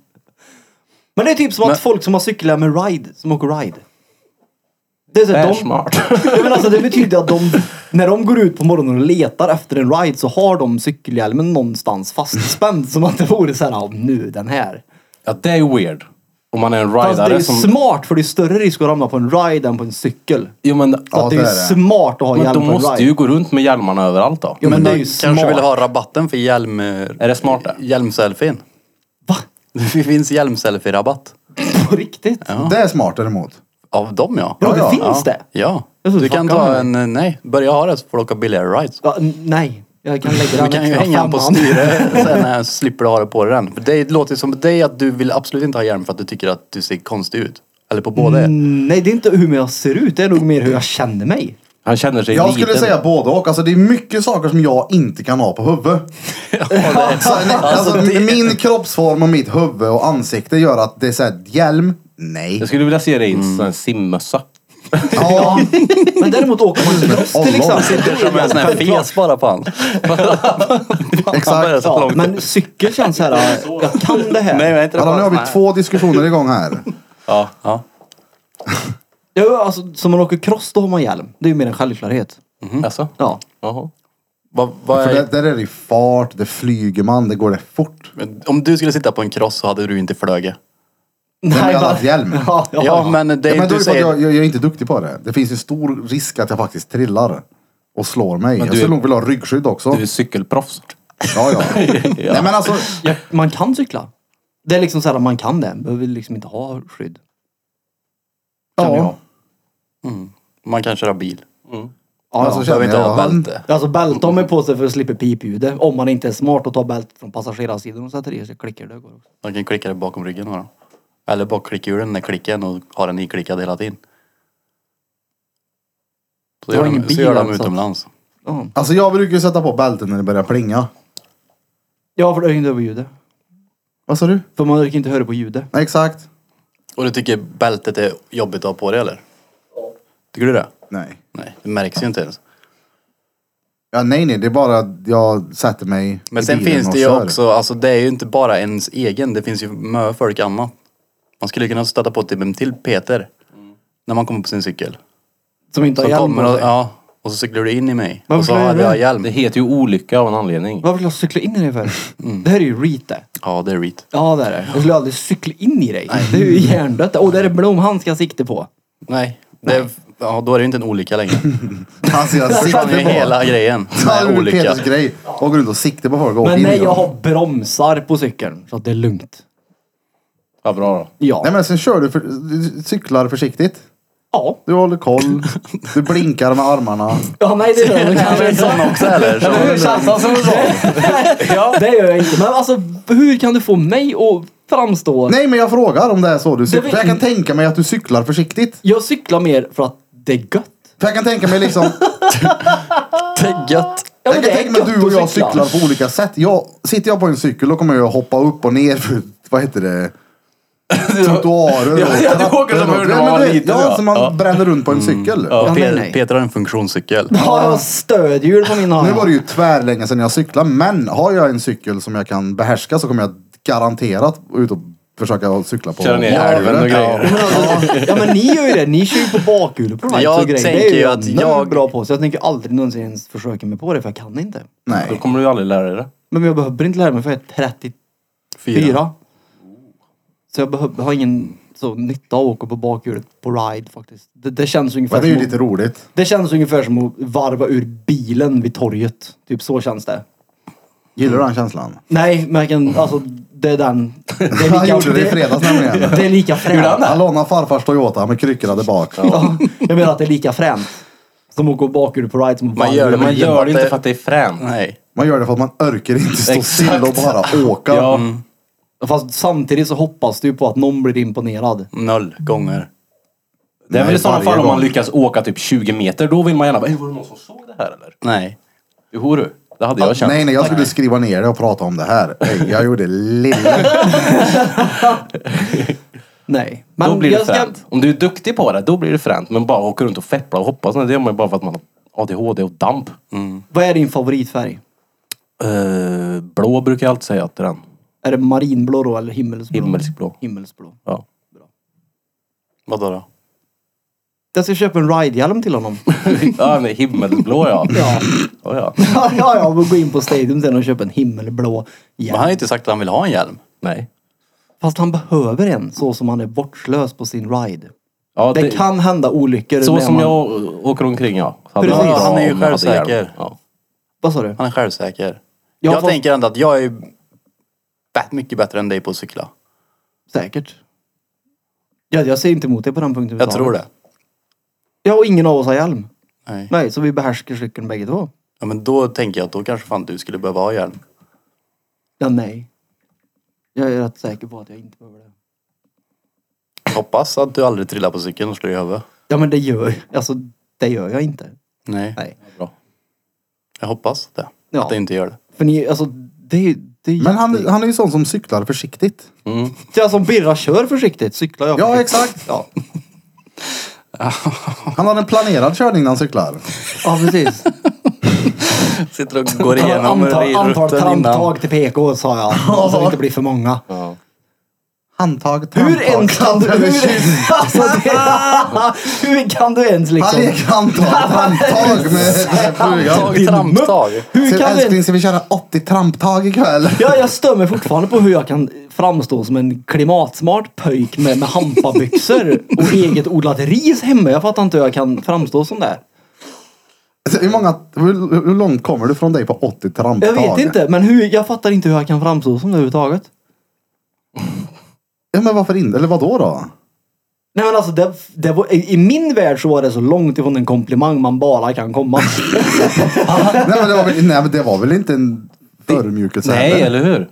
D: Men det är typ som att folk som har cyklar med ride, som åker ride. Det är så
B: Det
D: att
B: är
D: de,
B: smart.
D: Ja, men alltså, det betyder att de, när de går ut på morgonen och letar efter en ride så har de cykelhjälmen någonstans fastspänd. Som att det vore så här, ja, nu den här.
B: Ja, det är ju weird. Om man är en
D: Fast det är
B: ridare
D: ju
B: som...
D: smart för det är större risk att ramla på en ride än på en cykel.
B: Jo, men
D: Så
A: Ja,
D: att det är
A: det
D: ju
A: är det.
D: smart att ha
B: men
D: hjälm på
B: de
D: en
B: måste
D: ride.
B: ju gå runt med hjälmarna överallt då.
D: Jo, men det är
C: då
D: ju
C: Kanske vill
D: smart.
C: ha rabatten för hjälm... Är
B: Är det smart det?
C: Hjälmselfien.
D: Va?
C: Det finns hjälmselfie-rabatt.
D: På riktigt?
A: Det är smart däremot.
C: Av dem ja.
D: Bro,
A: Ja,
D: det
A: ja,
D: finns det?
C: Ja.
D: Jag trodde
C: Du kan
D: fucka
C: ta
D: med
C: en... Nej, börja ha det så får du åka billigare rides.
D: Ja, n- nej, jag kan lägga
C: Du
D: den
C: kan ju
D: extra
C: hänga den på
D: femman.
C: styret sen när jag slipper ha det på den. För det låter ju som på dig att du vill absolut inte ha hjälm för att du tycker att du ser konstig ut. Eller på båda er.
D: Mm, Nej, det är inte hur jag ser ut. Det är nog mer hur jag känner mig.
B: Han känner sig
A: Jag
B: liten.
A: skulle säga både och. Alltså det är mycket saker som jag inte kan ha på huvudet. alltså, nej, alltså, Min kroppsform och mitt huvud och ansikte gör att det är såhär, hjälm, nej.
B: Jag skulle vilja se dig i en sån här simmössa.
A: Ja,
D: Men däremot åker man cross
A: Oh,
D: till
A: lol.
D: exempel.
C: Sitter som en sån här fes bara på han. Han börjar
A: exakt.
C: så
D: Ja,
C: långt.
D: men cykel känns så här, jag kan det här.
C: Nej, men inte det
A: Alltså, nu har
C: bara...
A: vi två diskussioner igång här.
B: Ja.
C: Ja.
D: Ja, alltså, som man åker cross då har man hjälm. Det är ju mer en självklarhet.
B: Alltså?
D: Ja.
B: Jaha.
C: Vad, vad
A: För
C: är...
A: där, där är det fart, det flyger man, det går det fort.
C: Men Om du skulle sitta på en cross så hade du inte flöget.
A: Nej, men jag hade
D: bara-
A: haft hjälm.
D: Ja, ja.
C: Ja, men det
A: Ja, men
C: är
A: då är det
C: du
A: för att
C: säger...
A: jag, jag, jag är inte duktig på det. Det finns en stor risk att jag faktiskt trillar och slår mig. Jag
B: du
A: skulle
B: är-
A: nog vilja ha ryggskydd också.
B: Du är cykelproffs.
A: Ja, ja. Nej, men alltså,
D: Ja, Man kan cykla. Det är liksom så här, man kan det. Behöver liksom inte ha skydd.
A: ja.
C: Man kan köra bil.
D: Ja,
A: Alltså,
D: ja.
C: Behöver inte ha
A: jag-
C: bälte.
D: Alltså bälte har man på sig för att slippa pipljudet. Om man inte är smart och tar bältet från passagerarsidan och sätter i sig klickar det. Går också.
C: Man kan klicka det bakom ryggen bara. Eller bak klickhjulen när klicken och har den iklickad hela tiden. Så
D: Du har
C: gör, de,
D: ingen
C: så
D: bil
C: gör de
D: alltså?
C: utomlands.
D: Ja.
A: Alltså jag brukar ju sätta på bältet när det börjar plinga.
D: ja, för det är inte över ljudet.
A: Vad sa du?
D: För man orkar inte höra på ljudet.
A: Nej, Exakt.
C: Och du tycker bältet är jobbigt att ha på dig eller? Tycker du det?
A: Nej.
C: Nej, det märks ju inte ens.
A: Ja, nej, nej. Det är bara att jag sätter mig
C: Men
A: i
C: sen
A: bilen
C: finns
A: och
C: det ju
A: kör.
C: också, alltså det är ju inte bara ens egen, det finns ju mö folk annat. Man skulle kunna stöta på typ en till Peter. När man kommer på sin cykel.
D: Som inte har
C: Som
D: hjälm
C: kommer
D: på
C: och,
D: sig.
C: ja, och så cyklar du in i mig.
D: Varför
C: och så
D: skulle jag
C: hade
D: göra
C: jag
D: det?
C: hjälm.
B: Det heter ju olycka av en anledning.
D: Varför skulle jag cykla in i dig för?
C: Mm.
D: Det här är ju reet det.
C: Ja, det är reet.
D: Ja det är det. Jag skulle aldrig cykla in i dig. Det är ju hjärndött. Och det är det blomhand ska sikta på.
C: Nej, det är, ja, då är det ju inte en olycka längre.
A: Alltså jag
C: Fan, det
A: siktar
C: är
A: på.
C: hela grejen. Det
A: Ja,
C: är
A: det är
C: olycka.
A: Peters grej. Och går runt och siktar på folk och åker
D: Men
A: in i
D: nej,
A: dem.
D: jag har bromsar på cykeln. Så att det är lugnt.
B: Ja, bra då.
D: Ja.
A: Nej men sen kör du, för, du cyklar försiktigt.
D: Ja.
A: Du håller koll. Du blinkar med armarna.
D: Ja, nej det gör jag
C: Kanske en
D: inte.
C: sån också eller?
D: Ja, men
C: Så,
D: hur känns han som en sån? Det gör jag inte. Men alltså, hur kan du få mig att framstå...
A: Nej men jag frågar om det är så du cyklar.
D: vet-
A: För jag kan tänka mig att du cyklar försiktigt.
D: Jag cyklar mer för att det är gött.
A: För jag kan tänka mig liksom.
C: det är gött.
D: Ja,
A: jag kan tänka mig att du och jag
D: att cykla.
A: cyklar på olika sätt. Jag, sitter jag på en cykel då kommer jag hoppa upp och ner för, vad heter det? Trottoarer och
C: Ja, ja, du åker som
A: och-
C: hur det
A: Nej, men
C: var
A: du vet,
C: liten,
A: Ja,
C: ja.
A: som man
C: Ja. Mm,
A: bränner runt på en cykel.
C: Ja,
D: Ja, nej,
C: Pe-
D: nej.
C: Peter har en funktionscykel.
D: Ja, jag har stödhjul på min hand.
A: Nu var det ju tvärlänge sedan jag cyklade, men har jag en cykel som jag kan behärska så kommer jag garanterat ut och försöka cykla på.
B: Köra ner i älven och grejer.
D: Men alltså, ja men ni gör ju det, ni kör ju på bakhjul och provides
C: Jag
D: och grejer.
C: tänker
D: det är
C: ju
D: ju
C: att jag-
D: bra på. Så jag tänker aldrig någonsin ens försöka mig på det för jag kan inte.
B: Då
A: Nej.
B: kommer du ju aldrig lära dig det.
D: Men jag behöver inte lära mig för jag är 34. Så jag behöver, har ingen så nytta av att åka på bakhjulet på ride faktiskt. Det, det känns ungefär
A: Men det är ju
D: som att-
A: lite roligt.
D: Det känns ungefär som att varva ur bilen vid torget. Typ så känns det.
A: Gillar du den känslan?
D: Nej, men jag kan, alltså det är den. Det är
A: Han gjorde det i fredags nämligen.
D: Det är lika fränt.
A: Han lånade farfars Toyota med kryckorna där bak.
D: Ja, jag menar att det är lika fränt. Som att gå bakhjul på ride som att
C: Man
D: vandra.
C: gör det,
B: Men man
C: genom
B: gör
C: att
B: det inte
C: det-
B: för att det är fränt.
C: Nej.
A: Man gör det för att man orkar inte stå
B: Exakt.
A: still och bara åka.
B: Ja,
D: Fast samtidigt så hoppas du ju på att någon blir imponerad.
C: Noll gånger.
B: Det är väl
A: Nej,
B: i sådana
A: varje
B: fall om
A: gång.
B: man lyckas åka typ 20 meter. Då vill man gärna bara, "Ey, var det någon som såg det här eller?
C: Nej.
B: Jo du, det hade jag känt.
A: Nej, nej, jag skulle skriva ner det och prata om det här. Nej, jag gjorde lilla.
D: Nej.
B: Då blir det
D: jag ska-
B: fränt. Om du är duktig på det, då blir det fränt. Men bara åka runt och feppla och hoppas. Det gör man ju bara för att man har ADHD och damp.
D: Vad är din favoritfärg?
B: Eh, blå brukar jag alltid säga att det är den.
D: Är det marinblå då eller himmelsblå?
B: Himmelsblå.
D: Himmelsblå.
B: Ja.
C: Vadå då?
D: Jag ska köpa en ride-hjälm till honom.
B: ja, nej, himmelsblå ja.
D: Ja.
B: Oh, ja.
D: ja, ja, vi går in på Stadium sen och köper en himmelblå
C: Men han har
D: hjälm.
C: ju inte sagt att han vill ha en hjälm.
B: Nej.
D: Fast han behöver en så som han är bortslös på sin ride.
B: Ja,
D: Det kan hända olyckor.
B: så
D: när
B: som
D: man...
B: jag å- åker omkring ja. Så hade det
D: Precis.
B: varit bra
D: Han
C: är ju
B: om jag hade hjälm.
C: självsäker.
B: Ja.
D: Vad sa du?
C: Han är självsäker.
D: Jag
C: Jag,
D: har fått-
C: tänker ändå att jag är bä- mycket bättre än dig på att cykla.
D: Säkert. Ja, jag säger inte emot dig på den punkten.
C: Jag tror det.
D: Ja, och ingen av oss har hjälm.
C: Nej.
D: Nej, så vi behärskar cykeln bägge två.
C: Ja, men då tänker jag att då kanske fan du skulle behöva ha hjälm.
D: Ja, nej. Jag är rätt säker på att jag inte behöver det.
C: Hoppas att du aldrig trillar på cykeln och slår i huvudet.
D: Ja, men det gör Alltså, det gör jag inte.
C: Nej.
D: Nej.
B: Bra.
C: Jag hoppas det.
D: Ja.
C: Att du inte gör det.
D: För ni, alltså, det är ju... det är ju-
A: Men han, han är ju sån som cyklar försiktigt.
D: Ja, som alltså Birra kör försiktigt cyklar jag
A: Ja,
D: försiktigt.
A: exakt. Han har en planerad körning när han cyklar.
D: Ja, precis.
C: Sitter och går igenom
D: Antal, antal
C: rutten innan.
D: tramptag till PK sa jag. Så det inte blir för många.
A: Handtag,
D: Hur
A: tandtag,
D: ens kan du...
A: tandtag,
D: Hur, alltså, det, hur kan du ens
A: Han
D: liksom...
A: leker handtag, handtag med med frugan.
C: Tramptag, tramptag.
D: Hur
A: Så
D: kan du ens
A: Älskling, ska vi köra 80 tramptag ikväll?
D: Ja, jag stör mig fortfarande på hur jag kan framstå som en klimatsmart pöjk med, med hampabyxor och eget odlat ris hemma. Jag fattar inte hur jag kan framstå som det.
A: Alltså, hur, många, hur, hur långt kommer du från dig på 80 tramptag?
D: Jag vet inte, men hur, jag fattar inte hur jag kan framstå som det överhuvudtaget.
A: Ja, men varför inte? Eller vad då?
D: Nej men alltså det, det var, i i min värld så var det så långt ifrån en komplimang man bara kan komma.
A: nej, men det var väl, nej men det var väl inte en förödmjukelse
B: Nej,
A: heller?
B: eller hur?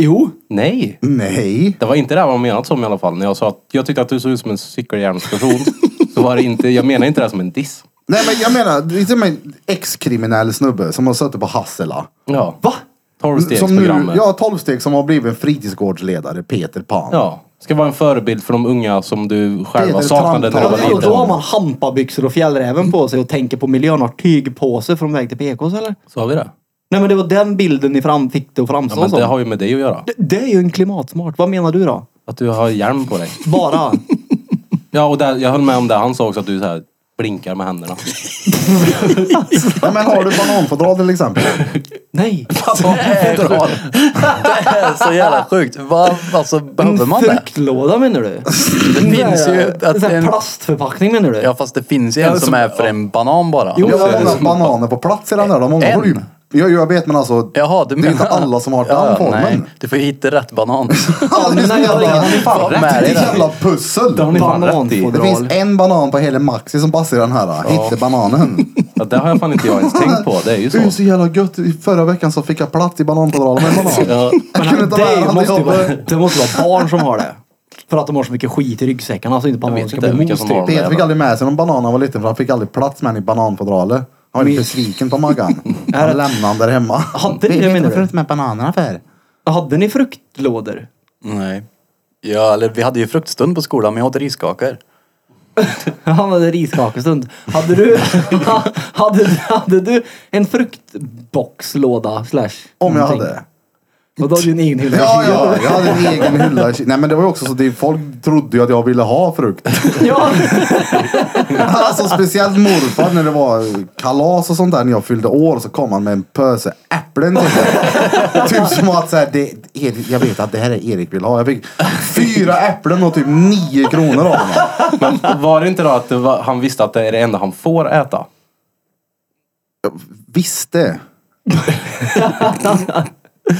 D: jo,
B: Nej.
A: Nej.
B: Det var inte det här var menat som i alla fall. När jag sa att jag tyckte att du såg ut som en cykelhjälmsperson. så var det inte, jag menar inte det som en diss.
A: Nej men jag menar, det är som en ex-kriminell snubbe som har suttit på Hassela.
B: Ja.
D: va?
A: Som nu,
B: Tolvstegsprogrammet.
A: ja, tolvsteg som har blivit en fritidsgårdsledare, Peter Pan.
B: ja. Ska vara en förebild för de unga som du
A: Det är
B: själva
A: väl
B: saknade när du
A: framtiden.
B: var
D: Och Alltså, då har
B: liten.
D: man hampabyxor och fjällräven på sig och tänker på miljön har tygpåse från väg till PKs eller?
B: Sa vi det?
D: Nej men det var den bilden ni fram, fick det att
B: Ja,
D: framstå
B: men
D: som.
B: det har ju med dig att göra.
D: Det- Det är ju en klimatsmart. Vad menar du då?
B: Att du har hjälm på dig.
D: Bara?
B: Ja, och där, jag höll med om det. Han sa också att du så här blinkar med händerna.
A: Nej, men har du bananfodral till exempel?
D: Nej.
C: Det är så jävla sjukt. Va, alltså, behöver man
D: en
C: det?
D: fruktlåda menar du?
C: Det
A: Mm.
C: finns ju... Att
D: en...
C: en,
D: plastförpackning menar du?
C: ja fast det finns ju en som är för en banan bara.
A: Jag har många bananer på plats i den där. De många
C: En?
A: går ju... Ja, jag vet men alltså.
C: Jaha, du
A: det
C: menar...
A: är inte alla som har den
C: Ja, ja, nej.
A: formen.
C: Du får ju hitta rätt banan.
A: Ja, det är
D: Nej,
A: ett
D: jag har ingen-
A: jävla-
C: Vad med
A: det är
C: dig
A: ett
C: där?
A: jävla pussel.
B: Det har ni fan rätt i.
D: Bananfodral.
A: Det finns en banan på hela Maxi som passar i den här. Hitta bananen.
B: Ja, det har jag fan inte jag ens tänkt på. Det är ju
A: Det är ju så
B: så.
A: jävla gött. I Förra veckan så fick jag plats i bananfodralen med en banan. Jag kunde ta med
D: det,
A: den
D: måste
A: till
D: ju vara,
A: jobbet.
D: det måste vara barn som har det. För att de har så mycket skit i ryggsäckarna så inte bananen
B: vet
D: ska
B: inte
D: bli
B: vilka
D: mos
B: som
D: typ.
B: har dem.
A: Peter fick aldrig med sig någon banan när han var liten för han fick aldrig plats med den i bananfodralet. Han var lite besviken på Maggan. Han lämnade den där hemma.
D: Hade ni det,
A: Vet
D: menar
A: du varför
D: du?
A: du inte med bananerna för?
D: Hade ni fruktlådor?
C: Nej. Ja, eller vi hade ju fruktstund på skolan, men jag åt riskakor.
D: Han hade riskakestund. Hade du, hade, hade du en fruktboxlåda? Slash
A: Om jag
D: någonting?
A: hade.
D: Och då hade du en egen hylla.
A: Ja, ja, jag hade en egen hylla. i Ki- Nej men det var ju också så att det- folk trodde ju att jag ville ha frukt.
D: ja.
A: Alltså speciellt morfar när det var kalas och sånt där när jag fyllde år så kom han med en pöse äpplen till mig. Typ som att så här, det, Erik, jag vet att det här är Erik vill ha. Jag fick fyra äpplen och typ nio kronor av honom.
B: Men var det inte då att det var, han visste att det är det enda han får äta?
A: Visste.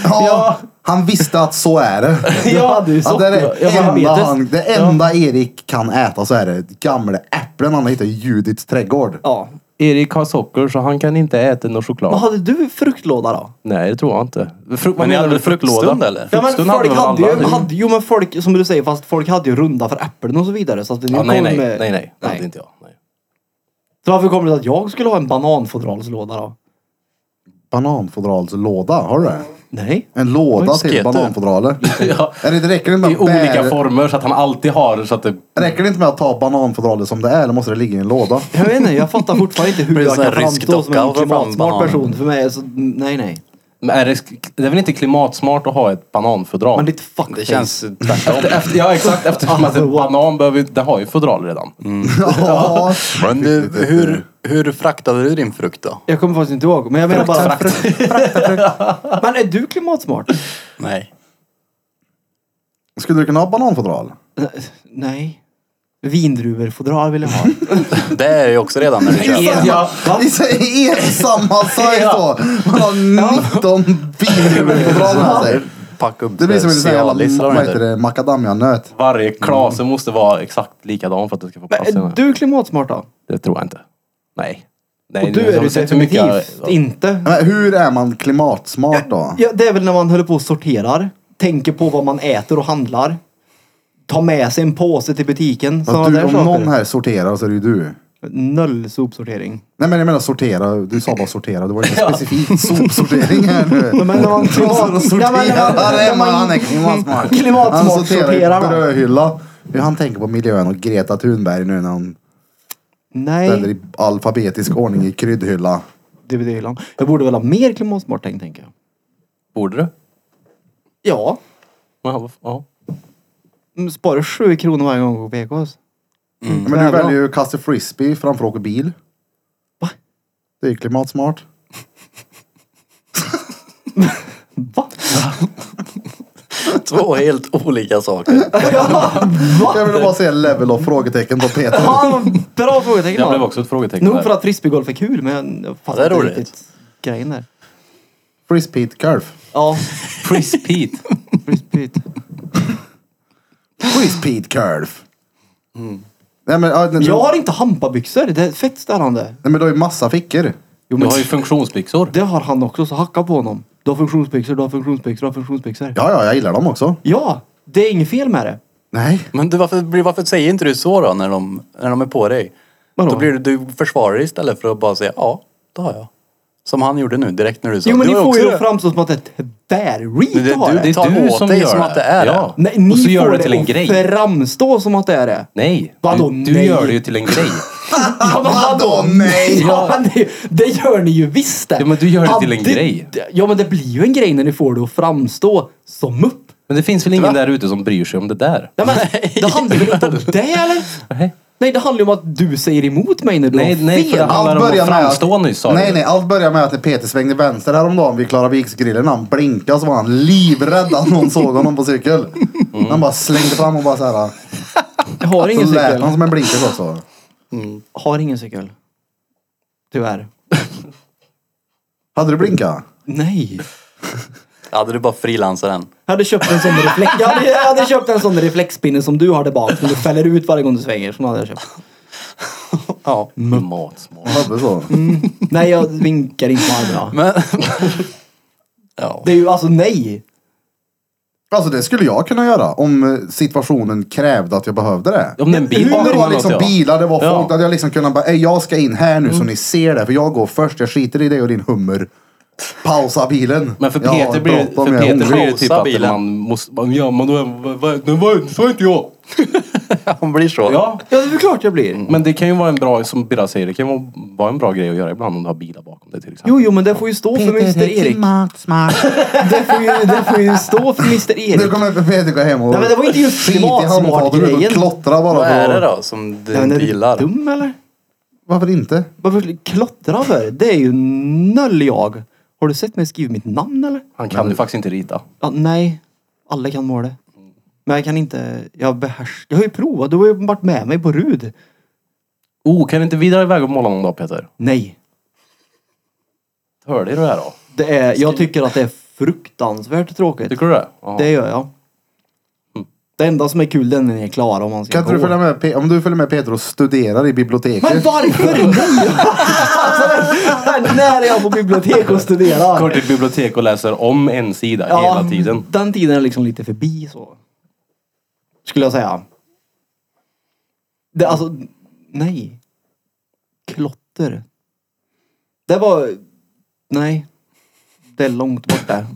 A: Ja, han visste att så är det.
D: Ja, det är ju
A: Ja, det, är det,
D: socker. Ja,
A: enda
D: diabetes.
A: han, det enda Erik kan äta så är det gamla äpplen han hittar i Judits trädgård.
D: ja.
B: Erik har socker så han kan inte äta någon choklad.
D: Vad hade du fruktlåda då?
B: Nej, det tror jag inte. Frukt,
C: Men ni hade väl fruktstund eller?
D: Ja, men
B: Fruktstund hade
D: folk
B: väl
D: hade
B: alla?
D: ju, hade, jo men folk, som du säger, fast folk hade ju runda för äpplen och så vidare. Så att det
B: Ja,
D: kom
B: nej, nej,
D: med,
B: nej, nej. Det hade
D: nej.
B: inte jag. Nej.
D: Så varför kommer det att jag skulle ha en bananfodralslåda då?
A: Bananfodralslåda, har du det?
D: Nej.
A: En låda till
C: sket du.
A: bananfodralet.
B: Ja.
A: Eller det räcker inte
B: I
A: med att
B: olika
A: bära-
B: former så att han alltid har så att det...
A: Räcker det inte med att ta bananfodralet som det är eller måste det ligga i en låda?
D: Jag vet inte, jag fattar fortfarande inte hur
C: Blir det
D: jag
C: sån
D: kan
C: här rysk
D: framstå som
C: docka
D: en
C: och få fram
D: klimatsmart
C: bananen?
D: person. För mig är så, nej nej.
B: Men är det, sk- det är väl inte klimatsmart att ha ett bananfodral?
D: Men ditt fuckface.
C: Det känns tvärtom.
B: Efter, efter, ja exakt, eftersom att en banan behöver ju- det har ju fodral redan.
A: Ja.
C: Men du, hur, hur fraktade du din frukt då?
D: Jag kommer faktiskt inte ihåg. Men jag menar bara... Men är du klimatsmart?
C: Nej.
A: Skulle du kunna ha bananfodral?
D: Nej. Vindruvorfodral vill jag ha.
C: Det är ju också redan när du köper.
D: Ja.
A: Ja. Det är så- är det samma size då. Man har 19 bilfodral med sig.
C: Packa upp
A: Det blir som en sån här jävla
C: Cialis, eller vad
A: vad
C: de
A: heter
C: heter.
A: det, macadamianöt.
B: Varje klase måste vara exakt likadan för att det ska få
D: Men
B: plats. i den
D: är
B: här.
D: du klimatsmaart då?
B: Det tror jag inte. Nej. Nej
D: Och du
B: jag har
D: är det
B: sett hur mycket
D: definitivt
B: jag-
D: inte.
A: Men hur är man klimatsmart då?
D: Ja, det är väl när man håller på och sorterar. Tänker på vad man äter och handlar. Ta med sig en påse till butiken.
A: Fast
D: sådana
A: du,
D: där
A: om
D: saker.
A: någon här sorterar så är det ju du.
D: Noll sopsortering.
A: Nej men jag menar sortera, du sa bara sortera, det var ju inte specifikt sopsortering här nu.
D: Men när man
A: Sorterar,
D: klimat... Nej, men när man- när man-
A: han är klimatsmart. Han
D: Klimatsmart
A: sorterar i
D: sorterar man.
A: brödhylla. Hur han tänker på miljön och Greta Thunberg nu när hon ställer
D: Nej. Mm.
A: i alfabetisk ordning i kryddhylla.
D: DVD-hyllan. Jag borde väl ha mer klimatsmart tänk, tänker jag.
B: Borde du?
D: Ja.
B: Ja, vad- ja.
D: Mm, Sparar 7 kronor varje gång jag går på PKs.
A: Men du
D: Jävlar.
A: väljer ju att kasta frisbee framför att åka bil.
D: Va?
A: Det är ju klimatsmart.
D: Va?
C: Två helt olika saker.
A: Jag ville bara säga level och frågetecken på Peter.
D: Ja, bra frågetecken.
B: Jag
D: va?
B: blev också ett frågetecken
D: Nog
B: där.
D: för att frisbeegolf är kul, men jag
C: Det är
D: fattar
C: roligt.
D: inte riktigt grejen där.
A: Frisbee curve.
D: Ja,
B: Frisbeet.
D: frisbeet.
A: Who is Pete Curve? Nej men, ja, nej,
D: Mm. Jag har inte hampabyxor. Det är fett störande.
A: nej, men du har ju massa fickor.
D: Jo,
B: Du
D: men
B: har ju funktionsbyxor.
D: det har han också, så hacka på honom. Du har funktionsbyxor, du har funktionsbyxor, du har funktionsbyxor.
A: Ja, ja, jag gillar dem också.
D: Ja, det är inget fel med det.
A: Nej.
C: Men du, varför, varför säger inte du så då när de, när de är på dig?
D: Vadå?
C: Då blir du, du försvarare istället för att bara säga ja, det har jag. Som han gjorde nu direkt när du sa
D: Jo men
C: du
D: ni
C: har
D: får ju
C: också
D: det att framstå som att det är
C: Men
D: bärrit
C: det-
D: har
C: du-
D: det.
B: Det
C: Ta
B: är du
C: åt
B: som
C: dig
B: gör
C: som
B: det.
C: att det är det.
B: ja.
D: Nej,
B: Och så
D: ni
B: gör
D: får
B: du det till en
D: att
B: grej.
D: framstå som att det är det.
B: Nej,
D: Vadå,
B: du, du
D: nej?
B: gör det ju till en grej.
D: Ja, men
A: Vadå nej?
D: Ja, men det, det gör ni ju visst det.
B: Ja, men du gör det till en
D: det-
B: grej.
D: det- Ja men det blir ju en grej när ni får det att framstå som upp.
B: Men det finns väl ingen där ute som bryr sig om det där?
D: Ja, men, det handlar väl inte om det eller?
B: Nej.
D: Nej det handlar ju om att du säger emot mig när du
B: Nej,
D: har
B: nej, för
D: fel.
B: det- handlar om att framstå nyss, sa
A: nej,
B: du.
A: nej, allt börjar med att när Peter svängde vänster häromdagen vid Klara Viksgrillen. Han blinkade så var han livrädd att någon såg honom på cykel.
B: Mm.
A: Han bara slängde fram och bara så här.
D: Jag har ingen
A: Så lät
D: cykel.
A: han som en blinkers också.
D: Har ingen cykel. Tyvärr.
A: Hade du blinkat?
D: Nej.
C: Hade du bara frilansat den?
D: Jag hade köpt en sån reflex... Jag hade, jag hade köpt en sån reflexpinne som du har där bak. Som du fäller ut varje gång du svänger. Sån hade jag köpt.
C: Ja.
B: Matsmak.
A: Hade så?
B: Mm.
D: Nej, jag vinkar inte med armarna.
C: Men... ja.
D: Det är ju alltså nej.
A: Alltså det skulle jag kunna göra om eh, situationen krävde att jag behövde det.
B: Om det är en bil
A: Om det
B: kommer
A: var
B: man
A: liksom
B: åt, ja.
A: bilar, det var folk,
B: Ja. Mm.
A: då hade jag liksom kunnat bara, "Ey, jag ska in här nu så ni ser det, för jag går först, jag skiter i dig och din hummer. Pausa bilen.
B: Men för
A: Jag har
B: Peter blir det,
A: bråttom,
B: för
A: jag är
B: Peter blir det
A: hungrig.
B: typ
C: Pausa
B: att
C: bilen.
B: man måste... Man, ja, men då... vad- vad- Nu var så inte jag.
C: Han blir så.
B: Ja.
D: Ja, det är väl klart jag blir.
B: Men det kan ju vara en bra, som Birra säger, det kan ju vara- vara en bra grej att göra ibland om du har bilar bakom dig till exempel.
D: Jo, jo, men det får ju stå för Mr. Erik. Det får ju, det får ju stå för Mr.
A: Nu
D: Erik.
A: kommer Peter gå hem och
D: Nej, men det var inte just
A: skit i
D: klimatsmart
A: handfatet och
D: grejen.
A: klottra bara.
C: Vad är
A: för
C: det
A: att-
C: då som du
D: Nej, men är du
C: gillar?
D: dum eller?
A: Varför inte?
D: Varför klottra för? Det är ju noll jag. Har du sett mig skriva mitt namn eller?
B: Han kan ju faktiskt inte rita.
D: Ja, nej, alla kan måla. Men jag kan inte, jag behärskar, jag har ju provat, du har ju varit med mig på RUD.
B: Oh, kan du inte vidare iväg och måla någon dag Peter?
D: Nej,
B: Hörde du det här då?
D: det är, jag tycker att det är fruktansvärt tråkigt.
B: Tycker du Mm. det? Ja.
D: Det gör jag. Det enda som är kul det är när ni är klara om man ska
A: Kan inte
D: gå.
A: du följa med, Pe- om du följer med Peter och studerar i biblioteket.
D: Men varför nej? alltså, när är jag på bibliotek och
B: Går
D: studerar?
B: till bibliotek och läser om en sida hela tiden.
D: Den tiden är liksom lite förbi så. Skulle jag säga. Det, alltså, nej. Klotter. Det var, nej. Det är långt borta.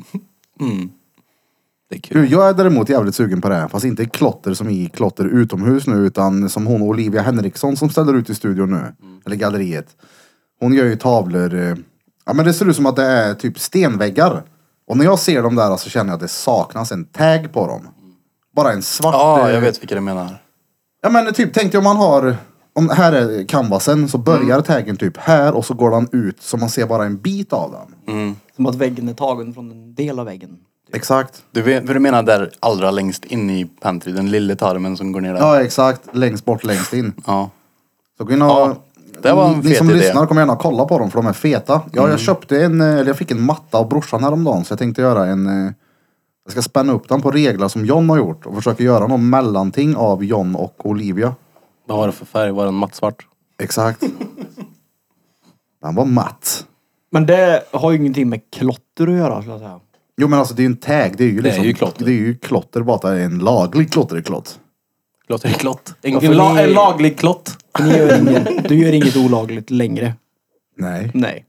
B: Det är kul.
A: Du, jag är däremot jävligt sugen på det här. Fast inte klotter som i klotter utomhus nu utan som hon Olivia Henriksson som ställer ut i studion nu. Eller galleriet. Hon gör ju tavlor. eh, Ja men det ser ut som att det är typ stenväggar. Och när jag ser dem där så känner jag att det saknas en tag på dem. Bara en svart.
C: Ja,
A: eh,
C: jag vet vilka du menar.
A: Ja men typ tänk dig om man har, om här är canvasen så börjar
C: Mm.
A: taggen typ här och så går den ut så man ser bara en bit av
C: Mm.
A: den.
D: Som att väggen är tagen från en del av väggen.
A: Exakt.
C: Du vet vad du menar där allra längst in i pantry, den lilla tarmen som går ner där.
A: Ja exakt, längst bort längst in.
C: Ja.
A: Så gå in och,
C: Ja, det var en
A: ni
C: fet
A: som
C: idé. Mm.
A: lyssnar kommer gärna och kolla på dem för de är feta. Ja, jag köpte en, eh, eller jag fick en matta av brorsan häromdagen så jag tänkte göra en, eh, jag ska spänna upp den på regler som John har gjort och försöka göra någon mellanting av John och Olivia.
B: Vad var det för färg? Var den mattsvart?
A: Exakt. den var matt.
D: Men det har ju ingenting med klotter att göra skulle jag säga.
A: Jo men alltså det är ju en tag, det är ju
B: Det är
A: liksom,
B: ju klotter.
A: det är ju klotter bara att det är en laglig klotterklott.
B: Klott är klott. En,
D: Varför
B: en, la,
D: ni-
B: en laglig klott.
D: Ni gör inget, du gör inget olagligt längre.
A: Nej.
D: Nej.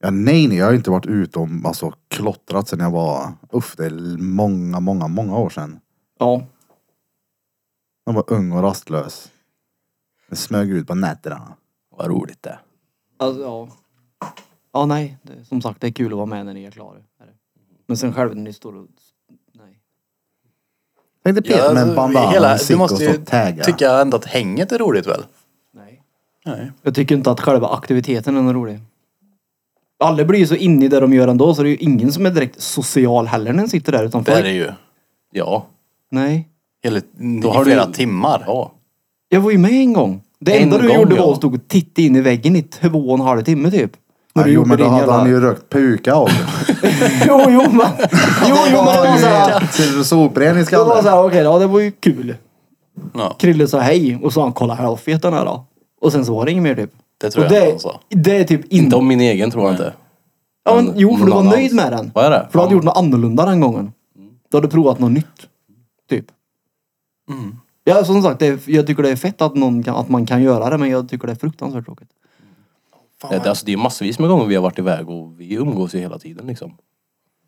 A: Ja, nej nej, jag har inte varit ute och alltså, klottrat sedan jag var, uff det är många, många, många år sedan.
D: Ja.
A: Han var ung och rastlös. Den smög ut på nätterna.
B: Vad roligt det är.
D: Alltså, ja. Ja, nej. Det, som sagt, det är kul att vara med när ni är klara. Är det. Men sen själv när ni står och... Nej.
A: Tänk dig Peter med en bandana och en
C: hela, Du
A: cigg och
C: måste
A: så
C: ju
A: tagga.
C: tycka ändå att hänget är roligt väl?
D: Nej.
C: Nej.
D: Jag tycker inte att själva aktiviteten är något rolig. Alla blir ju så inne i det de gör ändå så det är ju ingen som är direkt social heller när den sitter där
C: Det
D: utanför.
C: är det ju.
B: Ja.
D: Nej.
C: Hela,
B: Då
C: I
B: har du-
C: flera timmar.
B: Ja.
D: Jag var ju med en gång. Det
B: En
D: enda du
B: gång,
D: gjorde
B: ja.
D: var att stå och titta in i väggen i två och en halv timme typ. När
A: Ja,
D: du
A: jo
D: gjorde
A: men då
D: din
A: hade
D: jävla-
A: han ju rökt puka av.
D: Jo, jo, men... Jo, jo, men det var så här...
A: Ser du sopren i
D: Då var det
A: skallen?
D: såhär, okej då, det var ju kul.
C: Ja,
D: Krille sa hej och så han kolla här, vad fet den är då. Och sen så var det inget mer typ.
C: det tror
D: och
C: jag alltså.
D: det,
C: han sa.
D: det är typ
B: Inte
D: inte...
B: om min egen tror jag inte.
D: Ja, men, jo, för du var
B: någon annans.
D: nöjd med den.
B: Vad är det?
D: För du hade gjort något annorlunda den gången. Du hade provat något nytt. Typ.
C: Mm.
D: Ja, som sagt, det är, jag tycker det är fett att, någon kan, att man kan göra det, men jag tycker det är fruktansvärt tråkigt.
B: Det, det, alltså, det är massvis med gånger vi har varit iväg och vi umgås ju hela tiden liksom.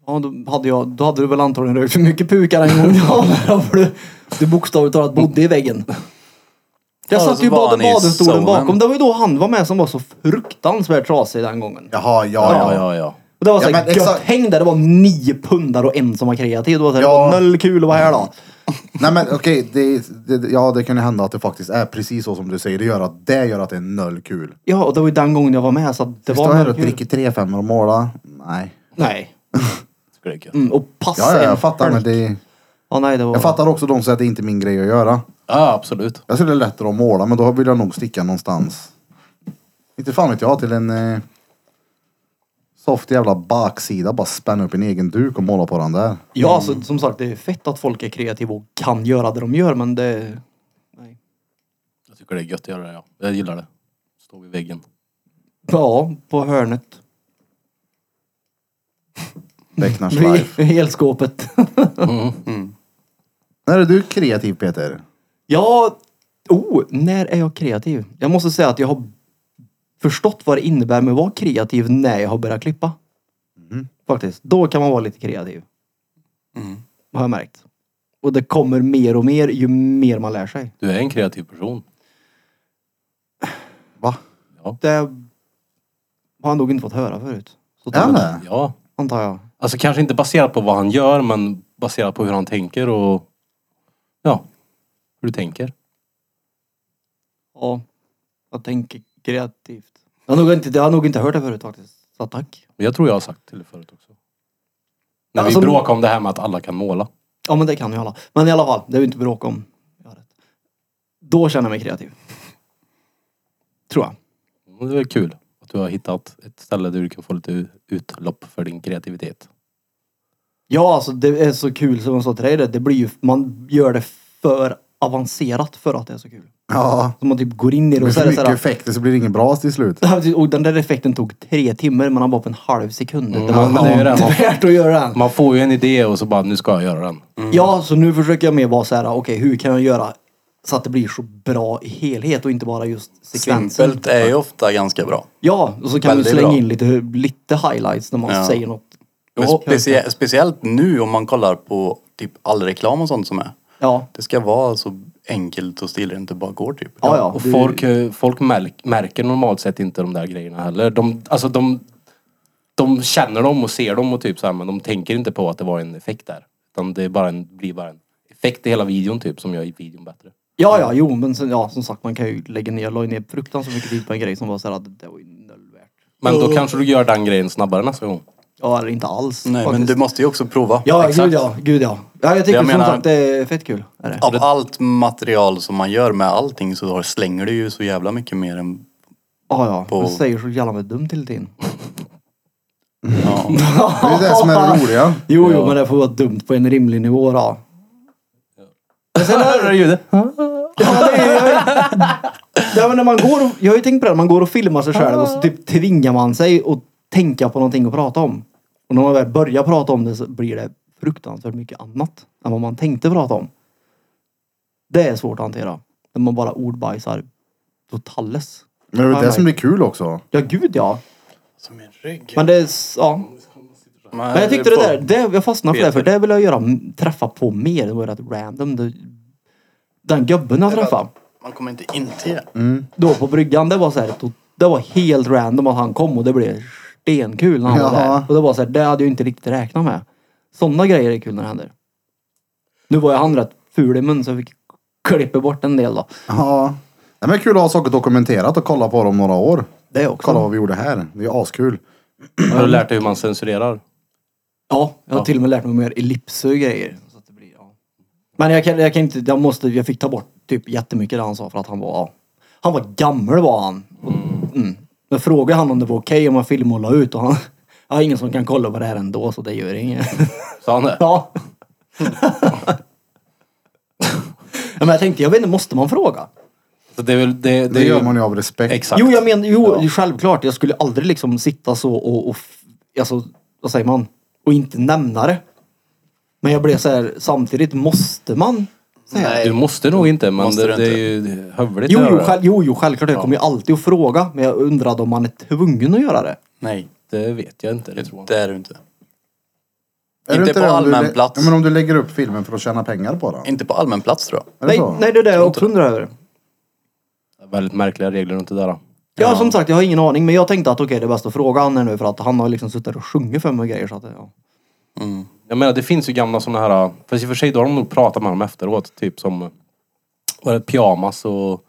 D: Ja, då hade, jag, då hade du väl antagligen rökt för mycket pukar en gång. Ja, för du, du bokstavligt talat bodde i väggen. Jag
C: Ja,
D: satt
C: så
D: ju i
C: var
D: bad,
C: han i
D: badstolen
C: zonen.
D: bakom. Det var ju då han var med som var så fruktansvärt trasig den gången.
A: Jaha, ja, ja.
B: Ja, ja, ja.
D: Och det var såhär
A: Ja, men
D: gött
A: exakt.
D: häng där. Det var nio pundar och en som var kreativ. Det var, såhär,
A: Ja.
D: det var noll kul att vara här då.
A: Nej men okej, det, det, ja det kan ju hända att det faktiskt är precis så som du säger. Det gör att det, gör att det är noll kul.
D: Ja, och det var ju den gången jag var med så att det
A: Vi står
D: var
A: här
D: noll
A: och
D: kul.
A: dricker tre femmor och målar. Nej.
D: Nej.
B: Tycker det är kul.
D: Mm, och passa
A: Ja, ja
D: en
A: jag fattar.
D: öl.
A: Men det,
D: Ja, nej, det var...
A: jag fattar också de som säger att det inte är min grej att göra.
B: Ja, absolut.
A: Jag skulle det är lättare att måla men då vill jag nog sticka någonstans. Inte fan vet jag, till en eh, soft jävla baksida. Bara spänna upp en egen duk och måla på den där.
D: Ja, alltså, som sagt, det är fett att folk är kreativa och kan göra det de gör, men det... Nej.
B: Jag tycker det är gött att göra det, ja. Jag gillar det. Stå vid väggen.
D: Ja, på hörnet.
A: Becknars
D: Vid
A: life.
D: vid elskåpet.
A: När är du kreativ Peter?
D: ja, oh, när är jag kreativ? Jag måste säga att jag har förstått vad det innebär med att vara kreativ när jag har börjat klippa.
A: Mm.
D: Faktiskt. Då kan man vara lite kreativ. Har jag märkt. Och det kommer mer och mer ju mer man lär sig.
B: Du är en kreativ person.
A: Va?
D: Det har han nog inte fått höra förut. Så
A: Är han
D: tror jag-
A: det?
B: Ja.
D: Antar jag.
B: Alltså kanske inte baserat på vad han gör, men baserat på hur han tänker och... Ja. Hur du tänker.
D: Ja, jag tänker kreativt. Jag har nog inte, jag har nog inte hört det förut faktiskt. Så tack.
B: Men jag tror jag har sagt till dig förut också. När
D: Alltså-
B: vi bråkade om det här med att alla kan måla.
D: Ja men det kan ju alla. Men i alla fall, det är ju inte bråk om. Jag har rätt. Då känner jag mig kreativ. Tror jag.
B: Mm, Det är kul att du har hittat ett ställe där du kan få lite utlopp för din kreativitet.
D: Ja alltså det är så kul som jag sa till dig, det, det blir ju, man gör det för avancerat för att det är så kul.
A: Ja.
D: Så man typ går in
A: Det
D: i det
A: blir
D: och så är
A: för
D: det
A: mycket
D: såhär.
A: effekter så blir det inget bra till slut.
D: Och den där effekten tog tre timmar men han var på en halv sekund. Det
B: ja,
D: var
B: men det är ju det.
D: inte värt att göra den.
B: Man får ju en idé och så bara, nu ska jag göra den.
D: Ja, så nu försöker jag mer vara så här, okej hur kan jag göra så att det blir så bra i helhet och inte bara just sekvensen.
C: Simpelt är ju ofta ganska bra.
D: Ja, och så kan du
C: Väldigt
D: slänga
C: bra.
D: in lite, lite highlights när man
C: Ja.
D: säger något.
C: Men
D: Ja,
C: specie- speciellt nu om man kollar på typ all reklam och sånt som är.
D: Ja,
C: Det ska vara så enkelt och stilrent det bara går typ.
D: ja, ja.
B: Och
D: Du-
B: folk, eh, folk märk, märker normalt sett inte de där grejerna heller. De, alltså de, de känner dem och ser dem och typ så här, men de tänker inte på att det var en effekt där. Utan det är bara en, blir bara en effekt i hela videon typ som gör videon bättre.
D: Ja, ja, jo, men sen, ja, som sagt, man kan ju lägga ner, jag la ju ner fruktansvärt mycket tid på en grej som var så här att det var ju noll värt.
B: Men då kanske du gör den grejen snabbare nästa gång.
D: Ja, eller inte alls.
C: Nej men
D: faktiskt.
C: du måste ju också prova.
D: Ja,
B: exakt.
D: gud ja, gud ja. Ja, jag tycker
C: Jag menar-
D: som sagt det är fett kul. Är det?
C: Av allt material som man gör med allting så då slänger du ju så jävla mycket mer än...
D: Ja, ja.
C: På-
D: Du säger så jävla med dumt till din.
C: Ja.
A: Det är det som är det roliga.
D: Jo, jo, men det får vara dumt på en rimlig nivå då.
B: Hör du ljudet?
D: Ja, det är, jag, ja, men när man går och, jag har ju tänkt på det, här, man går och filmar sig själv och så typ tvingar man sig att tänka på någonting att prata om. Och när man väl börjar prata om det så blir det fruktansvärt mycket annat än vad man tänkte prata om. Det är svårt att hantera. När man bara ordbajsar totales.
A: Men det är det som blir kul också.
D: Ja, gud ja.
C: Alltså min rygg.
D: Men det är, s- ja. Men jag tyckte det där, det, jag fastnade för det för det vill jag göra, träffa på mer. Det var rätt random. Det, den gubben jag träffade.
C: Man kommer inte in till det.
D: Mm. då på bryggan, det var så här, det var helt random att han kom och det blev stenkul när han var
A: Ja.
D: där. Och det var så här, det hade jag inte riktigt räknat med. Sådana grejer är kul när det händer. Nu var ju han rätt ful i mun så jag fick klippa bort en del då.
A: Ja. Nej, men det är kul att ha saker dokumenterat och kolla på dem några år.
D: Det också.
A: Kolla vad vi gjorde här. Det är askul.
B: Har du lärt dig hur man censurerar?
D: Ja, jag har till och med lärt mig mer ellipser och grejer. Så att det blir, ja. Men jag kan, jag kan inte, jag måste, jag fick ta bort typ jättemycket det han sa för att han var, ja. Han var gammal var han. Och- Mm. Men frågade han om det var okej om man filmade och la ut och han, ja ingen som kan kolla på det här ändå så det gör inget.
B: Sa han det?
D: Ja. Ja, men jag tänkte, jag vet inte, måste man fråga?
B: Så det, är väl, det, det,
A: Det
B: är
A: gör
B: ju-
A: man ju av respekt.
B: Exakt.
D: Jo, jag menar, jo, självklart. Jag skulle aldrig liksom sitta så och, och f- alltså, vad säger man? Och inte nämna det. Men jag blev så här, samtidigt måste man säga det?
B: Du måste nog inte, men
C: Måste
B: det,
C: du
B: det är
C: inte.
B: ju hövligt
D: Jo,
B: att
D: jo,
B: göra det.
D: själv, jo, jo, självklart. Jag kommer ju alltid att fråga. Men jag undrade om man är tvungen att göra det.
C: Nej,
B: Det vet jag inte. Det tror jag. inte.
C: det är du inte.
A: Är du
C: inte på
A: det om du
C: allmän
A: lä-
C: plats.
A: Ja, men om du lägger upp filmen för att tjäna pengar på den.
C: Inte på allmän plats tror jag.
A: Är det
D: Nej,
A: så?
D: nej, det är det jag också undrar över.
B: Väldigt märkliga regler runt det där. då.
D: Ja, som sagt, jag har ingen aning. Men jag tänkte att okej, det är bäst att fråga han här nu. För att han har liksom suttit och sjungit för mig och grejer. Så att, ja.
B: Jag menar det finns ju gamla såna här, fast i och för sig då har de nog pratat med dem efteråt. Typ som, var det pyjamas och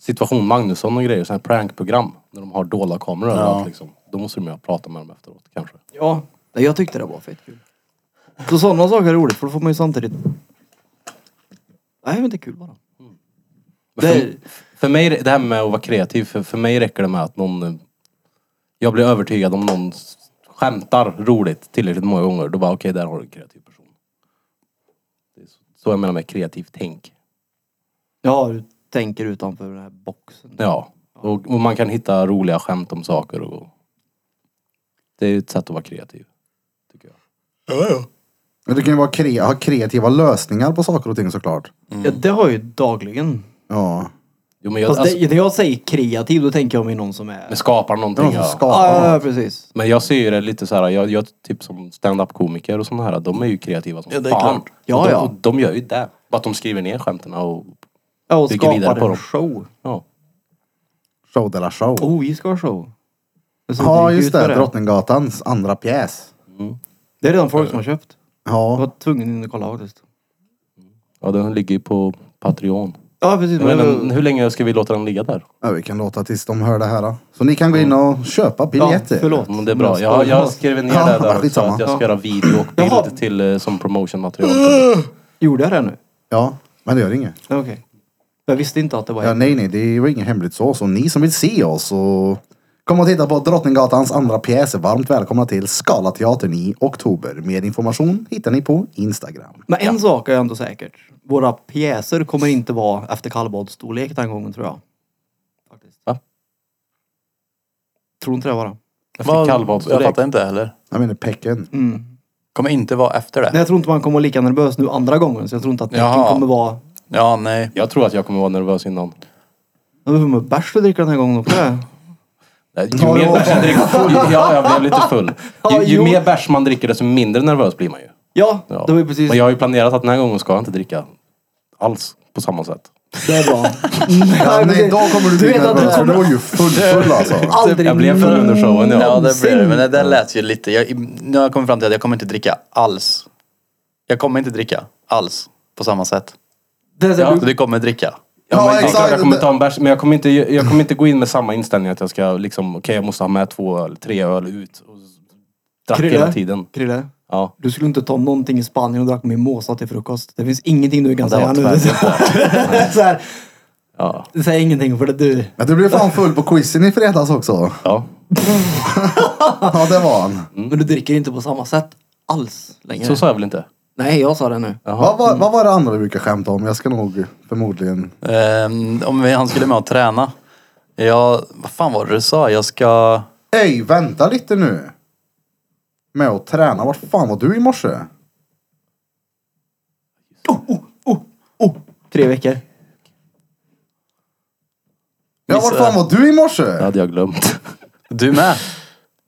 B: situation Magnusson och grejer. Sådana här prankprogram. När de har dolda kameror överallt liksom. Då måste de ju prata med dem efteråt kanske.
D: ja, nej, jag tyckte det var fett kul. Så sådana saker är roligt. För då får man ju samtidigt... Nej, men det är kul bara.
B: Men för,
D: Det-
B: för mig, det här med att vara kreativ, för, för mig räcker det med att någon... eh, Jag blir övertygad om någon s- skämtar roligt tillräckligt många gånger. Då bara, okej, där har du en kreativ person. Det är så, så jag menar med kreativt tänk.
D: Ja, du tänker utanför den här boxen.
B: Ja. Och, och man kan hitta roliga skämt om saker och... Det är ju ett sätt att vara kreativ. Tycker jag.
A: Men Du kan ju vara kre- ha kreativa lösningar på saker och ting såklart.
B: Mm.
D: Ja, det har jag ju dagligen.
A: Ja.
B: Jo men jag...
D: Fast
B: Alltså,
D: det, när jag säger kreativ, då tänker jag mig någon som är...
B: jag skapar
A: Det är
B: någonting.
A: någon som
B: ja.
A: skapar
D: Ja, ja, ja,
A: något.
D: precis.
B: Men jag ser ju det lite så här, jag, jag typ som stand-up komiker och såna här, de är ju kreativa som
C: Ja, det
B: fan.
C: är klart.
D: Ja,
B: och de,
D: ja.
B: Och de gör ju det. Bara att de skriver ner skämten och...
D: Ja, och
B: Bygger vidare på
D: skapar en
B: dem.
D: show.
B: Ja.
A: Show de la show.
D: Oh, vi ska ha show. Det ser
A: ja,
D: inte
A: just
D: ut för
A: det. Drottninggatans andra pjäs.
D: Det är redan folk som har köpt. Jag var
A: Ja.
D: tvungen in och kolla faktiskt.
B: Ja, den ligger ju på Patreon.
D: Ja, precis.
B: Jag
D: Men,
B: vet inte, hur länge ska vi låta den ligga där?
A: ja, vi kan låta tills de hör det här. Då. Så ni kan gå in och köpa
D: ja,
A: biljetter.
D: förlåt.
B: Men det är bra. Jag, jag skrev ner
A: Ja,
B: det där också,
A: skitsamma.
B: att jag ska göra video och
D: Jaha.
B: bild till, eh, som promotionmaterial. till det.
D: Gjorde jag det nu?
A: Ja, men det gör inget.
D: Ja, Okej. Jag visste inte att det var...
A: Ja,
D: Ja,
A: nej, nej, det var inget hemligt så. Så ni som vill se oss och kom och titta på Drottninggatans andra pjäs är varmt välkomna till Skala teatern i oktober. Mer information hittar ni på Instagram.
D: men en sak är jag ändå säkert. Våra pjäser kommer inte vara efter kallbadsstorlek den gången, tror jag. Faktiskt.
B: Va?
D: Tror inte det bara.
B: Efter
C: Jag
B: kallbadsstorlek.
C: fattar inte heller.
A: Jag menar Pecken.
C: Kommer inte vara efter det.
D: Nej, jag tror inte man kommer vara lika nervös nu andra gången. Så jag tror inte att tecken
C: Jaha.
D: kommer vara...
C: Ja, nej.
B: Jag tror att jag kommer vara nervös innan.
D: Jag får med bärs att dricka den här gången också. det.
B: Nej, Ju
A: Ja,
B: mer
A: ja.
B: bärs man dricker, full, ja, jag blev lite full.
D: Ja,
B: Ju, ju
D: jo.
B: mer bärs man dricker desto mindre nervös blir man ju.
D: Ja,
B: Ja.
D: det var ju precis...
B: Men jag har ju planerat att den här gången ska jag inte dricka alls på samma sätt.
D: Det är bra.
A: Ja, nej,
D: precis.
A: då kommer du bli
D: vet att
A: nervös.
D: du
A: för Du
D: kommer
A: var ju full, full alltså.
D: aldrig...
B: Jag blev full under showen.
D: Mm.
B: Ja.
C: Ja, det blir det. Men det där lät ju lite... Jag, nu har jag kommit fram till att jag kommer inte dricka alls. Jag kommer inte dricka alls på samma sätt.
D: Det är så här,
C: Så
D: du-
C: du kommer dricka.
B: Ja,
A: Ja,
B: men, det är klart
A: exakt.
B: jag kommer ta en bärs, men jag kommer, inte, jag kommer inte gå in med samma inställning att jag ska liksom, okej jag måste ha med två öl, tre öl ut. Och drack
D: Krille.
B: hela tiden.
D: Krille,
B: Ja.
D: du skulle inte ta någonting i Spanien och drack mimosa till frukost. Det finns ingenting du kan
B: Det
D: säga
B: var
D: nu. Det är så här- så här,
B: Ja.
D: Säg ingenting för det du...
B: Mm.
A: Ja, du blev fan full på quizen i fredags också.
B: ja.
A: Ja, det var han.
D: Men du dricker inte på samma sätt alls längre.
B: Så sa jag väl inte?
D: Nej, jag sa det nu.
A: Vad var, vad var det andra vi brukar skämta om? Jag ska nog förmodligen...
C: Ehm, om vi, han skulle med och träna. Jag... Vad fan var det du sa? Jag ska...
A: Ey, vänta lite nu. Med att träna. Vart fan var du i morse?
D: Tre veckor.
A: Ja, vart fan var du i morse?
B: Det hade jag glömt.
C: Du med?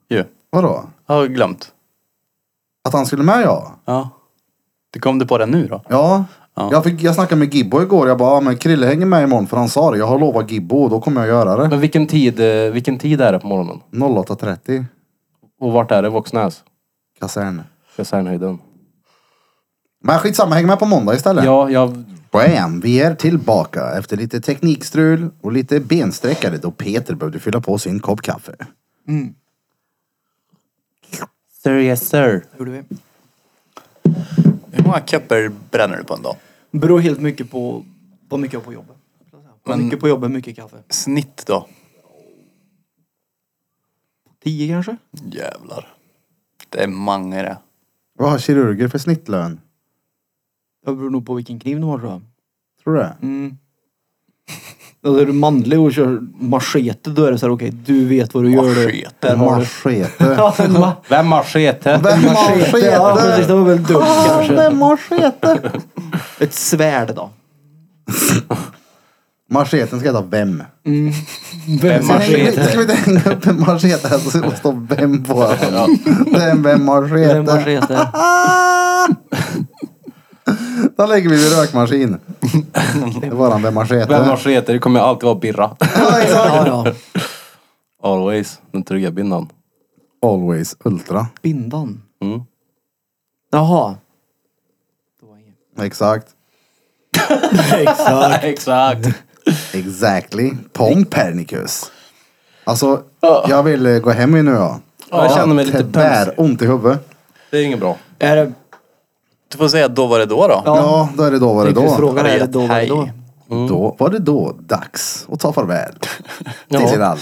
C: Ju.
A: Vadå?
C: Jag har glömt.
A: Att han skulle med ja.
C: Ja. Du kom du på det nu då?
A: Ja.
C: Ja.
A: Jag, fick, jag snackade med Gibbo igår. Jag bara, ja, men Krille hänger med imorgon för han sa det. Jag har lovat Gibbo och då kommer jag göra det.
B: Men vilken tid, eh, vilken tid är det på morgonen?
A: 08.30.
B: Och vart är det? Voxnäs?
A: Kasern.
B: Kasernhöjden.
A: Men skitsamma, häng med på måndag istället.
B: Ja, jag...
A: Bam, vi är tillbaka efter lite teknikstrul och lite bensträckare då Peter behövde fylla på sin kopp kaffe.
B: Sir yes sir.
D: Gjorde vi.
C: Hur många kupper bränner du på en dag?
D: Beror helt mycket på vad mycket jag har på jobbet. Men... Mycket på jobbet, mycket kaffe.
C: Snitt då?
D: Tio kanske?
C: Jävlar. Det är många det.
A: Vad har kirurger för snittlön?
D: Det beror nog på vilken kniv du har tror jag.
A: Tror du det?
D: Mm. Alltså, är du manlig och kör machete då är det så här, okej du vet vad du gör. du.
C: Machete.
D: Där har du.
A: Machete.
D: Ja, en ma-
B: Vem machete?
A: Vem
D: machete. Ja precis,
A: machete?
D: det var väl dumt
A: Ah,
D: kanske.
A: Vem machete?
D: Ett svärd då.
A: Macheten ska heta Vem.
B: Vem
A: Machete. Ska
B: machete?
A: vi inte hänga upp en machete här så det står Vem på den? Det är en Vem
D: Vem
A: machete.
D: machete?
A: Då lägger vi vid rökmaskin. Det är våran Vem
B: Vem
A: machete.
B: machete? Det kommer alltid vara Birra.
A: Ja, exakt.
D: Ja, ja.
B: Always. Den trygga bindan.
A: Always Ultra.
D: Bindan.
B: Mm.
D: Jaha.
A: Exakt.
B: Exakt.
A: Exactly. Pompernicus. Alltså, jag vill eh, gå hem nu ja.
B: Jag känner mig lite
A: bär, ont i huvudet.
B: Det är inget bra.
D: Är det...
C: Du får säga då var det då då.
D: Ja.
A: Ja, då är det då var det
D: Tänkte just
A: då.
D: fråga dig, är det
C: Hej.
D: då var det
A: Då
D: då?
A: var det då dags att ta farväl till
B: Ja.
A: er alla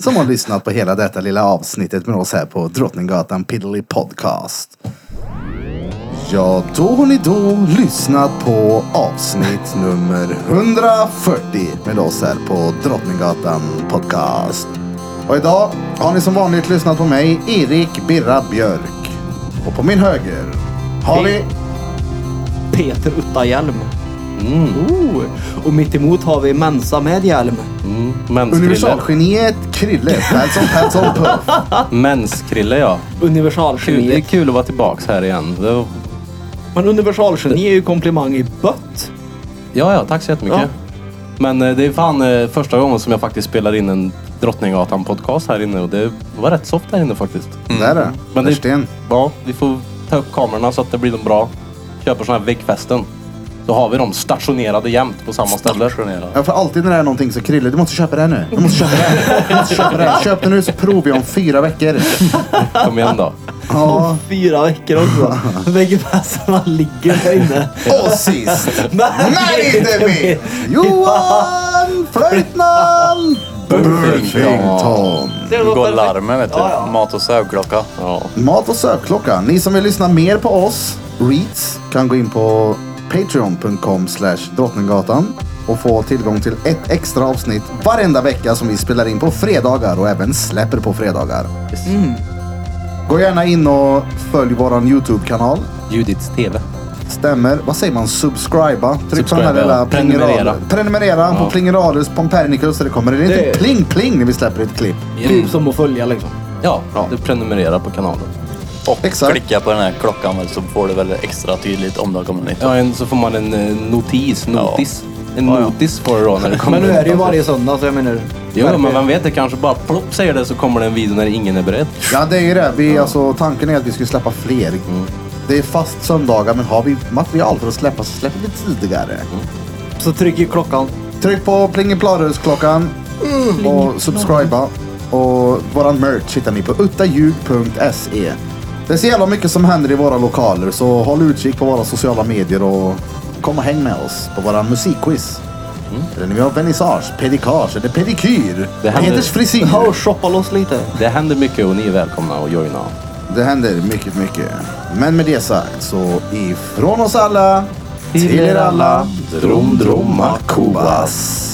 A: som har lyssnat på hela detta lilla avsnittet med oss här på Drottninggatan Piddly Podcast. Ja, då har ni då lyssnat på avsnitt nummer 140 med oss här på Drottninggatan Podcast. Och idag har ni som vanligt lyssnat på mig, Erik Birra Björk. Och på min höger har vi...
D: Peter Utta Hjelm. Oh. Och mitt emot har vi Mensa med hjälm.
B: Mm. Menskrille.
A: Universalgeniet Krille. Pälsson, Pälsson, Puff.
B: Menskrille ja. Kul. Det är
D: Universalgeni.
B: kul att vara tillbaks här igen. Det var...
D: Men universalgeni är ju komplimang i bött.
B: Ja, ja. Tack så jättemycket. Men eh, det är fan eh, första gången som jag faktiskt spelar in en Drottninggatan-podcast här inne och det var rätt soft här inne faktiskt.
A: Det är Mm. det.
B: Men det-
A: Versten.
B: Ja, vi får ta upp kamerorna så att det blir de bra. Köper såna här väggfästen. Då har vi dem stationerade jämt på samma ställe.
C: Stationerad.
A: Ja, för alltid när det är någonting så Krille, du måste köpa det här nu. Du måste köpa det här. Du måste köpa det här. Köp det nu så provar vi om fyra veckor.
B: Kom igen då.
A: Ja.
D: Fyra veckor också. Väggfästena ligger där inne.
A: Och sist,
D: Men
A: nej inte minst, Johan Flöjtnant Burfington.
C: Nu går larmen vet du.
D: Ja, ja.
C: Mat och sövklocka.
B: Ja.
A: Mat och sökklocka. Ni som vill lyssna mer på oss, Reeds, kan gå in på patreon.com slash drottninggatan och få tillgång till ett extra avsnitt varenda vecka som vi spelar in på fredagar och även släpper på fredagar.
D: Mm.
A: Gå gärna in och följ våran YouTube-kanal.
B: Judits TV.
A: Stämmer. Vad säger man? Subscriba. Tryck på den här
B: Subscriba,
A: lilla
B: ja.
A: plingeraler.
B: Prenumerera.
A: Prenumerera på
B: Ja.
A: Plingeralus Pompernicus så det kommer en
D: Det
A: liten
D: är-
A: pling-pling när vi släpper ett klipp.
D: Typ som att följa liksom.
B: Ja, du prenumererar på kanalen.
C: Och
A: Exakt.
C: klicka på den här klockan väl så får du väl extra tydligt om det har kommit nytt.
B: Ja, en, så får man en eh, notis. Notis. En notis får du då när det kommer
D: Men nu är det ju
B: ut.
D: varje söndag så jag menar.
B: Alltså. Jo, men vem vet, det kanske bara plopp säger det så kommer det en video när ingen är beredd.
A: Ja, det är ju det. Vi, alltså, tanken är att vi ska släppa fler. Det är fast söndagar, men har vi material för att släppa så släpper vi tidigare.
D: Så trycker klockan.
A: Tryck på plingipladus-klockan och subscriba. Och våran merch hittar ni på uttaljug.se. Det är så jävla mycket som händer i våra lokaler, så håll utkik på våra sociala medier och kom och häng med oss på våra musikquiz. Eller när vi har vernissage, pedikage eller pedikyr.
B: Det händer-
A: Peters frisyr.
D: Ja, och shoppa loss lite.
B: Det händer mycket och ni är välkomna att joina.
A: Det händer mycket, mycket. Men med det sagt så ifrån oss alla till er alla. Drom, drom, Makobas.